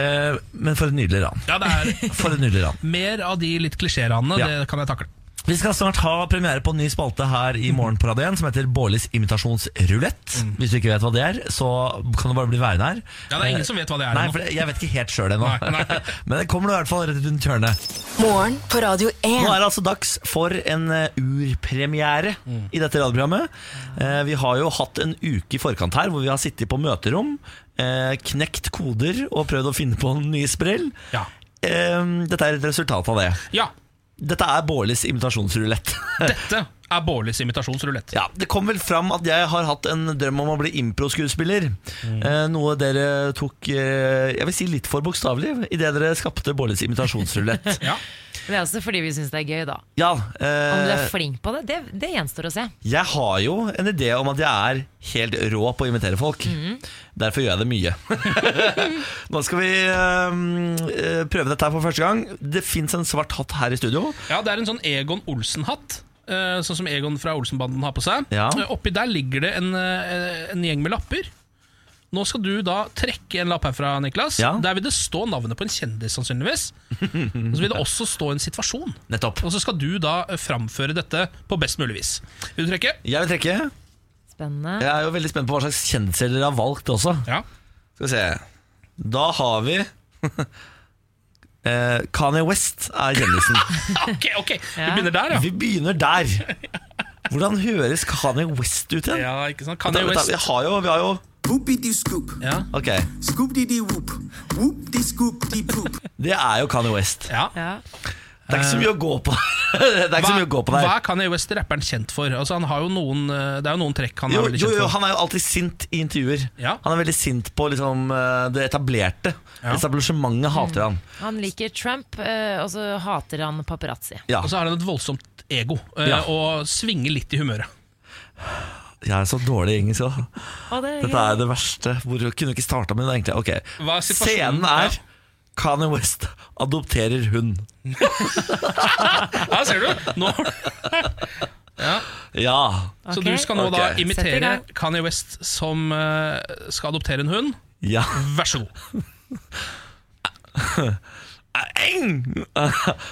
Speaker 1: Eh, Men for et nydelig ran.
Speaker 2: Ja, det er
Speaker 1: For et nydelig ran.
Speaker 2: Mer av de litt klisjéranene,
Speaker 1: Ja.
Speaker 2: det kan jeg takle.
Speaker 1: Vi skal snart ha premiere på en ny spalte her i morgen på Radio 1 som heter Bårlis imitasjonsrulett. Hvis du ikke vet hva det er, så kan du bare bli værende her.
Speaker 2: Mm. Ja, det er ingen som vet hva det er
Speaker 1: Nei,
Speaker 2: ennå.
Speaker 1: for det- jeg vet ikke helt sjøl ennå.
Speaker 2: Nei, nei.
Speaker 1: Men det kommer nå i hvert fall rett rundt hjørnet.
Speaker 4: Morgen på Radio 1.
Speaker 1: Nå er det altså dags for en eh, urpremiere
Speaker 2: Mm.
Speaker 1: i dette radioprogrammet. Eh, Vi har jo hatt en uke i forkant her hvor vi har sittet på møterom, eh, knekt koder og prøvd å finne på nye sprell. Eh, Dette er et resultat av det.
Speaker 2: Ja.
Speaker 1: Dette er Bårlis imitasjonsrulett.
Speaker 2: Dette er Bårlis imitasjonsrulett.
Speaker 1: Ja, Det kom vel fram at jeg har hatt en drøm om å bli impro-skuespiller.
Speaker 3: Mm.
Speaker 1: Eh, noe dere tok eh, jeg vil si litt for bokstavelig idet dere skapte Bårlis imitasjonsrulett.
Speaker 2: ja.
Speaker 3: Det er også fordi vi syns det er gøy, da.
Speaker 1: eh,
Speaker 3: Om du er flink på det, det, det gjenstår å se.
Speaker 1: Jeg har jo en idé om at jeg er helt rå på å invitere folk.
Speaker 3: Mm.
Speaker 1: Derfor gjør jeg det mye. Nå skal vi eh, eh, prøve dette her for første gang. Det fins en svart hatt her i studio.
Speaker 2: Ja, det er en sånn Egon Olsen-hatt. eh, Sånn som Egon fra Olsenbanden har på seg.
Speaker 1: Ja.
Speaker 2: Eh, Oppi der ligger det en, eh, en gjeng med lapper. Nå skal du da trekke en lapp herfra, Niklas.
Speaker 1: Ja.
Speaker 2: Der vil det stå navnet på en kjendis, sannsynligvis. Og så vil det også stå en situasjon.
Speaker 1: Nettopp.
Speaker 2: Og så skal du da eh, framføre dette på best mulig vis. Vil du trekke?
Speaker 1: Jeg vil trekke.
Speaker 3: Spennende.
Speaker 1: Jeg er jo veldig spent på hva slags kjendiser dere har valgt også. Skal vi se. Da har vi eh, Kanye West er kjendisen.
Speaker 2: ok, ok, Vi begynner der, ja.
Speaker 1: Vi begynner der. Hvordan høres Kanye West ut igjen?
Speaker 2: Ja, ikke sant? Kanye West.
Speaker 1: Vi har jo, vi har jo
Speaker 2: Ja.
Speaker 1: Ok. Det er jo Kanye West.
Speaker 2: Ja.
Speaker 1: Det er ikke så mye å gå på. det er ikke så mye å gå på der.
Speaker 2: Hva er Kanye West-rapperen kjent for? Altså, han har jo noen, eh, det er jo noen trekk han
Speaker 1: Jo,
Speaker 2: er liksom veldig
Speaker 1: jo,
Speaker 2: kjent
Speaker 1: jo,
Speaker 2: for.
Speaker 1: han er jo alltid sint i intervjuer. Han er veldig sint på liksom, eh, det etablerte. Etablissementet hater
Speaker 2: Mm.
Speaker 1: han.
Speaker 3: Han liker Trump, eh, og så hater han paparazzi.
Speaker 2: Og så har han et voldsomt ego, eh,
Speaker 1: Ja.
Speaker 2: og svinger litt i humøret.
Speaker 1: Jeg er så dårlig i engelsk òg.
Speaker 3: Ja, det er-
Speaker 1: Dette er det verste. Hvor kunne vi ikke starta med det, egentlig? Ok,
Speaker 2: Hva er situasjonen?
Speaker 1: Scenen er Kanye West adopterer hund.
Speaker 2: Ja, ser du? Nå ja.
Speaker 1: Ja.
Speaker 2: Så du skal nå da
Speaker 1: Ok.
Speaker 3: Sett i
Speaker 2: imitere
Speaker 3: gang.
Speaker 2: Kanye West som eh, skal adoptere en hund?
Speaker 1: Ja.
Speaker 2: Vær så god.
Speaker 1: Eng!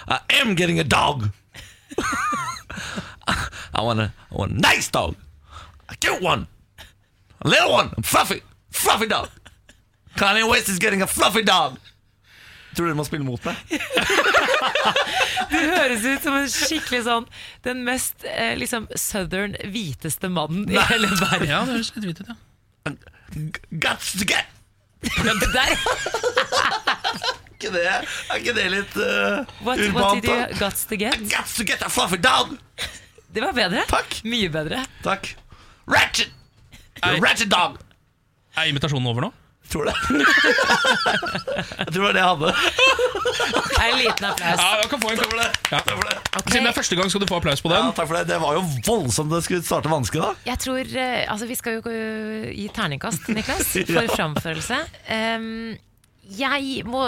Speaker 1: I am getting a dog. I want a, I want a nice dog. A cute one. A little one. A fluffy. Fluffy dog. Kanye West is getting a fluffy dog. Tror du du må spille mot meg?
Speaker 3: Du høres ut som en skikkelig sånn Den mest eh, liksom southern hviteste mannen i hele verden.
Speaker 2: Ja, det høres litt hvitt ut, ja.
Speaker 1: Guts to get!
Speaker 3: Der!
Speaker 1: Ikke det? Er ikke det litt uh,
Speaker 3: What, what did you guts to get?
Speaker 1: Guts to get a fluffy dog!
Speaker 3: Det var bedre. Mye bedre.
Speaker 1: Takk. Ratchet! You're a ratchet dog!
Speaker 2: Er invitasjonen over nå?
Speaker 1: Tror det. jeg tror det var det jeg hadde.
Speaker 3: En liten applaus.
Speaker 2: Ja, jeg kan få en
Speaker 1: Takk for det.
Speaker 2: Ja. Siden det er første gang, skal du få applaus på den.
Speaker 1: Ja, takk for det. det var jo voldsomt det skulle starte vanskelig, da.
Speaker 3: Jeg tror, eh, altså Vi skal jo gå- gi terningkast, Niklas, for
Speaker 1: Ja.
Speaker 3: framførelse. Em, jeg må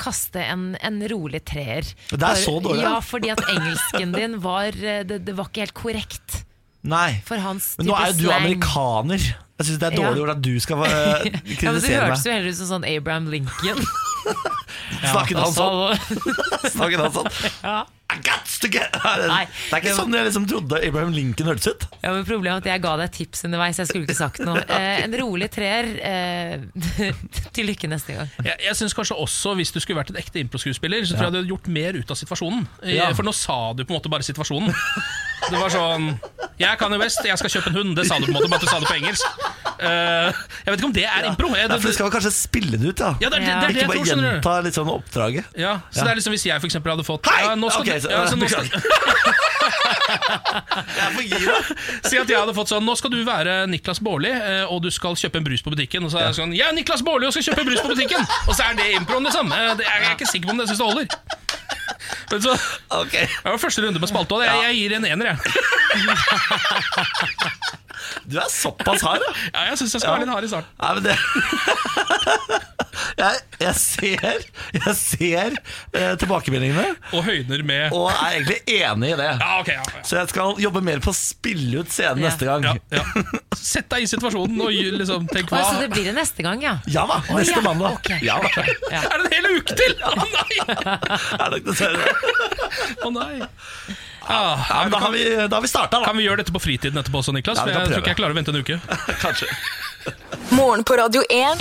Speaker 3: kaste en, en rolig treer.
Speaker 1: Det er så dårlig,
Speaker 3: Ja,
Speaker 1: ja.
Speaker 3: fordi at engelsken din var eh, det, det var ikke helt korrekt
Speaker 1: Nei.
Speaker 3: for hans
Speaker 1: Men nå
Speaker 3: type
Speaker 1: er jo du
Speaker 3: slang.
Speaker 1: amerikaner. Jeg syns det er dårlig
Speaker 3: Ja.
Speaker 1: gjort at du skal eh,
Speaker 3: ja, men Du
Speaker 1: kritisere
Speaker 3: hørtes
Speaker 1: meg.
Speaker 3: jo heller ut som sånn Abraham Lincoln. Altså,
Speaker 1: Snakket han sånn? Snakket han sånn?
Speaker 3: Ja.
Speaker 1: I guts to get Det
Speaker 3: Nei,
Speaker 1: er ikke
Speaker 3: det var-
Speaker 1: sånn jeg liksom trodde Abraham Lincoln hørtes ut.
Speaker 3: Ja, men Problemet er at jeg ga deg tips underveis. Jeg skulle ikke sagt noe. Eh, en rolig treer. Eh, til lykke neste gang.
Speaker 2: Jeg, jeg synes kanskje også Hvis du skulle vært et ekte improskuespiller, så tror jeg du hadde gjort mer ut av situasjonen. Eh,
Speaker 1: Ja.
Speaker 2: For nå sa du på en måte bare situasjonen. Det var sånn Jeg kan jo best, jeg skal kjøpe en hund. Det sa du på en måte, bare at du sa det på engelsk. Eh, jeg vet ikke om det er impro. Jeg,
Speaker 1: Nei, for du skal kanskje spille det ut, da.
Speaker 2: Ja, det er- det- det er det jeg
Speaker 1: ikke
Speaker 2: tror,
Speaker 1: bare
Speaker 2: skjønner du.
Speaker 1: gjenta litt sånn oppdraget.
Speaker 2: ja, så
Speaker 1: Ja.
Speaker 2: det er liksom Hvis jeg for eksempel hadde fått
Speaker 1: Hei!
Speaker 2: Ja, nå skal
Speaker 1: Ok,
Speaker 2: du,
Speaker 1: så-
Speaker 2: ja, så nå skal, Si at jeg hadde fått sånn Nå skal du være Niklas Baarli, eh, og du skal kjøpe en brus på butikken. Og så er jeg sånn Jeg er Niklas Baarli og skal kjøpe brus på butikken! Og så er det improen, liksom. Eh, det- Jeg er ikke sikker på om det syns det holder. Men så, Det var første runde med spalte, og jeg, jeg gir en ener, jeg.
Speaker 1: Du er såpass hard, da.
Speaker 2: Ja, jeg syns jeg skal
Speaker 1: Ja.
Speaker 2: være litt hard i starten.
Speaker 1: Nei, men det jeg, jeg ser, jeg ser eh, tilbakemeldingene.
Speaker 2: Og høyner med
Speaker 1: Og er egentlig enig i det.
Speaker 2: Ja, ok, ja, ja.
Speaker 1: Så jeg skal jobbe mer på å spille ut scenen
Speaker 2: Ja.
Speaker 1: neste gang.
Speaker 2: Ja, Sett deg i situasjonen og gi- liksom, tenk
Speaker 3: Å, så
Speaker 2: hva
Speaker 3: Altså, det blir det neste gang, ja?
Speaker 1: Ja da,
Speaker 3: Å,
Speaker 1: neste
Speaker 3: ja,
Speaker 1: mandag.
Speaker 3: ok.
Speaker 1: Ja da.
Speaker 2: Er det en hel uke til?! Å
Speaker 1: Er det ikke dessverre?
Speaker 2: nei! Å nei. Ah,
Speaker 1: Ja, men da har vi, da har vi starta, da.
Speaker 2: Kan vi gjøre dette på fritiden etterpå også, Niklas?
Speaker 1: Ja,
Speaker 2: For
Speaker 1: vi
Speaker 2: jeg
Speaker 1: kan
Speaker 2: tror
Speaker 1: prøve.
Speaker 2: ikke jeg klarer å vente en uke.
Speaker 1: Kanskje.
Speaker 4: Morgen på Radio 1.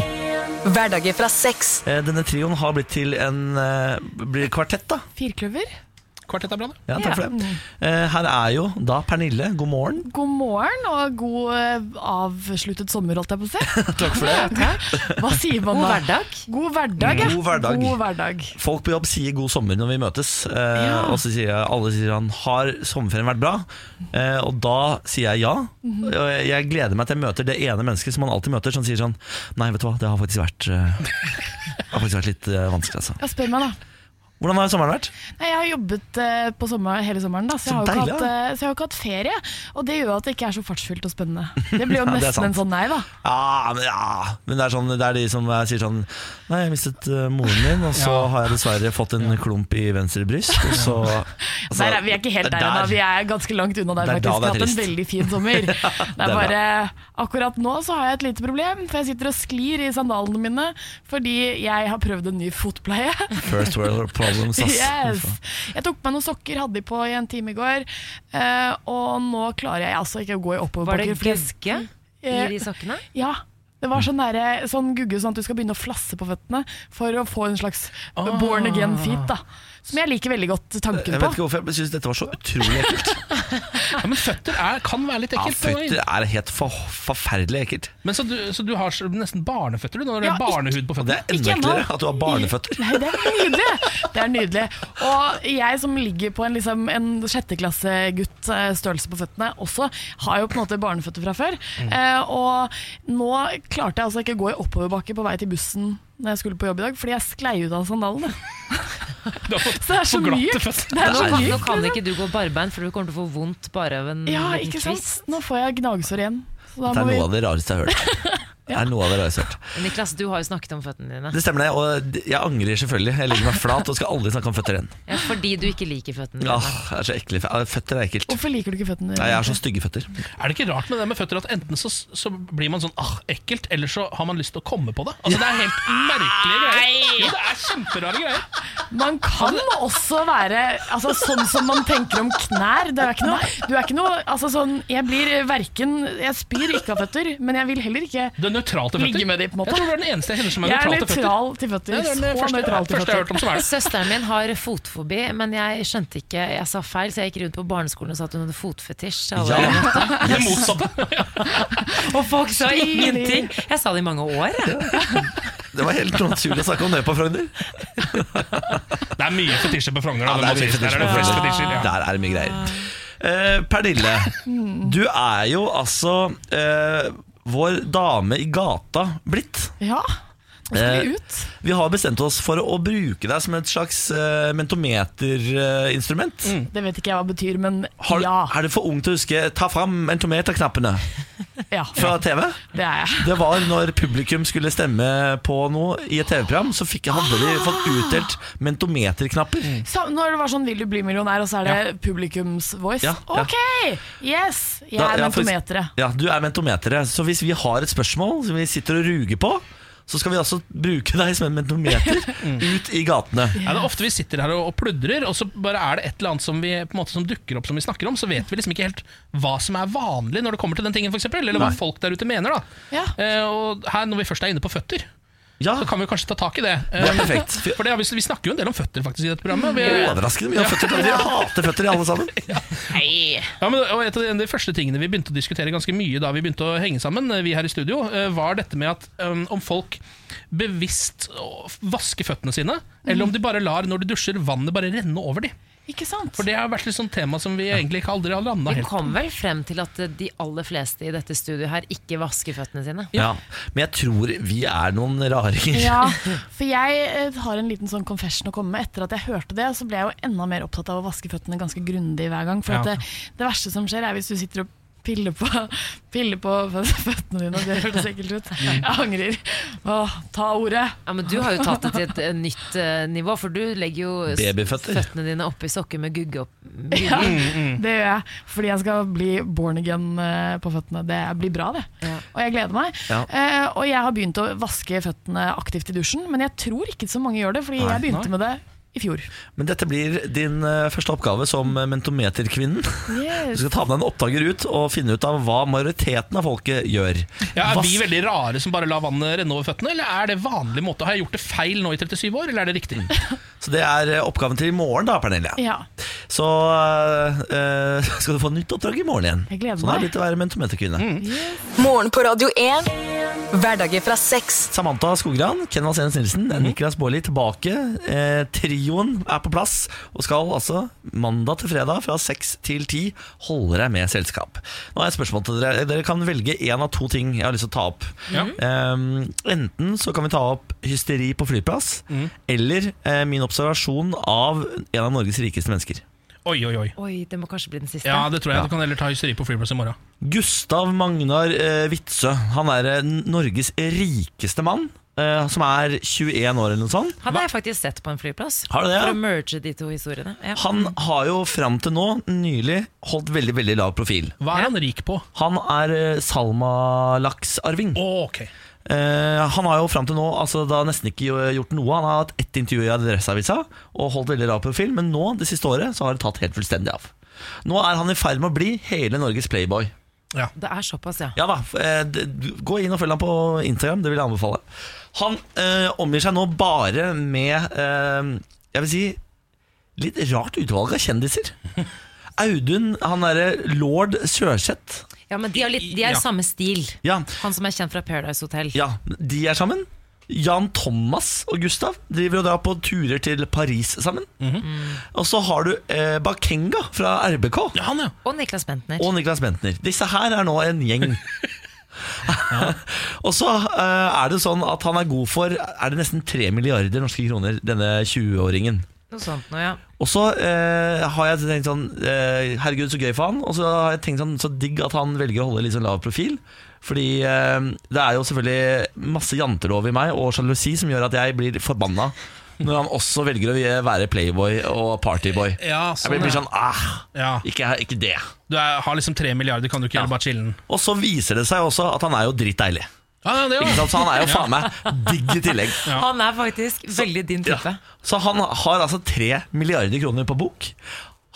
Speaker 4: Hverdager fra seks.
Speaker 1: Eh, Denne trioen har blitt til en eh, blir kvartett, da.
Speaker 14: Firkløver.
Speaker 2: Kvartett er bra, det.
Speaker 1: Ja, takk for det.
Speaker 14: Ja.
Speaker 1: Eh, Her er jo da Pernille. God morgen.
Speaker 14: God morgen og god eh, avsluttet sommer, holdt jeg på å si. Takk for det. Hva sier man
Speaker 3: God
Speaker 14: da?
Speaker 3: hverdag.
Speaker 14: God hverdag, ja.
Speaker 1: God hverdag.
Speaker 14: God hverdag.
Speaker 1: Folk på jobb sier 'god sommer' når vi møtes. Eh, Og så sier jeg, alle sier han 'har sommerferien vært bra?' Eh, og da sier jeg ja.
Speaker 14: Mhm.
Speaker 1: Og jeg- jeg gleder meg til jeg møter det ene mennesket som man alltid møter, som sier sånn 'nei, vet du hva, det har faktisk vært, eh, det har faktisk vært litt eh, vanskelig', altså.
Speaker 14: Ja, spør meg da.
Speaker 1: Hvordan har sommeren vært?
Speaker 14: Nei, jeg har jobbet eh, på sommer, hele sommeren, da, så, jeg
Speaker 1: Så
Speaker 14: har jo ikke
Speaker 1: deilig,
Speaker 14: hatt,
Speaker 1: da.
Speaker 14: eh, så jeg har jo ikke hatt ferie. Og det gjør jo at det ikke er så fartsfylt og spennende. Det blir jo
Speaker 1: Ja, det er
Speaker 14: nesten en
Speaker 1: sant.
Speaker 14: sånn nei, da.
Speaker 1: Ja, Ah, men, ja. men det, er sånn, det er de som eh, sier sånn 'nei, jeg mistet eh, moren min', og så har jeg dessverre fått en klump i venstre bryst, og så altså,
Speaker 14: der er, vi er ikke helt der
Speaker 1: det er
Speaker 14: ennå,
Speaker 1: der.
Speaker 14: vi er ganske langt unna der.
Speaker 1: Det er da
Speaker 14: faktisk. Vi
Speaker 1: det er
Speaker 14: har hatt en
Speaker 1: trist.
Speaker 14: veldig fin sommer. Det
Speaker 1: det er
Speaker 14: er bare, Akkurat nå så har jeg et lite problem, for jeg sitter og sklir i sandalene mine fordi jeg har prøvd en ny fotpleie.
Speaker 1: First world problems, ass.
Speaker 14: Yes. Jeg tok på meg noen sokker, hadde de på i en time i går, eh, og nå klarer jeg altså ikke å gå i
Speaker 3: Var det
Speaker 14: oppoverbakker. fordi-
Speaker 3: gøgge i
Speaker 14: Eh,
Speaker 3: de sokkene?
Speaker 14: Ja. Det
Speaker 1: Mm.
Speaker 14: var sånn, derre- sånn gugge sånn at du skal begynne å flasse på føttene for å få en slags born again feet. da Som jeg liker veldig godt tanken
Speaker 1: Ah. Jeg vet
Speaker 14: på.
Speaker 1: ikke hvorfor, jeg synes dette var så utrolig ekkelt.
Speaker 2: Ja, men føtter er, kan være litt
Speaker 1: Ja,
Speaker 2: ekkelt. noen
Speaker 1: føtter
Speaker 2: ganger.
Speaker 1: er helt for, forferdelig ekkelt.
Speaker 2: Men så du, så du har så- nesten barneføtter du, når det
Speaker 14: Ja,
Speaker 2: er
Speaker 14: ikke-
Speaker 2: barnehud på føttene?
Speaker 1: Det er enda eklere at du har barneføtter.
Speaker 14: Nei, det er nydelig! Det er nydelig. Og jeg som ligger på en, liksom, en sjetteklassegutt eh, størrelse på føttene også, har jo på en måte barneføtter fra før.
Speaker 1: Mm.
Speaker 14: Eh, og nå klarte jeg altså ikke å gå i oppoverbakke på vei til bussen når jeg skulle på jobb i dag, fordi jeg sklei ut av sandalene. Så det er så
Speaker 3: for glatte
Speaker 14: mykt!
Speaker 3: føtter.
Speaker 14: Det er så
Speaker 3: Nå kan-
Speaker 14: mykt.
Speaker 3: Nå kan ikke du gå barbeint, for du kommer til å få vondt bare av en
Speaker 14: Ja,
Speaker 3: liten
Speaker 14: ikke sant?
Speaker 3: kvist.
Speaker 14: Nå får jeg gnagsår igjen. Så da
Speaker 1: Det er
Speaker 14: må vi-
Speaker 1: noe av det rareste jeg har hørt. Det er noe av det rareste jeg har hørt.
Speaker 3: Niklas, du har jo snakket om føttene dine.
Speaker 1: Det stemmer det, og jeg angrer selvfølgelig. Jeg legger meg flat og skal aldri snakke om føtter igjen.
Speaker 3: Ja, fordi du ikke liker føttene dine.
Speaker 1: Åh, det er så ekle føtter. Føtter er ekkelt.
Speaker 14: Hvorfor liker du ikke føttene
Speaker 1: Nei, jeg har så stygge føtter.
Speaker 2: Er det ikke rart med det med føtter at enten så, så blir man sånn ah, ekkelt, eller så har man lyst til å komme på det? Altså Det er helt merkelige greier. Jo, det er kjemperare greier.
Speaker 14: Man kan også være altså, sånn som man tenker om knær. Det er ikke noe, du er ikke noe altså, sånn, Jeg blir verken Jeg spyr ikke av føtter, men jeg vil heller ikke
Speaker 2: Du er nøytral til føtter.
Speaker 14: Ligge med de, på en måte.
Speaker 2: Jeg tror du er den eneste jeg kjenner som er
Speaker 14: Jeg er
Speaker 2: nøytral til føtter.
Speaker 14: nøytral til føtter.
Speaker 2: Ja, det er den
Speaker 14: Så
Speaker 2: første-
Speaker 14: nøytral til
Speaker 2: første jeg har hørt om som er det.
Speaker 3: Søsteren min har fotfobi, men jeg skjønte ikke Jeg sa feil, så jeg gikk rundt på barneskolen og sa at hun hadde fotfetisj. til alle
Speaker 2: Ja.
Speaker 3: jeg møtte.
Speaker 2: Det motsatte.
Speaker 3: Og folk sa ingenting! Jeg sa det i mange år. jeg.
Speaker 1: Det var helt naturlig å snakke om det på Frogner.
Speaker 2: Det er mye fetisjer på Frogner. da,
Speaker 1: Ja,
Speaker 2: det må
Speaker 1: mye
Speaker 2: sies. Der er det
Speaker 1: på
Speaker 2: flest
Speaker 1: Frogner.
Speaker 2: fetisjer. Ja.
Speaker 1: Der er det mye greier. Eh, Pernille, du er jo altså eh, vår dame i gata blitt.
Speaker 14: Ja. Nå skal vi
Speaker 1: Eh,
Speaker 14: ut.
Speaker 1: Vi har bestemt oss for å bruke deg som et slags eh, mentometerinstrument.
Speaker 14: Det vet ikke jeg hva betyr, men
Speaker 1: Har,
Speaker 14: Mm. ja.
Speaker 1: Er du for ung til å huske 'ta fram mentometerknappene'
Speaker 14: ja.
Speaker 1: fra TV?
Speaker 14: Det er jeg.
Speaker 1: Det var når publikum skulle stemme på noe i et TV-program, så fikk, hadde de
Speaker 14: Ah!
Speaker 1: fått utdelt mentometerknapper.
Speaker 14: Så når det var sånn 'Vil du bli millionær', og så er det publikums voice.
Speaker 1: Ja, ja.
Speaker 14: Ok! Yes! Jeg
Speaker 1: Da-
Speaker 14: er
Speaker 1: ja, for-
Speaker 14: mentometeret.
Speaker 1: Ja, du er mentometeret. Så hvis vi har et spørsmål som vi sitter og ruger på, så skal vi altså bruke deg som en mentometer
Speaker 14: Mm.
Speaker 1: ut i gatene.
Speaker 2: Ja, det er ofte vi sitter her og og pludrer, og så bare er det et eller annet som, vi, på en måte, som dukker opp som vi snakker om, så vet vi liksom ikke helt hva som er vanlig når det kommer til den tingen, for eksempel, eller hva
Speaker 1: Nei.
Speaker 2: folk der ute mener. da. Eh, og her, Når vi først er inne på føtter, så kan vi kanskje ta tak i det.
Speaker 1: Det er
Speaker 2: Eh,
Speaker 1: perfekt.
Speaker 2: For det, har vi, vi snakker jo en del om føtter faktisk i dette programmet.
Speaker 1: Det er Overraskende mye om føtter. da. Dere hater føtter, alle sammen.
Speaker 2: Ja, men og et av de- de første tingene vi begynte å diskutere ganske mye da vi begynte å henge sammen, eh, vi her i studio, eh, var dette med at um, om folk bevisst å- vasker føttene sine, eller om de bare lar, når de dusjer, vannet bare renne over dem.
Speaker 14: Ikke sant?
Speaker 2: For det har vært litt sånn tema som vi egentlig ikke aldri har landa
Speaker 3: Vi
Speaker 2: helt.
Speaker 3: kom vel frem til at de aller fleste i dette studioet her ikke vasker føttene sine.
Speaker 1: Ja, Men jeg tror vi er noen raringer.
Speaker 14: Ja, for jeg eh, har en liten sånn confession å komme med. Etter at jeg hørte det, så ble jeg jo enda mer opptatt av å vaske føttene ganske grundig hver gang. For
Speaker 1: Ja.
Speaker 14: at det, det verste som skjer, er hvis du sitter og piller på, piller på fø- føttene dine. og Det hørtes ekkelt ut. Jeg angrer. Åh, ta ordet.
Speaker 3: Ja, men Du har jo tatt det til et eh, nytt eh, nivå, for du legger jo s-
Speaker 14: Babyføtter.
Speaker 3: føttene dine oppi sokker med gugge opp. Gugge.
Speaker 14: Ja, det gjør jeg. Fordi jeg skal bli born again eh, på føttene. Det blir bra, det. Og jeg gleder meg.
Speaker 3: Ja.
Speaker 14: Eh, og jeg har begynt å vaske føttene aktivt i dusjen, men jeg tror ikke så mange gjør det, fordi
Speaker 1: Nei.
Speaker 14: jeg begynte
Speaker 1: Nei.
Speaker 14: med det i fjor.
Speaker 1: Men dette blir din eh, første oppgave som eh, mentometerkvinnen. Du
Speaker 14: Yes.
Speaker 1: skal ta med deg en oppdager ut og finne ut av hva majoriteten av folket gjør.
Speaker 2: Ja, er vi
Speaker 1: Vask-
Speaker 2: veldig rare som bare lar vannet renne over føttene, eller er det vanlig måte? Har jeg gjort det feil nå i 37 år, eller er det riktig?
Speaker 1: Så det er eh, oppgaven til i morgen, da, Pernille.
Speaker 14: Ja.
Speaker 1: Så eh, skal du få nytt oppdrag i morgen igjen.
Speaker 4: Jeg gleder
Speaker 1: sånn er
Speaker 4: meg.
Speaker 1: det blitt å være mentometerkvinne.
Speaker 2: Mm.
Speaker 4: Morgen på Radio 1. Hverdager fra seks.
Speaker 1: Samantha Skogran, Ken Vasenus Nilsen, Niklas Baarli tilbake. Eh, trioen er på plass og skal altså mandag til fredag fra seks til ti holde deg med selskap. Nå har jeg et spørsmål til dere. Dere kan velge én av to ting jeg har lyst til å ta opp.
Speaker 2: Ja.
Speaker 1: Eh, enten så kan vi ta opp hysteri på flyplass, eller eh, min observasjon av en av Norges rikeste mennesker.
Speaker 2: Oi, oi, oi.
Speaker 3: Oi, det må kanskje bli den siste.
Speaker 2: Ja, det tror jeg.
Speaker 1: Ja.
Speaker 2: Du kan heller ta hysteri på flyplass i morgen.
Speaker 1: Gustav Magnar eh, Witzøe. Han er eh, Norges rikeste mann, eh, som er 21 år eller noe sånt.
Speaker 3: Hadde jeg faktisk sett på en flyplass.
Speaker 1: Har du det, ja?
Speaker 3: For å merge de to historiene. Ja.
Speaker 1: Han har jo fram til nå nylig holdt veldig veldig lav profil.
Speaker 2: Hva er han rik på?
Speaker 1: Han er eh, salmalaksarving.
Speaker 2: Oh, okay.
Speaker 1: Eh, han har jo fram til nå altså, da nesten ikke jo- gjort noe. Han har hatt ett intervju i Adresseavisa og holdt veldig lav profil, men nå det siste året så har det tatt helt fullstendig av. Nå er han i ferd med å bli hele Norges playboy.
Speaker 2: Ja.
Speaker 3: Det er såpass, ja.
Speaker 1: Ja da, f- eh, d- du- gå inn og følg ham på Instagram, det vil jeg anbefale. Han eh, omgir seg nå bare med, eh, jeg vil si, litt rart utvalg av kjendiser. Audun, han derre lord Sørseth.
Speaker 3: Ja, men De har litt, de er
Speaker 1: Ja.
Speaker 3: samme stil.
Speaker 1: Ja.
Speaker 3: Han som er kjent fra Paradise Hotel.
Speaker 1: Ja, de er sammen. Jan Thomas og Gustav driver og drar på turer til Paris sammen. Og så har du eh, Bakenga fra RBK.
Speaker 3: Og Niklas Bentner.
Speaker 1: Og Niklas Bentner. Disse her er nå en gjeng. og så eh, er det sånn at han er god for Er det nesten 3 milliarder norske kroner, denne 20-åringen.
Speaker 3: Noe sånt noe, ja.
Speaker 1: Og så eh, har jeg tenkt sånn eh, Herregud, så gøy for han. Og så har jeg tenkt sånn Så digg at han velger å holde litt sånn lav profil. Fordi eh, det er jo selvfølgelig masse jantelov i meg og sjalusi som gjør at jeg blir forbanna når han også velger å være playboy og partyboy.
Speaker 2: Ja, sånn,
Speaker 1: jeg blir,
Speaker 2: ja.
Speaker 1: blir sånn ah, ikke, ikke det.
Speaker 2: Du er, har liksom tre milliarder, kan du ikke gjøre bare chillen?
Speaker 1: Og så viser det seg også at han er jo drittdeilig.
Speaker 2: Ja, det er jo-
Speaker 1: Ikke sant? Så han er jo faen meg
Speaker 2: Ja.
Speaker 1: digg i tillegg.
Speaker 3: Han er faktisk veldig din type.
Speaker 1: Så han har altså tre milliarder kroner på bok.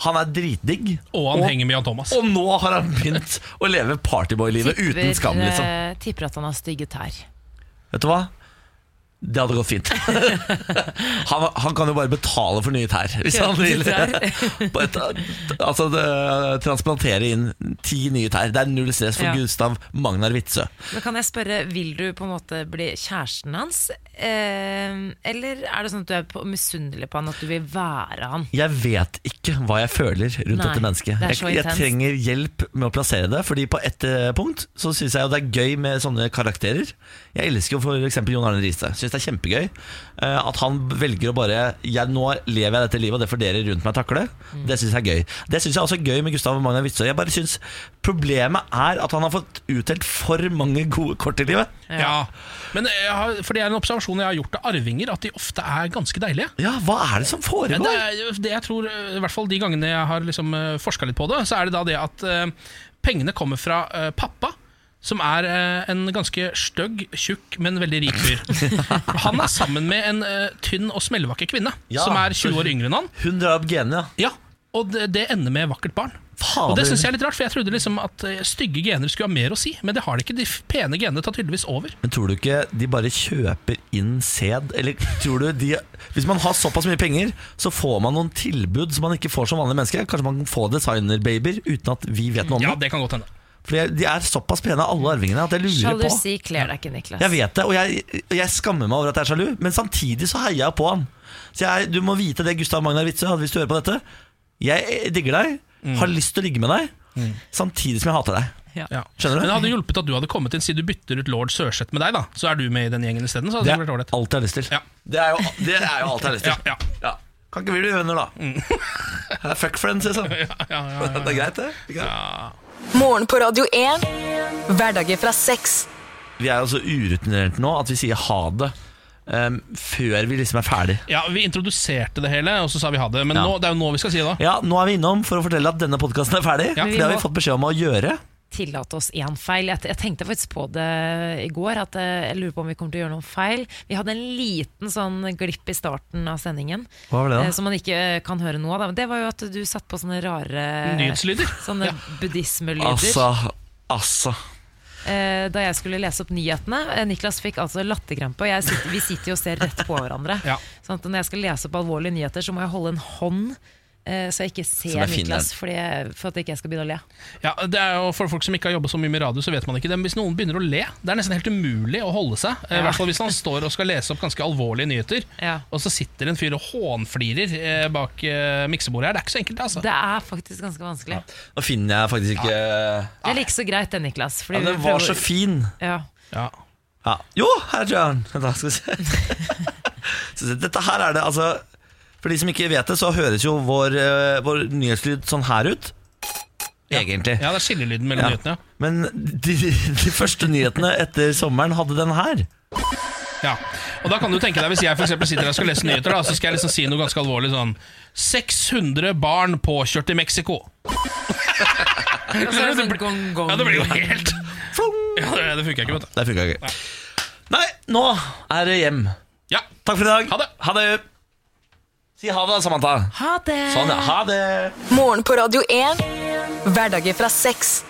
Speaker 1: Han er dritdigg.
Speaker 2: Og han henger med Jan Thomas.
Speaker 1: Og nå har han begynt å leve partyboy-livet uten skam, liksom.
Speaker 3: eh, tipper at han har stygge tær.
Speaker 1: Vet du hva? Det hadde gått fint. Han, han kan jo bare betale for nye tær, hvis han vil. På et, altså det- Transplantere inn ti nye tær. Det er null stress for
Speaker 3: Ja.
Speaker 1: Gustav Magnar Witzøe.
Speaker 3: Men kan jeg spørre, Vil du på en måte bli kjæresten hans? Eh, eller er det sånn at du er på- misunnelig på han, at du vil være han?
Speaker 1: Jeg vet ikke hva jeg føler rundt
Speaker 3: Nei,
Speaker 1: dette mennesket.
Speaker 3: det er så
Speaker 1: jeg, jeg
Speaker 3: intenst.
Speaker 1: trenger hjelp med å plassere det, Fordi på ett eh, punkt så syns jeg jo det er gøy med sånne karakterer. Jeg elsker jo f.eks. Jon Arne Riise. Syns det er kjempegøy eh, at han velger å bare jeg, Nå lever jeg dette livet, og det får dere rundt meg takle.
Speaker 3: Mm.
Speaker 1: Det syns jeg er gøy. Det syns jeg også er gøy med Gustav Magnar Witzøe. Jeg bare synes Problemet er at han har fått utdelt for mange gode kort i livet.
Speaker 2: Ja, men eh, jeg har, for det er en observasjon jeg har gjort av arvinger, at de ofte er ganske deilige.
Speaker 1: Ja, hva er det som foregår?
Speaker 2: Det, er, det jeg tror, eh, i hvert fall de gangene jeg har liksom forska litt på det, så er det da det at eh, pengene kommer fra eh, pappa. Som er eh, en ganske stygg, tjukk, men veldig rik fyr. Han er sammen med en eh, tynn og smellvakker kvinne,
Speaker 1: Ja,
Speaker 2: som er 20
Speaker 1: for-
Speaker 2: år yngre enn han.
Speaker 1: Hun drar opp genene,
Speaker 2: ja. Og det, det ender med vakkert barn. Og det syns jeg er litt rart, for jeg trodde liksom at eh, stygge gener skulle ha mer å si, men det har de ikke. De f- pene genene tar tydeligvis over.
Speaker 1: Men tror du ikke de bare kjøper inn sæd? Eller tror du de Hvis man har såpass mye penger, så får man noen tilbud som man ikke får som vanlig menneske. Kanskje man kan få designerbabyer uten at vi vet noe om
Speaker 2: Ja, det kan godt hende.
Speaker 1: For de er såpass pene, alle arvingene, at jeg lurer på.
Speaker 3: Sjalusi kler deg ikke, Niklas.
Speaker 1: Jeg vet det, og jeg, jeg skammer meg over at jeg er sjalu, men samtidig så heier jeg på han. Så jeg, du må vite det, Gustav Magnar Witzøe, hadde hvis du hører på dette. Jeg digger deg,
Speaker 2: Mm.
Speaker 1: har lyst til å ligge med deg, samtidig som jeg hater deg.
Speaker 2: Ja.
Speaker 1: Skjønner du?
Speaker 2: Men det hadde hjulpet at du hadde kommet inn, siden du bytter ut lord Sørseth med deg, da. Så er du med i den gjengen isteden. så hadde Det
Speaker 1: Det er
Speaker 2: vært ålreit.
Speaker 1: alt jeg har lyst til.
Speaker 2: Ja.
Speaker 1: Det er jo, det er jo alt jeg har lyst til.
Speaker 2: Ja,
Speaker 1: Ja. Kan ikke vi bli venner, da? Det er Fuck friends, liksom. Det er greit, det. det er greit.
Speaker 4: Morgen på Radio 1. Hverdager fra seks.
Speaker 1: Vi er jo så urutinerte nå at vi sier ha det em, før vi liksom er ferdig.
Speaker 2: Ja, Vi introduserte det hele, og så sa vi ha det. Men
Speaker 1: Ja.
Speaker 2: nå, det er jo nå vi skal si det. da
Speaker 1: Ja, nå er vi innom for å fortelle at denne podkasten er ferdig.
Speaker 3: Ja.
Speaker 1: For det har vi fått beskjed om å gjøre.
Speaker 3: Tillate oss én feil. Jeg, jeg tenkte faktisk på det i går, at eh, jeg lurer på om vi kommer til å gjøre noen feil. Vi hadde en liten sånn glipp i starten av sendingen
Speaker 1: Hva var det da?
Speaker 3: eh, som man ikke eh, kan høre nå. Da. Men Det var jo at du satt på sånne rare
Speaker 1: Eh.
Speaker 2: Nyhetslyder.
Speaker 3: Sånne buddhismelyder.
Speaker 1: Altså, altså.
Speaker 3: Eh, da jeg skulle lese opp nyhetene. eh, Niklas fikk altså latterkrampe. og jeg sitter- Vi sitter jo og ser rett på hverandre. Sånn at når jeg skal lese opp alvorlige nyheter, så må jeg holde en hånd. eh, Så jeg ikke
Speaker 2: Så
Speaker 3: ser
Speaker 2: det er fin
Speaker 3: Niklas, fordi jeg, for at ikke jeg skal begynne å le.
Speaker 2: Ja, det er jo For folk som ikke har jobbet så mye med radio, så vet man ikke det. Men hvis noen begynner å le, det er nesten helt umulig å holde seg. Eh, I
Speaker 3: Ja.
Speaker 2: hvert fall hvis han står og skal lese opp ganske alvorlige nyheter,
Speaker 3: Ja.
Speaker 2: og så sitter en fyr og hånflirer eh, bak eh, miksebordet her. Det er ikke så enkelt, altså.
Speaker 3: Det er faktisk ganske vanskelig.
Speaker 1: Nå finner jeg faktisk ikke ja,
Speaker 3: Det er like så greit, det, Niklas.
Speaker 1: Den
Speaker 3: fordi vi
Speaker 1: var
Speaker 3: prøver-
Speaker 1: så fin.
Speaker 3: Ja.
Speaker 1: Ja. Jo, her tror jeg den. Vent Da skal vi se. Så dette her er det, altså For de som ikke vet det, så høres jo vår, eh, vår nyhetslyd sånn her ut. Egentlig.
Speaker 2: Ja, det er skillelyden mellom
Speaker 1: Ja.
Speaker 2: nyhetene.
Speaker 1: Men de, de første nyhetene etter sommeren hadde den her.
Speaker 2: Ja, og da kan du tenke deg Hvis jeg for eksempel sitter her og skal lese nyheter, da, så skal jeg liksom si noe ganske alvorlig sånn 600 barn påkjørt i Mexico.
Speaker 3: Og så er det sånn gong, gong.
Speaker 2: Ja, det blir jo helt ja, Det, det funker ikke, vet du.
Speaker 1: Det funka ikke. Nei, nå er det hjem.
Speaker 2: Ja.
Speaker 1: Takk for i dag. Ha det. Si ha det, da, Samantha.
Speaker 3: Ha det!
Speaker 1: Sånn, ja. Ha det.
Speaker 4: Morgen på Radio 1. Hverdager fra seks.